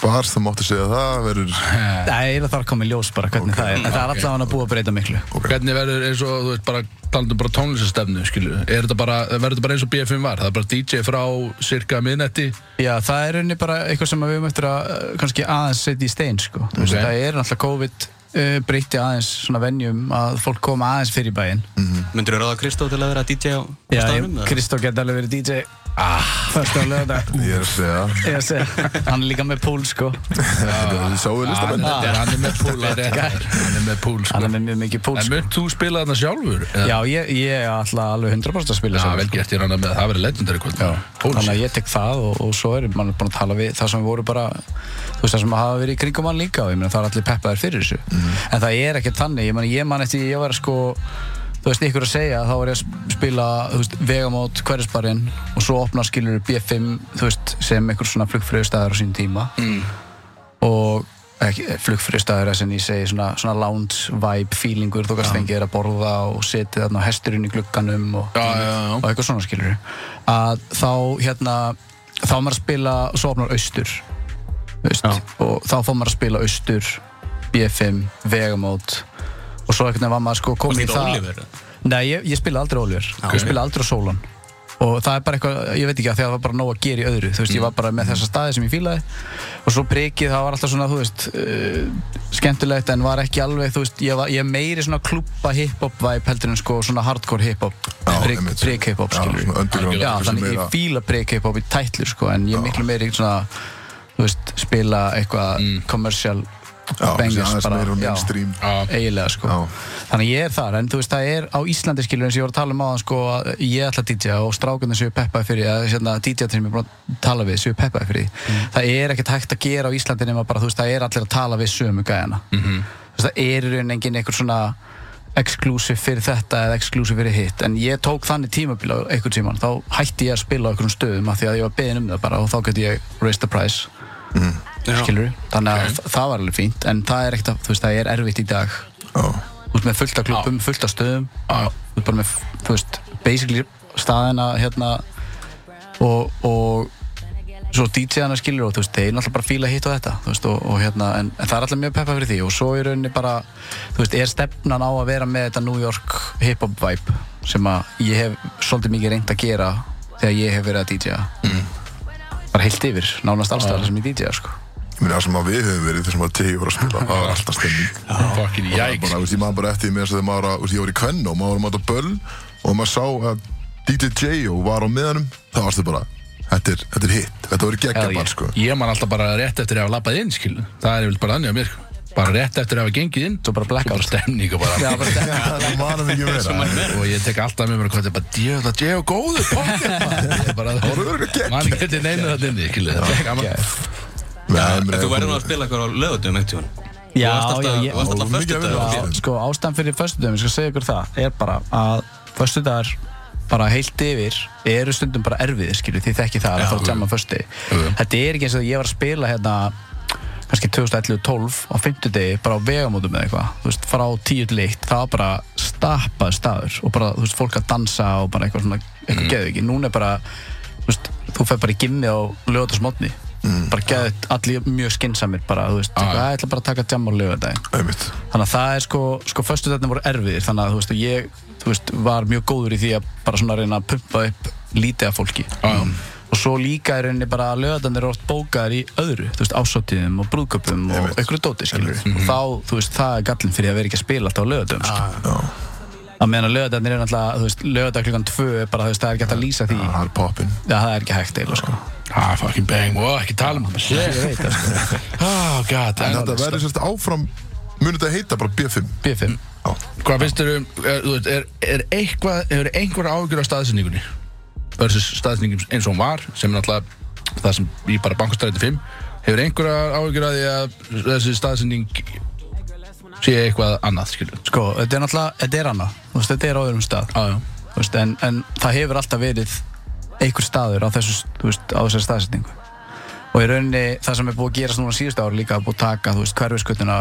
Speaker 1: bar það mátti segja að það verður
Speaker 4: það er að það er komið ljós bara hvernig það er en það er alltaf hann að búa að breyta miklu
Speaker 3: Hvernig verður eins og, þú veist, bara talandum bara tónlistastefnu, skilju Er þetta bara, verður þetta bara eins og BFM var Það er bara DJ frá cirka miðnetti
Speaker 4: Já, það er rauninni bara eitthvað sem við höfum eftir að uh, kannski aðeins setja í stein sko. okay.
Speaker 3: Ok.
Speaker 4: það er náttúrulega COVID uh, breytti aðeins svona venjum að fólk koma aðeins fyrir í bæinn
Speaker 2: Mm. Myndur þú ráða Kristó til að vera DJ á á
Speaker 4: Já,
Speaker 2: staðnum? eða?
Speaker 4: Kristó geti alveg verið DJ ah. Fyrst á lögðag
Speaker 1: ég er að segja
Speaker 4: Hann er líka með púl sko
Speaker 1: þið sáu listamenn
Speaker 3: Hann er- hann er með púl, það er rétt maður. hann er með púl,
Speaker 4: Hann
Speaker 3: sko
Speaker 4: er með mjög mikið púl
Speaker 3: En
Speaker 4: sko.
Speaker 3: munt þú spila þarna sjálfur? Eða-
Speaker 4: Já, ég, ég ætla alveg 100% að spila
Speaker 3: Já,
Speaker 4: sjálfur,
Speaker 3: vel
Speaker 4: sko.
Speaker 3: gert ég rann að með, það verður legendary kvöld Púl,
Speaker 4: Þannig að
Speaker 3: sko.
Speaker 4: ég tek það og, og svo er mann búin að tala við það sem voru bara, þú veist það sem hafa verið í kringum hann líka og ég meina það er allir peppaðir fyrir þessu
Speaker 3: Mhm.
Speaker 4: en það er ekkert þannig, ég man, ég man eftir ég var sko, þú veist ykkur að segja þá var ég að spila, þú veist, vegamót hverjusbarinn og svo opnar skilur B5, þú veist, sem einhver svona flugfröðstæðar á sín tíma mm. og ekki, flugfröðstæðar sem ég segi, svona, svona lounge vibe feelingur, þú kannst fengið þér að borða og setið þarna á hesturinn í glugganum og,
Speaker 3: Já, já, já.
Speaker 4: og eitthvað svona skilur að þá hérna þá er maður að spila og svo opnar austur veist, og þá fór maður að spila austur B5, vegamót og svo einhvern veginn var maður sko komin í
Speaker 2: Varstu
Speaker 4: það
Speaker 2: þetta Oliver?
Speaker 4: Nei, ég, ég spila aldrei Oliver ég spila aldrei Solon og það er bara eitthvað, ég veit ekki að því að það var bara nóg að gera í öðru þú veist, ég var bara með þessa staði sem ég fílaði og svo prikið, það var alltaf svona, þú veist uh, skemmtilegt en var ekki alveg þú veist, ég, var, ég er meiri svona klúpa hip-hop vibe heldur en sko svona hardcore hip-hop
Speaker 1: Já,
Speaker 4: prik,
Speaker 1: einmitt.
Speaker 4: prik hip-hop
Speaker 1: Já,
Speaker 4: skilur
Speaker 1: svona underground,
Speaker 4: já,
Speaker 1: eitthvað sem
Speaker 4: þannig
Speaker 1: meira-
Speaker 4: ég fíla prik hip-hop í tætlur sko, en ég er miklu meiri svona, þú veist, spila eitthvað commercial
Speaker 1: Mm. Já, þessi
Speaker 4: bangers
Speaker 1: aðeins
Speaker 4: bara,
Speaker 1: meira
Speaker 4: já
Speaker 1: mainstream
Speaker 3: Já.
Speaker 4: eiginlega sko
Speaker 1: Já.
Speaker 4: þannig ég er þar en þú veist það er á Íslandi skilur eins og ég voru að tala um áðan sko að ég ætla að DJ og strákunni séu peppaði fyrir að hérna, DJ sem ég er búin að tala við séu peppaði fyrir því það er ekkert hægt að gera á Íslandi nema bara þú veist það er allir að tala við sömu gæjana mm -hmm. Þess, það er í rauninni engin einhver svona exclusive fyrir þetta eða exclusive fyrir hitt en ég tók þannig tímabil á einhvern tíman þá hætti ég að spila á einhverjum stöðum af því að ég var beðin um það bara og þá gæti ég raise the price
Speaker 2: Já.
Speaker 4: skilur þannig að okay. það var alveg fínt en það er ekkert að, þú veist, það er erfitt í dag
Speaker 1: Já,
Speaker 4: þú veist með fullta klubbum, fullta stöðum þú veist bara með, þú veist, basically staðina hérna og, og svo DJ-ana skilur og þú veist, þeir náttúrulega bara fíla hitt og þetta þú veist, og, og hérna, en, en það er alltaf mjög peppa fyrir því og svo í rauninni bara, þú veist, er stefnan á að vera með þetta New York hip-hop vibe sem að ég hef svolítið mikið reynd að gera þegar ég hef verið að DJ-a bara heilt yfir, nánast allstæðar sem ég DJ-a, sko
Speaker 1: ég meina það sem að við höfum verið þessum að tegi voru að spila, það var alltaf stemning
Speaker 3: Fucking
Speaker 1: Það var
Speaker 3: jæks
Speaker 1: bara, þú veist, ég maður bara eftir því með þess að þegar maður var að, þú veist, ég var í kvenn og maður var að máta böll og maður sá að DJ J.O. var á miðanum, þá varstu bara, þetta er, þetta er hitt, þetta voru
Speaker 4: Já,
Speaker 1: geggjaball,
Speaker 4: ég-
Speaker 1: sko.
Speaker 3: Ég man alltaf bara rétt eftir að hafa labbað inn, skil Það er yfirleitt bara þannig á mér, sko Bara rétt eftir að hafa gengið inn
Speaker 4: Svo bara blackout.
Speaker 3: Svo bara stemning og bara
Speaker 4: Já, bara þetta
Speaker 1: Það manum ekki meira.
Speaker 3: Og ég tek alltaf með mér og hvað þetta er bara Djöfla, djöfla, góðu, pocket maður." Ég er bara-
Speaker 1: Það voru örgulega geggjaball.
Speaker 3: Man getur neina það inni, skil Þetta er gaman
Speaker 1: Nei,
Speaker 2: Þú verður nú að spila eitthvað á lögutum einhvern tíminn.
Speaker 4: Já,
Speaker 2: Þú varst alltaf-
Speaker 4: já, ég-
Speaker 2: Þú varst
Speaker 1: Ó, mikið
Speaker 2: alltaf
Speaker 1: að
Speaker 2: förstu
Speaker 1: vinna.
Speaker 2: dag.
Speaker 1: Já.
Speaker 4: Já, sko, ástæðan fyrir föstudagum, ég skal segja ykkur það er bara að föstudagar bara heilt yfir eru stundum bara erfiðir, skilju, því þekki það að það er jamma föstudegi. Þetta er ekki eins og ég var að spila hérna kannski 2011-12 á fimmtudegi bara á vegamótum eða eitthvað, þú veist, frá tíu til eitt það var bara stappað staður og bara, þú veist, fólk að dansa og bara eitthvað svona eitthvað mm. geðu ekki, núna er bara þú veist, þú fer bara í gimmi á lögatasmotni mm. bara geðu allir mjög skinsamir bara, þú veist, ah. ég ætla bara að taka jamma á lögadaginn
Speaker 1: Einmitt.
Speaker 4: þannig að það er sko, sko föstudagarnir voru erfiðir þannig að þú veist, og ég þú veist, var mjög góður í því að bara svona reyna að pumpa upp lítið af fólki mm. og svo líka er reyni bara að löðanir eru oft bókaðar í öðru, þú veist, ásáttíðum og brúðköpum og einhverju dóti, skilur
Speaker 1: Mhm.
Speaker 4: og þá, þú veist, það er gallin fyrir að vera ekki að spila alltaf á löðum, skilur
Speaker 1: Já,
Speaker 4: að meðan að löðanir eru náttúrulega, þú veist, löðan klukkan tvö er bara, þú veist, það er ekki hægt að lýsa því
Speaker 1: það er poppin.
Speaker 4: Já, það er ekki hægt eiginlega, sko
Speaker 3: Ah, fucking bang, wow, ekki tala um það Ég veit það, sko Oh, god,
Speaker 1: En
Speaker 3: en
Speaker 1: þetta verður sérst áfram, munir þetta heita bara B5.
Speaker 4: B5
Speaker 1: Já.
Speaker 3: Hvað finnst þér um, er, þú veist, er, er eitthvað, hefur einhver ágjör á staðsynningunni? Versus staðsynningun eins og hún var, sem er náttúrulega það sem ég bara bankastræti 5 Hefur einhver ágjör á því að þessi staðsynning sé eitthvað annað, skilur
Speaker 4: Sko, þetta er náttúrulega, þetta er annað Þú veist, þetta er á öðrum stað
Speaker 3: Já, já,
Speaker 4: Þú veist, en, en það hefur alltaf verið einhver staður á, þessu, þú veist, á þessari staðsetningu og í rauninni það sem er búið að gerast núna síðustu ári líka er búið að taka þú veist, hverfiskutuna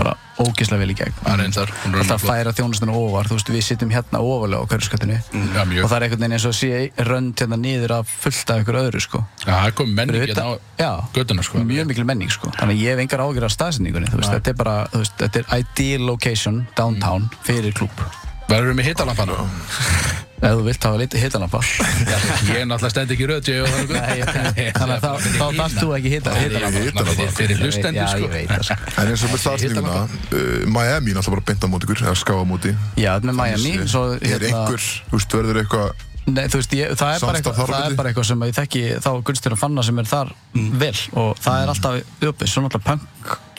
Speaker 4: bara ógislega vel í gegn
Speaker 3: það er eins þar hún er
Speaker 4: alltaf að
Speaker 3: flott.
Speaker 4: færa þjónustuna ofar þú veist, við sittum hérna ofalega á hverfiskutinu
Speaker 3: Mm, Já,
Speaker 4: og
Speaker 3: mjög,
Speaker 4: það er einhvern veginn eins og sé rönd hérna niður að fullta ykkur öðru sko.
Speaker 3: Já, það er komið menning
Speaker 4: Fyrir
Speaker 3: hérna á
Speaker 4: utan- já.
Speaker 3: göttuna, sko
Speaker 4: mjög mikil menning sko. þannig að ég hef engar ágjur af staðsetningunni þú veist, þetta er bara, þú veist, þetta er ideal location downtown fyrir klúb
Speaker 3: Verður við með hittalampana?
Speaker 4: ef þú vilt hafa litið hittanapall
Speaker 3: Ég er náttúrulega stend ekki röð, ég og það
Speaker 4: Nei,
Speaker 3: er
Speaker 4: ég- Þannig að þá- þá þarfst þú ekki hita
Speaker 1: Ég
Speaker 4: hitana
Speaker 1: hita það bara.
Speaker 3: Fyrir hlustendur,
Speaker 4: Já,
Speaker 3: sko
Speaker 4: ég veit það sko.
Speaker 1: En eins og með staðsninguna, uh, Miami er alltaf bara beint á mót ykkur, eða ská á móti.
Speaker 4: Já, með Miami svo, hérna,
Speaker 1: Er einhver, þú veist, verður eitthvað,
Speaker 4: nei, þú veist, ég, það, er bara
Speaker 1: Samstarf
Speaker 4: eitthvað,
Speaker 1: þar á
Speaker 4: það er
Speaker 1: milli?
Speaker 4: bara eitthvað sem ég þekki þá Gunstir að fanna sem er þar
Speaker 1: Mm.
Speaker 4: vel og það er alltaf uppið, svo náttúrulega punk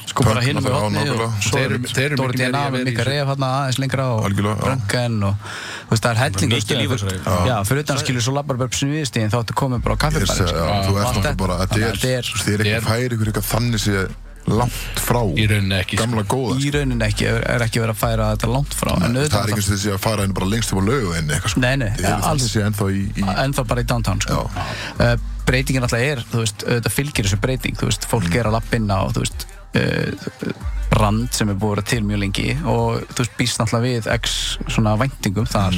Speaker 4: sko bara
Speaker 1: Punk,
Speaker 4: hinum í
Speaker 1: náttúrulega,
Speaker 4: hotni
Speaker 1: já,
Speaker 4: og
Speaker 1: nákvæmlega.
Speaker 4: svo
Speaker 3: Þeir
Speaker 4: er
Speaker 3: eru- þeir eru
Speaker 4: Dóri
Speaker 3: mikið meira í
Speaker 4: DNA
Speaker 3: að
Speaker 4: með
Speaker 3: vera í
Speaker 4: Mika
Speaker 3: þessu.
Speaker 4: Reyf hérna aðeins lengra og
Speaker 1: Algjörlega, já.
Speaker 4: Bröngan og þú veist, það er helling
Speaker 2: Mikið líf þessu reyfi.
Speaker 4: Já, fyrir utan skilur svo labbar upp sem viðstíðin þá ertu komið bara á
Speaker 1: Ég
Speaker 4: kaffibæri
Speaker 1: segi, já, þú ert náttúrulega bara, þetta er,
Speaker 4: þetta er
Speaker 1: þú veist, þið er ekki
Speaker 3: er-
Speaker 1: færi ykkur eitthvað þannig sé langt frá
Speaker 3: Í rauninni ekki, sko.
Speaker 1: gamla góða
Speaker 4: í
Speaker 1: sko.
Speaker 4: rauninni ekki, er ekki verið að færa þetta langt frá en
Speaker 1: það
Speaker 4: auðvitað
Speaker 1: er ekki eins og þið sé að fara henni bara lengst upp á lögu henni eitthvað sko.
Speaker 4: Nei, nei,
Speaker 1: þið eru
Speaker 4: ja, alls.
Speaker 1: þannig sé ennþá í, í
Speaker 4: ennþá bara í downtown sko. uh, breytingin alltaf er þú veist, auðvitað fylgir þessu breyting þú veist, fólk er að lappinna og þú veist uh, brand sem er búið að vera til mjög lengi og þú veist, býst alltaf við x svona væntingum þar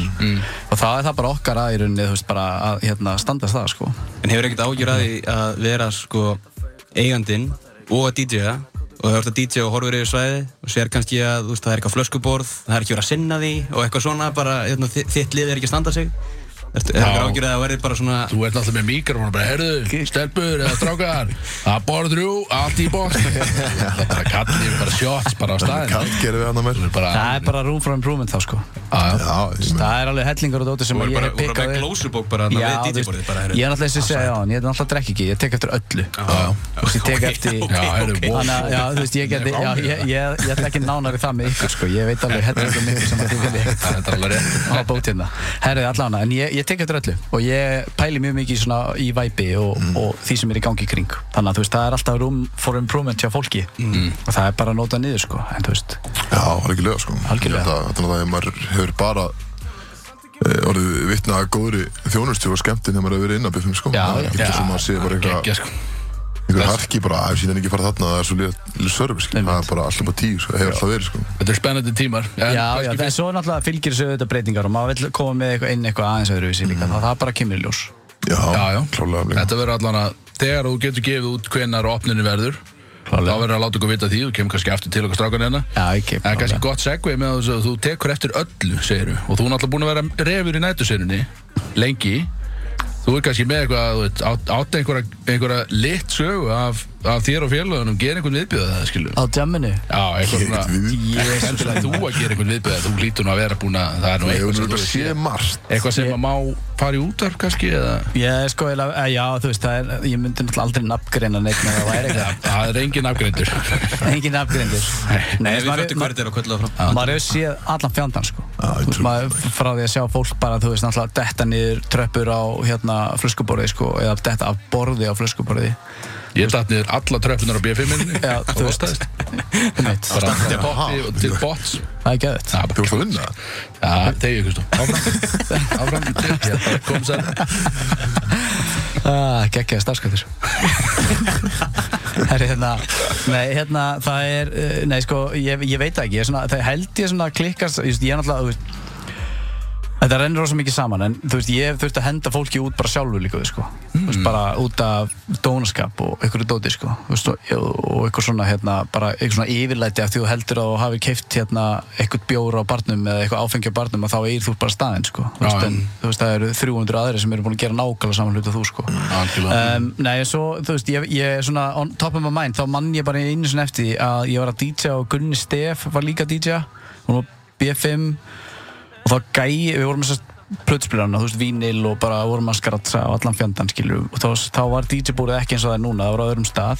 Speaker 4: og það er það bara okkar að í rauninni þú veist, bara að hérna, standast það sko.
Speaker 2: En hefur ekkert ágjur að því að vera sko eigandinn og að DJ-a og það er að DJ og horfir yfir svæði og sér kannski að þú veist, það er eitthvað flöskuborð, það er ekki verið að sinna því og eitthvað svona bara hérna, þi- þitt lið er ekki að standa sig Ertu- Hefur ekkert ágjur að það verði bara svona
Speaker 3: Þú ert náttúrulega með mikrofónu bara, herðu, stelpur eða strákar, að borða þrjú, allt í bóks. Það er bara kallir, bara shots, bara á staðin.
Speaker 1: kall gerði við hann að mér
Speaker 3: Bara,
Speaker 4: það er bara room for improvement þá sko.
Speaker 3: að,
Speaker 1: já, ég meina,
Speaker 4: það er alveg hellingur og dóti sem
Speaker 2: Þú
Speaker 4: ég
Speaker 2: er bara,
Speaker 4: hef
Speaker 2: þú er bara
Speaker 4: pikkað
Speaker 2: með
Speaker 4: upp.
Speaker 2: glósubók bara þarna
Speaker 4: Já,
Speaker 2: við
Speaker 4: þú veist,
Speaker 2: DJ-borðið bara
Speaker 4: ég er náttúrulega eins og ég segja á hann, ég er náttúrulega drekk ekki, ég tek eftir öllu Þú veist, ég tek eftir
Speaker 3: já, herðu,
Speaker 2: ok.
Speaker 3: wow.
Speaker 4: Þannig að, já, þú veist, ég geti, já, ég, ég, ég ætla ekki nánar í það með ykkur, sko, ég veit alveg heldur ykkur mikið sem að þið vilja
Speaker 3: Það er alveg rétt.
Speaker 4: á bót hérna. Herðu, allavega, en ég, ég ég tek eftir öllu og ég pæli mjög mikið svona í væpi og,
Speaker 2: Mm.
Speaker 4: og því sem er í gangi í kring þannig að þú veist, það er alltaf room for improvement hjá fólki
Speaker 2: Mm.
Speaker 4: og það er bara að nota niður sko en þú veist,
Speaker 1: Já, algjörlega sko
Speaker 4: Algjörlega.
Speaker 1: Þetta er náttúrulega að maður hefur bara eh, orðið vitna að góðri þjónustu og skemmtinn þegar maður hefur verið inn að byggum sko
Speaker 4: Já,
Speaker 1: Það er
Speaker 4: já.
Speaker 1: ekki sem maður sé bara
Speaker 3: Gekkja
Speaker 1: eitthvað
Speaker 3: sko
Speaker 1: einhver harki bara að síðan ekki fara þarna það er svo liða service sko. það er bara alltaf bara tíu sko, hefur alltaf verið sko
Speaker 3: Þetta er spennandi tímar en
Speaker 4: já, já,
Speaker 3: kannski
Speaker 4: en svo náttúrulega fylgir þessu auðvitað breytingar og maður vil koma með eitthvað inn eitthvað aðeins öðruvísi líka, mm. það, það bara kemur í ljós
Speaker 1: Já,
Speaker 3: Já, já.
Speaker 1: klálega
Speaker 3: fyrir- Þetta verður allan að Þegar þú getur gefið út hvenar opninu verður Þá verður að láta okkur vita því Þú kemur kannski aftur til okkar strákan hérna
Speaker 4: Já, ekki,
Speaker 3: En kannski gott segvið með þess að þú tekur eftir öllu, segir þú. Og þú er náttúrulega búin að vera refur í nætusenunni, lengi. Þú er kannski með eitthvað, þú veit, átt át einhverja, einhverja lit sögu af, af þér og félögunum, gera einhvern viðbjöða það, skilur.
Speaker 4: á djamminu sko-
Speaker 3: Já, eitthvað
Speaker 1: Ég veit við-
Speaker 3: svona, endilega þú að gera einhvern viðbjöða, þú lítur nú að vera búin að, það er nú
Speaker 1: Ég
Speaker 3: eitthvað
Speaker 1: hefur
Speaker 3: sem þú
Speaker 1: náttúrulega
Speaker 3: veist.
Speaker 1: séð margt
Speaker 3: Eitthvað sem að má fara í útvarf kannski, eða...
Speaker 4: Ég sko, ég, já, þú veist, það er, ég myndi náttúrulega aldrei nafngreina neitt með það væri eitthvað
Speaker 3: Það er engin afgreyndur.
Speaker 4: Engin nafngreindir
Speaker 2: Nei, við fötum hvað þetta er að kvölda fram
Speaker 4: maður hefur séð allan fjandann sko
Speaker 1: Já, ég
Speaker 4: Þú veist,
Speaker 1: trúi
Speaker 4: maður frá því að sjá fólk bara þú veist náttúrulega detta niður tröppur á hérna flöskuborði sko eða detta af borði á flöskuborði
Speaker 3: Ég datt niður alla tröppunar á B5-minni.
Speaker 4: Já, þú veist. Einmitt.
Speaker 3: Bara til
Speaker 1: Já.
Speaker 3: potti og til bots.
Speaker 4: það er gæðut
Speaker 3: Það er bara
Speaker 1: Þú ert að vinna
Speaker 3: Já, tegja ykkur stó Áfram, áfram, Hérna, kom sér
Speaker 4: geggjaði starfskvættur Herri, hérna, nei, hérna, það er, eh, nei, sko, ég, ég veit það ekki, ég er svona, það held ég svona klikkast, ég, ég er náttúrulega, þú veist, þetta rennur rosa mikið saman, en þú veist, ég hef þurft að henda fólki út bara sjálfur líka, við, sko, þú
Speaker 3: Mm.
Speaker 4: veist, bara út af dónaskap og einhverju dóti, sko, þú veist, og, og eitthvað svona, hérna, bara eitthvað svona yfirlæti af því þú heldur að þú hafi keift, hérna, eitthvað bjóra á barnum eða eitthvað áfengi á barnum að þá eigir þú bara staðinn, sko, þú veist,
Speaker 3: Já,
Speaker 4: en,
Speaker 3: já.
Speaker 4: þú veist, það eru 300 aðri sem eru búin að gera nákvæmlega saman hluta þú,
Speaker 3: Mm.
Speaker 4: sko.
Speaker 3: Algjörlega.
Speaker 4: Um, nei, en svo, þú veist, ég, ég er svona on top of my mind, þá mann ég bara einu sinni eftir því að ég var að DJ og Gunni Stef var líka DJ, hún var B5 og þá gæi, við vorum þess að plötspilana, þú veist, vínil og bara vorum að skratsa á allan fjandann, skilur og þá, þá var DJ búrið ekki eins og það er núna, það var á öðrum stað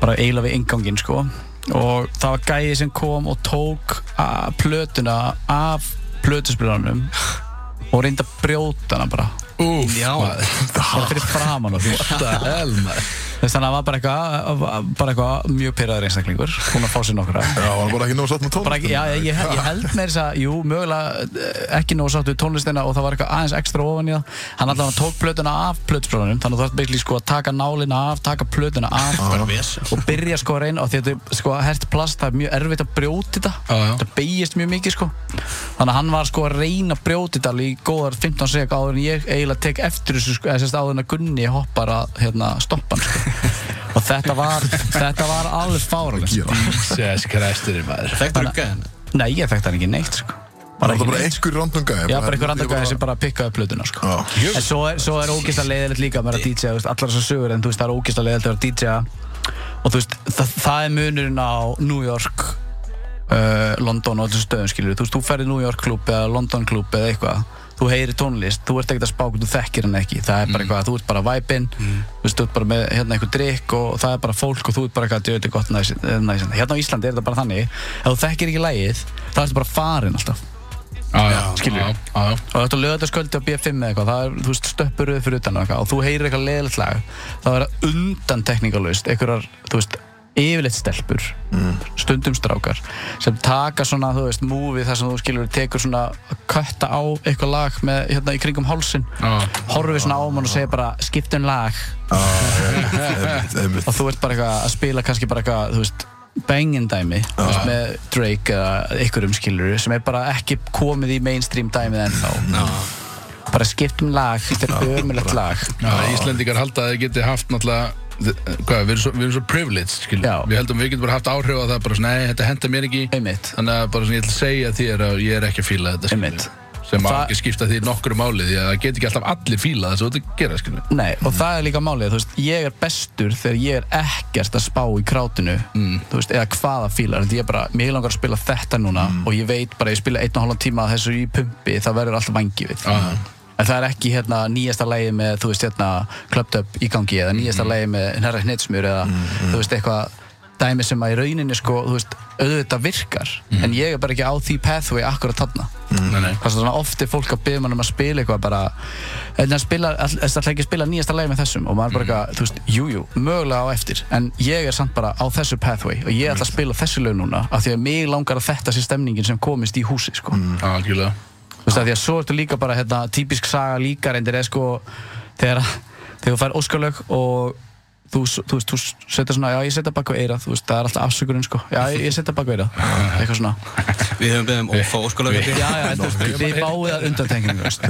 Speaker 4: bara eiginlega við inganginn, sko og það var gæi sem kom og tók a- plötuna af plötuspilanum og reyndi að brjóta hana bara
Speaker 3: Úf, já
Speaker 4: bara fyrir framan og því
Speaker 3: Þetta hel, maður
Speaker 4: Þess þannig að hann var bara eitthvað, bara eitthvað mjög pyrraður einstaklingur, hún að fá sér nokkra.
Speaker 1: Já, hann var bara ekki nóg satt með tón
Speaker 4: Bara ekki, já, ég, ég ég held með þess að, jú, mögulega eh, ekki nóg sátt við tónlistina og það var eitthvað aðeins ekstra ofan í það. Hann alltaf hann tók plötuna af plötsprónunum, þannig að þú þarf basically sko að taka nálina af, taka plötuna af og byrja sko að reyna, og því að þetta er sko hert plast, það er mjög erfitt að brjóti þetta.
Speaker 3: Já, já.
Speaker 4: Það beigist mjög mikið sko. Þannig að hann var sko að reyna að brjóti þetta alveg í góðar 15 sek áður en ég eiginlega tek eftir þessu sko, eða sérst áður en að Gunni hoppar að hérna, stoppa hann sko. Og þetta var, þetta var alveg fáralegt. sko.
Speaker 3: Jesus Christur, maður
Speaker 2: Þekktur upp gæðina
Speaker 4: Nei, ég þekkt hann ekki neitt sko.
Speaker 1: Það var
Speaker 4: ekki
Speaker 1: það bara
Speaker 4: neitt.
Speaker 1: einhver random gæði
Speaker 4: Já, bara einhver andan gæði sem
Speaker 1: sem
Speaker 4: bara pikkaði upp plötuna sko.
Speaker 1: Já.
Speaker 4: En svo er, svo er ógist að leiðilegt líka að vera að DJ, þú veist, allar þessar sögur en þú veist, það er ógist að leiðilegt að vera að DJ og þú veist, það, það er munurinn á New York uh, London og öllum stöðum skilur þú veist, þú ferði New York klub eða London klub eða eitthvað þú heyri tónlist, þú ert ekkert að spáka þú þekkir hann ekki, það er bara eitthvað, þú ert bara væpinn þú veist, þú ert bara með hérna eitthvað drikk og það er bara fólk og þú ert bara eitthvað djöðli gott næs- eh, næs hérna á Íslandi er þetta bara þannig ef þú þekkir ekki lægið, það ertu bara farin alltaf
Speaker 3: Já, já, skilur Já,
Speaker 4: og þetta lögataskvöldi á B5 eða eitthvað það er, þú veist, stöppuröð fyrir utan og eitthvað og þú heyrir eitthvað leðilegt lag það verða undan tekníkalaust einhverjar, þú veist, yfirleitt stelpur stundum strákar sem taka svona, þú veist, múfið þar sem þú skilur tekur svona að kötta á eitthvað lag með, hérna, í kringum hálsin
Speaker 3: já
Speaker 4: horfið svona á mann og segir bara skiptum lag og þú ert bara eitthvað að spila kannski bara eitthvað, þú veist bangin dæmi þú veist, með Drake eða einhverjum skilur sem er bara ekki komið í mainstream dæmið ennþá bara skiptum lag, þetta er ömulegt lag
Speaker 3: Já, Íslendingar halda að þið geti haft náttúrulega þi- Hvað, við erum svo, við erum svo privileged, skilur
Speaker 4: Já.
Speaker 3: Við heldum við getum bara haft áhrif á það bara, svona, Nei, þetta henda mér ekki
Speaker 4: Einmitt.
Speaker 3: Þannig að bara svona, ég ætla að segja þér að ég er ekki að fíla þetta skilurðu.
Speaker 4: Einmitt.
Speaker 3: Sem að
Speaker 4: Það-
Speaker 3: ekki skipta því nokkru máli Því að það get ekki alltaf allir fíla það sem þú ert að gera, skilur
Speaker 4: Nei, og það er líka málið, þú veist, ég er bestur þegar ég er ekkert að spá í krátinu þú veist, eða hvaða fílar því ég bara, mér langar að spila þetta núna og ég veit bara, að ég spila einn og hálfan tíma að þessu í pumpi, það verður alltaf vangi við
Speaker 3: Já, já.
Speaker 4: en það er ekki hérna nýjasta lægi með, þú veist, hérna klöptöp í gangi eða nýjasta mm. lægi með hnerra hnitsmjör eða, þú veist, eitthvað dæmi sem að í rauninni, sko, þú veist, auðvitað virkar en ég er bara ekki á því pathway akkur að
Speaker 3: Nei, nei.
Speaker 4: Þess að svona oft er fólk að byggja mann um að spila eitthvað bara En það spila, þess að ekki að spila nýjasta lagi með þessum Og maður bara eitthvað, þú veist, jújú, jú, mögulega á eftir En ég er samt bara á þessu pathway Og ég ætla að spila þessu lög núna Af því að mig langar að þetta sé stemningin sem komist í húsi, sko
Speaker 3: Mhm. Algjörlega
Speaker 4: Þú veist, af því að svo ertu líka bara, hérna, típisk saga líka reyndir eða sko Þegar, þegar þú fær óskalög og þú, þú veist, þú setur svona, já, ég setja bak á eira Þú veist, það er alltaf afsökunin, sko Já, ég, ég setja bak á eira, eitthvað svona
Speaker 2: Við höfum beðum og fá óskalöfum
Speaker 4: Já, já, en þú veist, þið báðið að undantekningu, þú veist.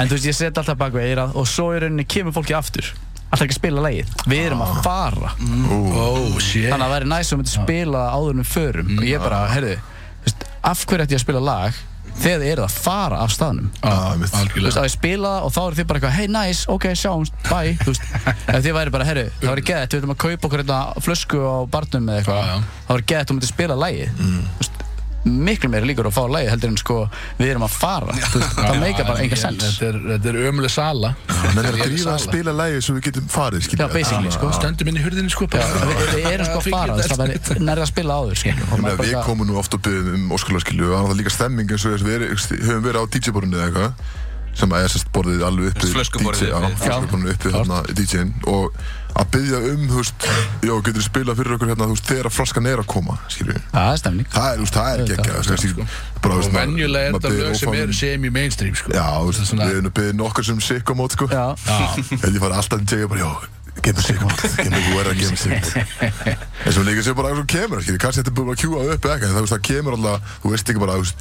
Speaker 4: En þú veist, ég set alltaf bak við eirað og svo í rauninni kemur fólki aftur. Alltaf ekki að spila lagið. Við erum að fara.
Speaker 3: Oh shit
Speaker 4: Þannig að það væri næst um að við myndum spila það áður en við förum. Og ég bara, heyrðu, þú veist, af hverju ætti ég að spila lag þegar þið eruð að fara af staðnum?
Speaker 1: Ah, mitt.
Speaker 4: Þú veist,
Speaker 3: Algjörlega
Speaker 4: að ég spila það og þá eru þið bara eitthvað, hey, nice, ok, sjáumst, bye, þú veist. Ef þið væri bara, heyrðu, það væri geðett, við ætlum að kaupa okkur hérna flösku á barnum eða eitthvað.
Speaker 3: Já, já.
Speaker 4: Það væri geðett, þú myndir spila lagið. Þú veist, miklu meiri líkur á að fá lagið heldur en sko, við erum að fara. Þú veist, það meika bara enga sens.
Speaker 3: Þetta er, þetta er ömuleg sala
Speaker 1: Menn er að
Speaker 3: Ömurleg
Speaker 1: drífa að
Speaker 3: sala.
Speaker 1: spila lægi svo við getum farið,
Speaker 4: Já,
Speaker 1: skilja
Speaker 4: basically, sko.
Speaker 3: Stöndum inn í hurðinni sko
Speaker 4: Já, við, við erum sko að fara, þess að það væri nærri að spila áður, sko. Og maður bara
Speaker 1: Við
Speaker 4: eitthvað-
Speaker 1: komum nú oft og byggðum um óskalagskilju og það var líka stemming eins og þess við erum- höfum verið á DJ-borðinu eða eitthvað sem að SS borðið alveg uppi
Speaker 2: Flöskuborðið
Speaker 1: DJ, já,
Speaker 2: uppi.
Speaker 1: flöskuborðinu uppi þarna DJ-in og að byggja um, þú veist, já, getur þið spilað fyrir okkur hérna, þú veist, þegar að fraskan er að koma, skilju
Speaker 4: Það er stemning.
Speaker 1: Það er, þú veist, það er ekki ekki, það er bara,
Speaker 3: Og
Speaker 1: þú veist, maður-
Speaker 3: venjulega er
Speaker 1: maður
Speaker 3: þetta
Speaker 1: biður
Speaker 3: lög sem
Speaker 1: ófáum-
Speaker 3: eru semi mainstream sko
Speaker 1: Já,
Speaker 3: Þetta
Speaker 1: þú
Speaker 3: er
Speaker 1: veist,
Speaker 3: svona-
Speaker 1: við erum byggðið nokkur sem sikkomót, sko
Speaker 4: Já.
Speaker 1: Þegar ég fari alltaf að tjekka bara, já, gefa mig sigmót, gefa mig þú er að gefa mig sigmót. En svo líka sér bara að þú kemur, skilji, kannski þetta er bara að kjúa upp eða eitthvað, en það, þú veist, það kemur alltaf, þú veist ekki bara, þú veist,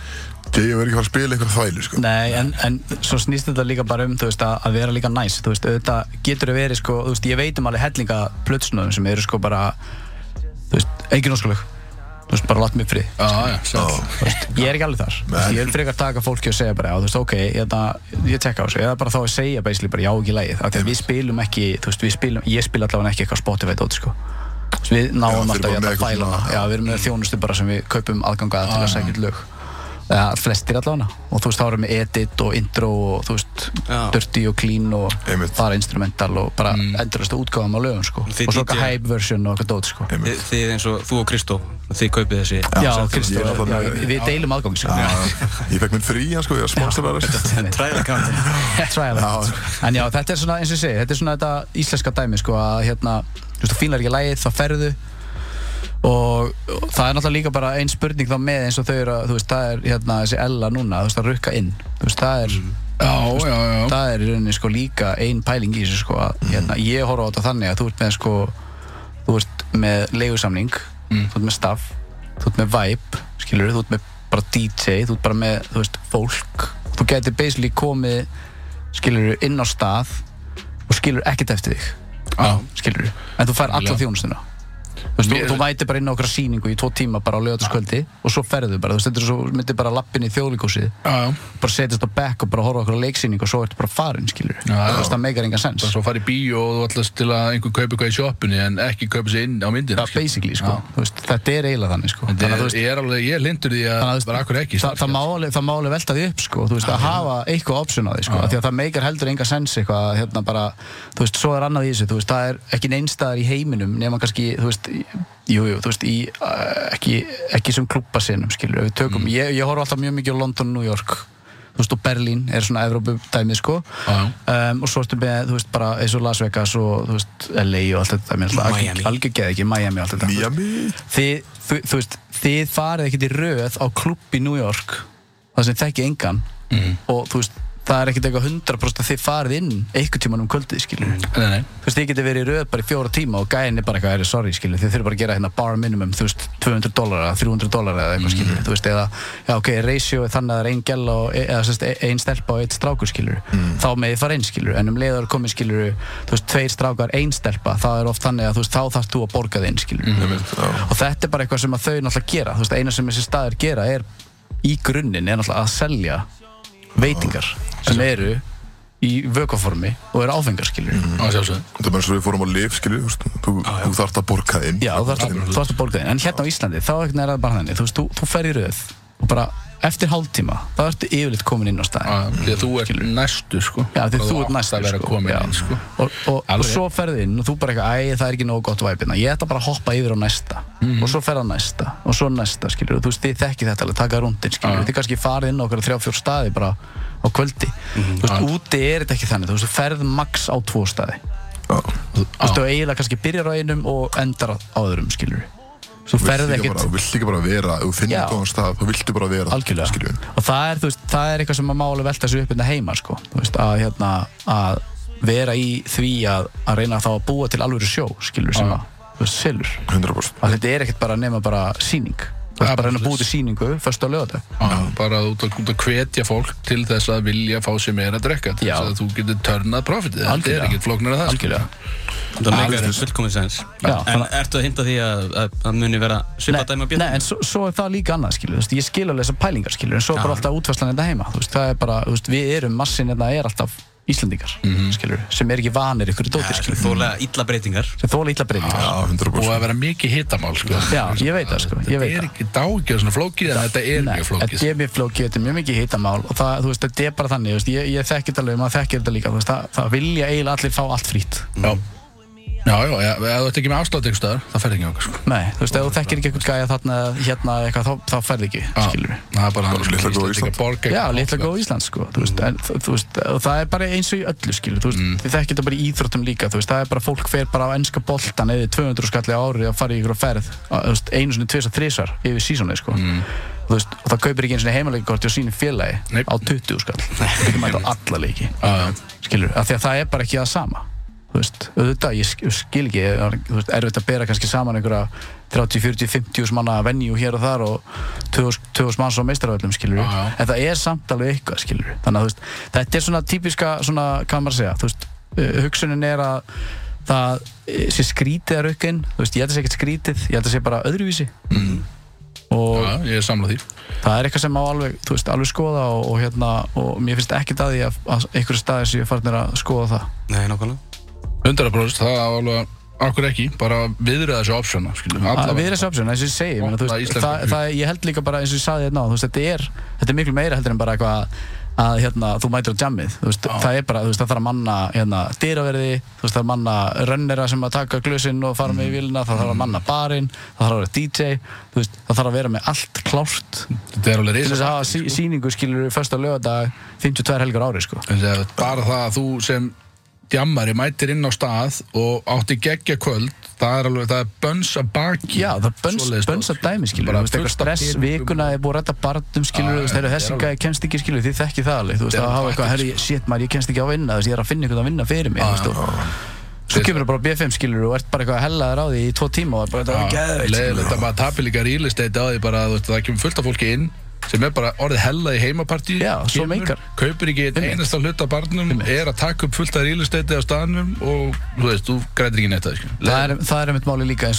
Speaker 1: J.O. er ekki að fara að spila einhverja þvælu, sko.
Speaker 4: Nei, en, en svo snýst þetta líka bara um þú veist, að, að vera líka næs þú veist, auðvitað getur þau verið sko, þú veist, ég veit um alveg hellinga plötsnöðum sem eru sko bara þú veist, engin óskalög þú veist, bara látt mig frið
Speaker 3: Já, já, sæll.
Speaker 1: Já,
Speaker 4: ég er ekki alveg þar, Þú veist, ég vil frekar taka fólki og segja bara, já, þú veist, ok, ég, þetta- ég tekka á þessu eða bara þá að segja basically bara já ekki lægið af því að við spilum ekki, þú veist, við spilum ég spil allavega ekki eitthvað Spotify dót, sko Þú veist, við
Speaker 1: Já,
Speaker 4: náum
Speaker 1: þið
Speaker 4: alltaf
Speaker 1: eru
Speaker 4: í
Speaker 1: bara með
Speaker 4: þetta
Speaker 1: eitthvað
Speaker 4: fælana
Speaker 1: svona- Ah.
Speaker 4: já, við erum með þjónustu bara sem við kaupum aðganga til að segja lög eða flestir allavega og þú veist, þá erum við edit og intro og þú veist,
Speaker 2: Já.
Speaker 4: dirty og clean og
Speaker 1: Einmitt.
Speaker 4: bara instrumental og bara mm. endurasta útgáðum á lögum, sko
Speaker 2: Þið
Speaker 4: og svo okkar
Speaker 2: DJ
Speaker 4: hype version og okkar dót, sko
Speaker 1: Einmitt.
Speaker 2: Þið þið eins og þú og Kristó Þið kaupið þessi
Speaker 4: Já,
Speaker 2: Settlement.
Speaker 4: Kristó,
Speaker 1: Ég er
Speaker 4: já,
Speaker 1: náttúrulega-
Speaker 4: við við deilum aðgang, sko
Speaker 1: Ah, ég fekk minn frí, sko, ég var sponsorar, sko.
Speaker 4: Einmitt.
Speaker 2: Trial account
Speaker 4: trial
Speaker 1: Já.
Speaker 4: en já, þetta er svona, eins og ég segi, þetta er svona þetta íslenska dæmi, sko, að hérna þú veist, þú fílar ekki lægið, þá ferðu og, og það er náttúrulega líka bara ein spurning þá með eins og þau eru að, þú veist, það er hérna þessi Ella núna, þú veist, að rukka inn þú veist, það er
Speaker 3: Mm. Já, já, Mm. já
Speaker 4: það er í rauninni sko líka ein pæling í þessu sko að hérna, ég horfa á þetta þannig að þú ert með sko þú ert með leigusamning
Speaker 3: Mm.
Speaker 4: þú ert með staff, þú ert með vibe skilur, þú ert með bara DJ þú ert bara með, þú veist, fólk þú getur basically komið skilur, inn á stað og skilur ekkert eftir þig,
Speaker 3: Já,
Speaker 4: skilur en þú fær alla
Speaker 3: Algjörlega.
Speaker 4: þjónustuna Þú veist,
Speaker 3: Mér-
Speaker 4: þú, þú mætir bara inn á okkar sýningu í tvo tíma bara á lögataskvöldi og svo ferðu bara, þú veist, þetta er svo myndir bara lappin í þjóðlíkúsið
Speaker 3: já, já
Speaker 4: bara setjast á bekk og bara horfa okkur á leiksýning og svo ertu bara farinn, skilur
Speaker 3: Já, já.
Speaker 4: þú veist, það meikar engan sens
Speaker 3: Það er svo að fara í bíó og þú ætlast til að einhver kaupi eitthvað í sjoppunni en ekki kaupi sér inn á myndina
Speaker 4: Já,
Speaker 3: skilur.
Speaker 4: basically, sko,
Speaker 3: Já.
Speaker 4: þú veist, þetta er eiginlega þannig, sko
Speaker 3: Þetta
Speaker 4: þannig að
Speaker 3: er,
Speaker 4: þú veist,
Speaker 3: ég er alveg, ég er lindur því að
Speaker 4: Þannig að þú veist,
Speaker 3: það er akkur ekki sko.
Speaker 4: það, það, má alveg, það má alveg velta því upp, sko þú veist, að hafa eitthvað option á því, sko af því að það meikar heldur engan sens eitthvað, að, hérna bara þú veist, svo er annað í þessu, þú veist, það er ekki neinstaðar í heiminum, nema kannski, þú veist í- jú, jú, þú veist, í uh, ekki, ekki sem klúbbasinnum, skilur, við tökum
Speaker 3: Mm.
Speaker 4: ég, ég horf alltaf mjög mikið á London, New York þú veist, og Berlín er svona Evrópu dæmið, sko
Speaker 3: Já.
Speaker 4: um, og svo ertu með, þú veist, bara eins og Las Vegas og, þú veist, LA og allt þetta, mér
Speaker 2: Miami.
Speaker 4: algjör, algjör geð ekki, Miami og allt þetta
Speaker 1: Miami,
Speaker 4: þið, þú, þú veist, þið farið ekkert í röð á klubb í New York það sem þekki engan og þú veist, það er ekkert eitthvað 100% að þið farið inn einhvern tíman um kvöldið, skilur
Speaker 3: Nei, nei,
Speaker 4: þú veist, þið getið verið í röð bara í fjóra tíma og gæðin er bara eitthvað, er sorry, skilur, þið þurfum bara að gera hérna bar minimum, þú veist, 200 dólar eða 300 dólar eða eitthvað, skilur, þú veist, eða já, ok, ratio er þannig að það er ein gæl og eða sérst, ein stelpa og eitt strákur, skilur þá með þið fara einn, skilur, en um leiður komið, skilur, þú veist, tveir strákar, ein stelpa það er oft þannig að, þú veist, þá þarfst þú að borga þinn, skilur og þetta er bara eitthvað sem að þau náttúrulega gera, þú veist, eina sem þessi staðir gera er í grunninn er náttúrulega að selja veitingar sem eru í vökuformi og eru áfengarskilur
Speaker 3: á sjálfsögðu
Speaker 1: þetta er bara eins og við fórum á lif, skilju, þú veist, þú,
Speaker 4: Ah,
Speaker 1: þú þarft að borga inn.
Speaker 4: Já, þú þarfst að, þú þarft að borga þig En hérna á Íslandi, þá ekkert er það bara þannig Þú veist, þú, þú fer í röð og bara eftir hálftíma, þá ertu yfirleitt komin inn á staðin
Speaker 3: að, því að þú ert næstu sko
Speaker 4: Já, því
Speaker 3: Og
Speaker 4: þú ert
Speaker 3: átt
Speaker 4: næstur
Speaker 3: að vera
Speaker 4: sko.
Speaker 3: komin
Speaker 4: Já.
Speaker 3: inn sko
Speaker 4: og, og, og
Speaker 3: Alveg.
Speaker 4: svo ferði inn og þú bara eitthvað, æ, það er ekki nógu gott væpina ég ætla bara að hoppa yfir á næsta
Speaker 3: Mhm.
Speaker 4: og svo ferða næsta og svo næsta, skilur þú veist, þið þekki þetta alveg, taka rúndin, skilur
Speaker 3: Já.
Speaker 4: þið kannski farið inn á okkur þrjá, fjór staði bara á kvöldi
Speaker 3: Mhm.
Speaker 4: þú veist, úti er þetta ekki þannig, þú veist, þú ferð max á tvo staði þú veist, þú eiginlega kannski byrjar á einum og endar á áðurum, skilur þú ferð ekkert
Speaker 1: Þú vilt líka bara vera, ef þú finnir
Speaker 4: Já.
Speaker 1: góðan stað, þú viltu bara vera
Speaker 4: algjörlega
Speaker 1: skiljum við.
Speaker 4: og það er, þú veist, það er eitthvað sem að máli velta þessu upp innan heima sko. Þú veist, að, hérna, að vera í því að, að reyna þá að búa til alvöru sjó skilur sem að, þú veist, selur
Speaker 1: 100%
Speaker 4: að þetta er ekkert bara nema bara síning þú
Speaker 3: Ja,
Speaker 4: veist, bara að reyna að búa
Speaker 3: svoleiðis.
Speaker 4: til síningu först á lögata
Speaker 3: Já, bara út að, út að hvetja fólk til þess að vilja fá sér meira að drekka til
Speaker 4: Já.
Speaker 3: þess að þú getur törnað profitið þetta er
Speaker 4: Algjörlega.
Speaker 3: ekkert flóknar að það sko.
Speaker 4: algjörlega
Speaker 2: Það meikar fullkomið sens.
Speaker 4: Já,
Speaker 2: En
Speaker 4: þannig-
Speaker 2: ertu að hinda því að að- að muni vera svipað dæmi á
Speaker 4: nei,
Speaker 2: björnum?
Speaker 4: en svo, svo er það líka annað skilur, þú veist, ég skil alveg þessar pælingar skilur en svo er bara alltaf útfæslan þetta heima þú veist, það er bara, þú veist, við erum massin þetta er alltaf Íslandingar
Speaker 2: Mhm.
Speaker 4: skilur, sem er ekki vanir ykkur dótir skilur,
Speaker 2: Þólega illa breytingar.
Speaker 4: sem þóla ítla breytingar
Speaker 1: Já, 100%
Speaker 3: og að vera mikið hitamál sko.
Speaker 4: Já, ég veit það, sko, ég
Speaker 3: þetta
Speaker 4: veit
Speaker 3: er
Speaker 4: það.
Speaker 3: ekki dágjörð svona flókið en þetta er
Speaker 4: Nei,
Speaker 3: mjög flókið sko.
Speaker 4: Þetta er mjög flókið, þetta er mjög mikið hitamál og það, þú veist, þetta er bara þannig, þú veist, ég, ég þekki þetta alveg, maður þekkir þetta líka, þú veist, það, það vilja eiginlega allir fá allt frýtt.
Speaker 3: já, já, já, já ef þú ert ekki með afslátt einhver staðar það fer ekki okkar sko.
Speaker 4: Nei, þú veist, ef þú þekkir ekki eitthvað gæja þarna eða hérna eða eitthvað, þá, þá færði ekki,
Speaker 3: Já,
Speaker 4: skilur við.
Speaker 3: það er bara sko. hann
Speaker 1: litla góða Ísland.
Speaker 3: borga
Speaker 4: Já,
Speaker 3: ekki
Speaker 4: litla
Speaker 3: afslátt.
Speaker 4: góð Ísland, sko, þú
Speaker 3: Mm.
Speaker 4: veist, en, þ- þú veist, og það er bara eins og í öllu, skilur, þú veist, þið þekkir þetta bara í íþróttum líka, þú veist, það er bara fólk fer bara á enska boltan eða 200 skalli á ári að fara í ykkur ferð, að, þú veist, einu sinni, tvis og þrisar yfir sísónið, sko.
Speaker 3: Mm.
Speaker 4: Þú veist, og það kaupir ekki einu sinni heimaleikakorti og sínu félagi
Speaker 3: Nei.
Speaker 4: á 20 skall, það mæta á alla leiki.
Speaker 3: Já, já.
Speaker 4: skilur, af því að það er bara ekki það sama þú veist, auðvitað, ég sk- skil ekki það er, þú veist, erfitt að bera kannski saman einhverja 30, 40, 50 þúsund manna venju hér og þar og 2000 manns á meistarvöldum skilur,
Speaker 3: Já, já.
Speaker 4: en það er samt alveg eitthvað skilur, þannig að þú veist, þetta er svona típiska, svona, hvað maður að segja, þú veist eh, hugsunin er að það eh, sé skrítið að raukinn, þú veist, ég held að sé ekkert skrítið, ég held að sé bara öðruvísi og
Speaker 3: Mm. Já, ég er samlað því
Speaker 4: það er eitthvað sem má alveg, þú veist, alveg skoða og, og hérna, og mér finnst ekki að því að, að einhverju staðir séu farnir að skoða það
Speaker 2: Nei, nákvæmlega.
Speaker 3: 100% það er alveg okkur ekki bara viðrið þessu optiona skilum,
Speaker 4: Að-
Speaker 3: allavega.
Speaker 4: Við erum sjápsjón, eins og ég segi ég meina, þú
Speaker 3: Opna
Speaker 4: veist,
Speaker 3: íslenska
Speaker 4: það,
Speaker 3: hug.
Speaker 4: það, Ég held líka bara eins og ég saði hérna á þú veist, þetta, er, þetta er miklu meira heldur en bara eitthvað að- að hérna, þú mætir á jammið þú veist, það er bara, þú veist, það þarf að manna hérna, dyraverði, þú veist, það þarf að manna rönnera sem að taka glösinn og fara með í vilna það þarf að manna barinn, það þarf að vera DJ þú veist, það þarf að vera með allt klárt
Speaker 3: þetta er alveg
Speaker 4: til þess
Speaker 3: reysa
Speaker 4: að hafa sí, síningu skilur við fyrsta lögadag 52 helgar á ári sko.
Speaker 3: bara það að þú sem djammari mætir inn á stað og átti geggja kvöld það er alveg, það er bönns að baki
Speaker 4: Já, það er bönns,
Speaker 3: Svoleiðis
Speaker 4: bönns
Speaker 3: dót,
Speaker 4: að dæmi skilur
Speaker 3: Bara
Speaker 4: Þú veist, eitthvað
Speaker 3: fullt af
Speaker 4: stress
Speaker 3: peningum
Speaker 4: vikuna er búið að rætta barndum skilur
Speaker 3: Já, sko."
Speaker 4: Þú veist,
Speaker 3: þetta
Speaker 4: heyrðu,
Speaker 3: er
Speaker 4: þessi
Speaker 3: alveg-
Speaker 4: gæði kemst ekki skilur Þið þekki það alveg, þú veist,
Speaker 3: Þetta er
Speaker 4: að hafa
Speaker 3: alveg
Speaker 4: eitthvað
Speaker 3: taktík,
Speaker 4: Herri, shit maður, ég kemst ekki á að vinna Þú veist, ég er að finna einhvern að vinna fyrir mig þú veist, og- Svo
Speaker 3: Þetta-
Speaker 4: kemur það bara á B5 skilur og ert bara eitthvað að hella þér á því í tvo tíma og það er bara þetta
Speaker 3: Já,
Speaker 4: geðveikt, skilurðu.
Speaker 3: leiðilegt að maður tapir líka real estate á því bara að þú veist, það kemur fullt af fólki inn sem er bara orðið hella í heimapartí
Speaker 4: Já, svo meikar.
Speaker 3: kaupir ekki einn
Speaker 4: Einmitt.
Speaker 3: einasta hlut af barnum er að taka upp fullt af real estate á staðnum og þú veist, þú grætir ekki neitt að
Speaker 4: Það er- það er einmitt máli líka eins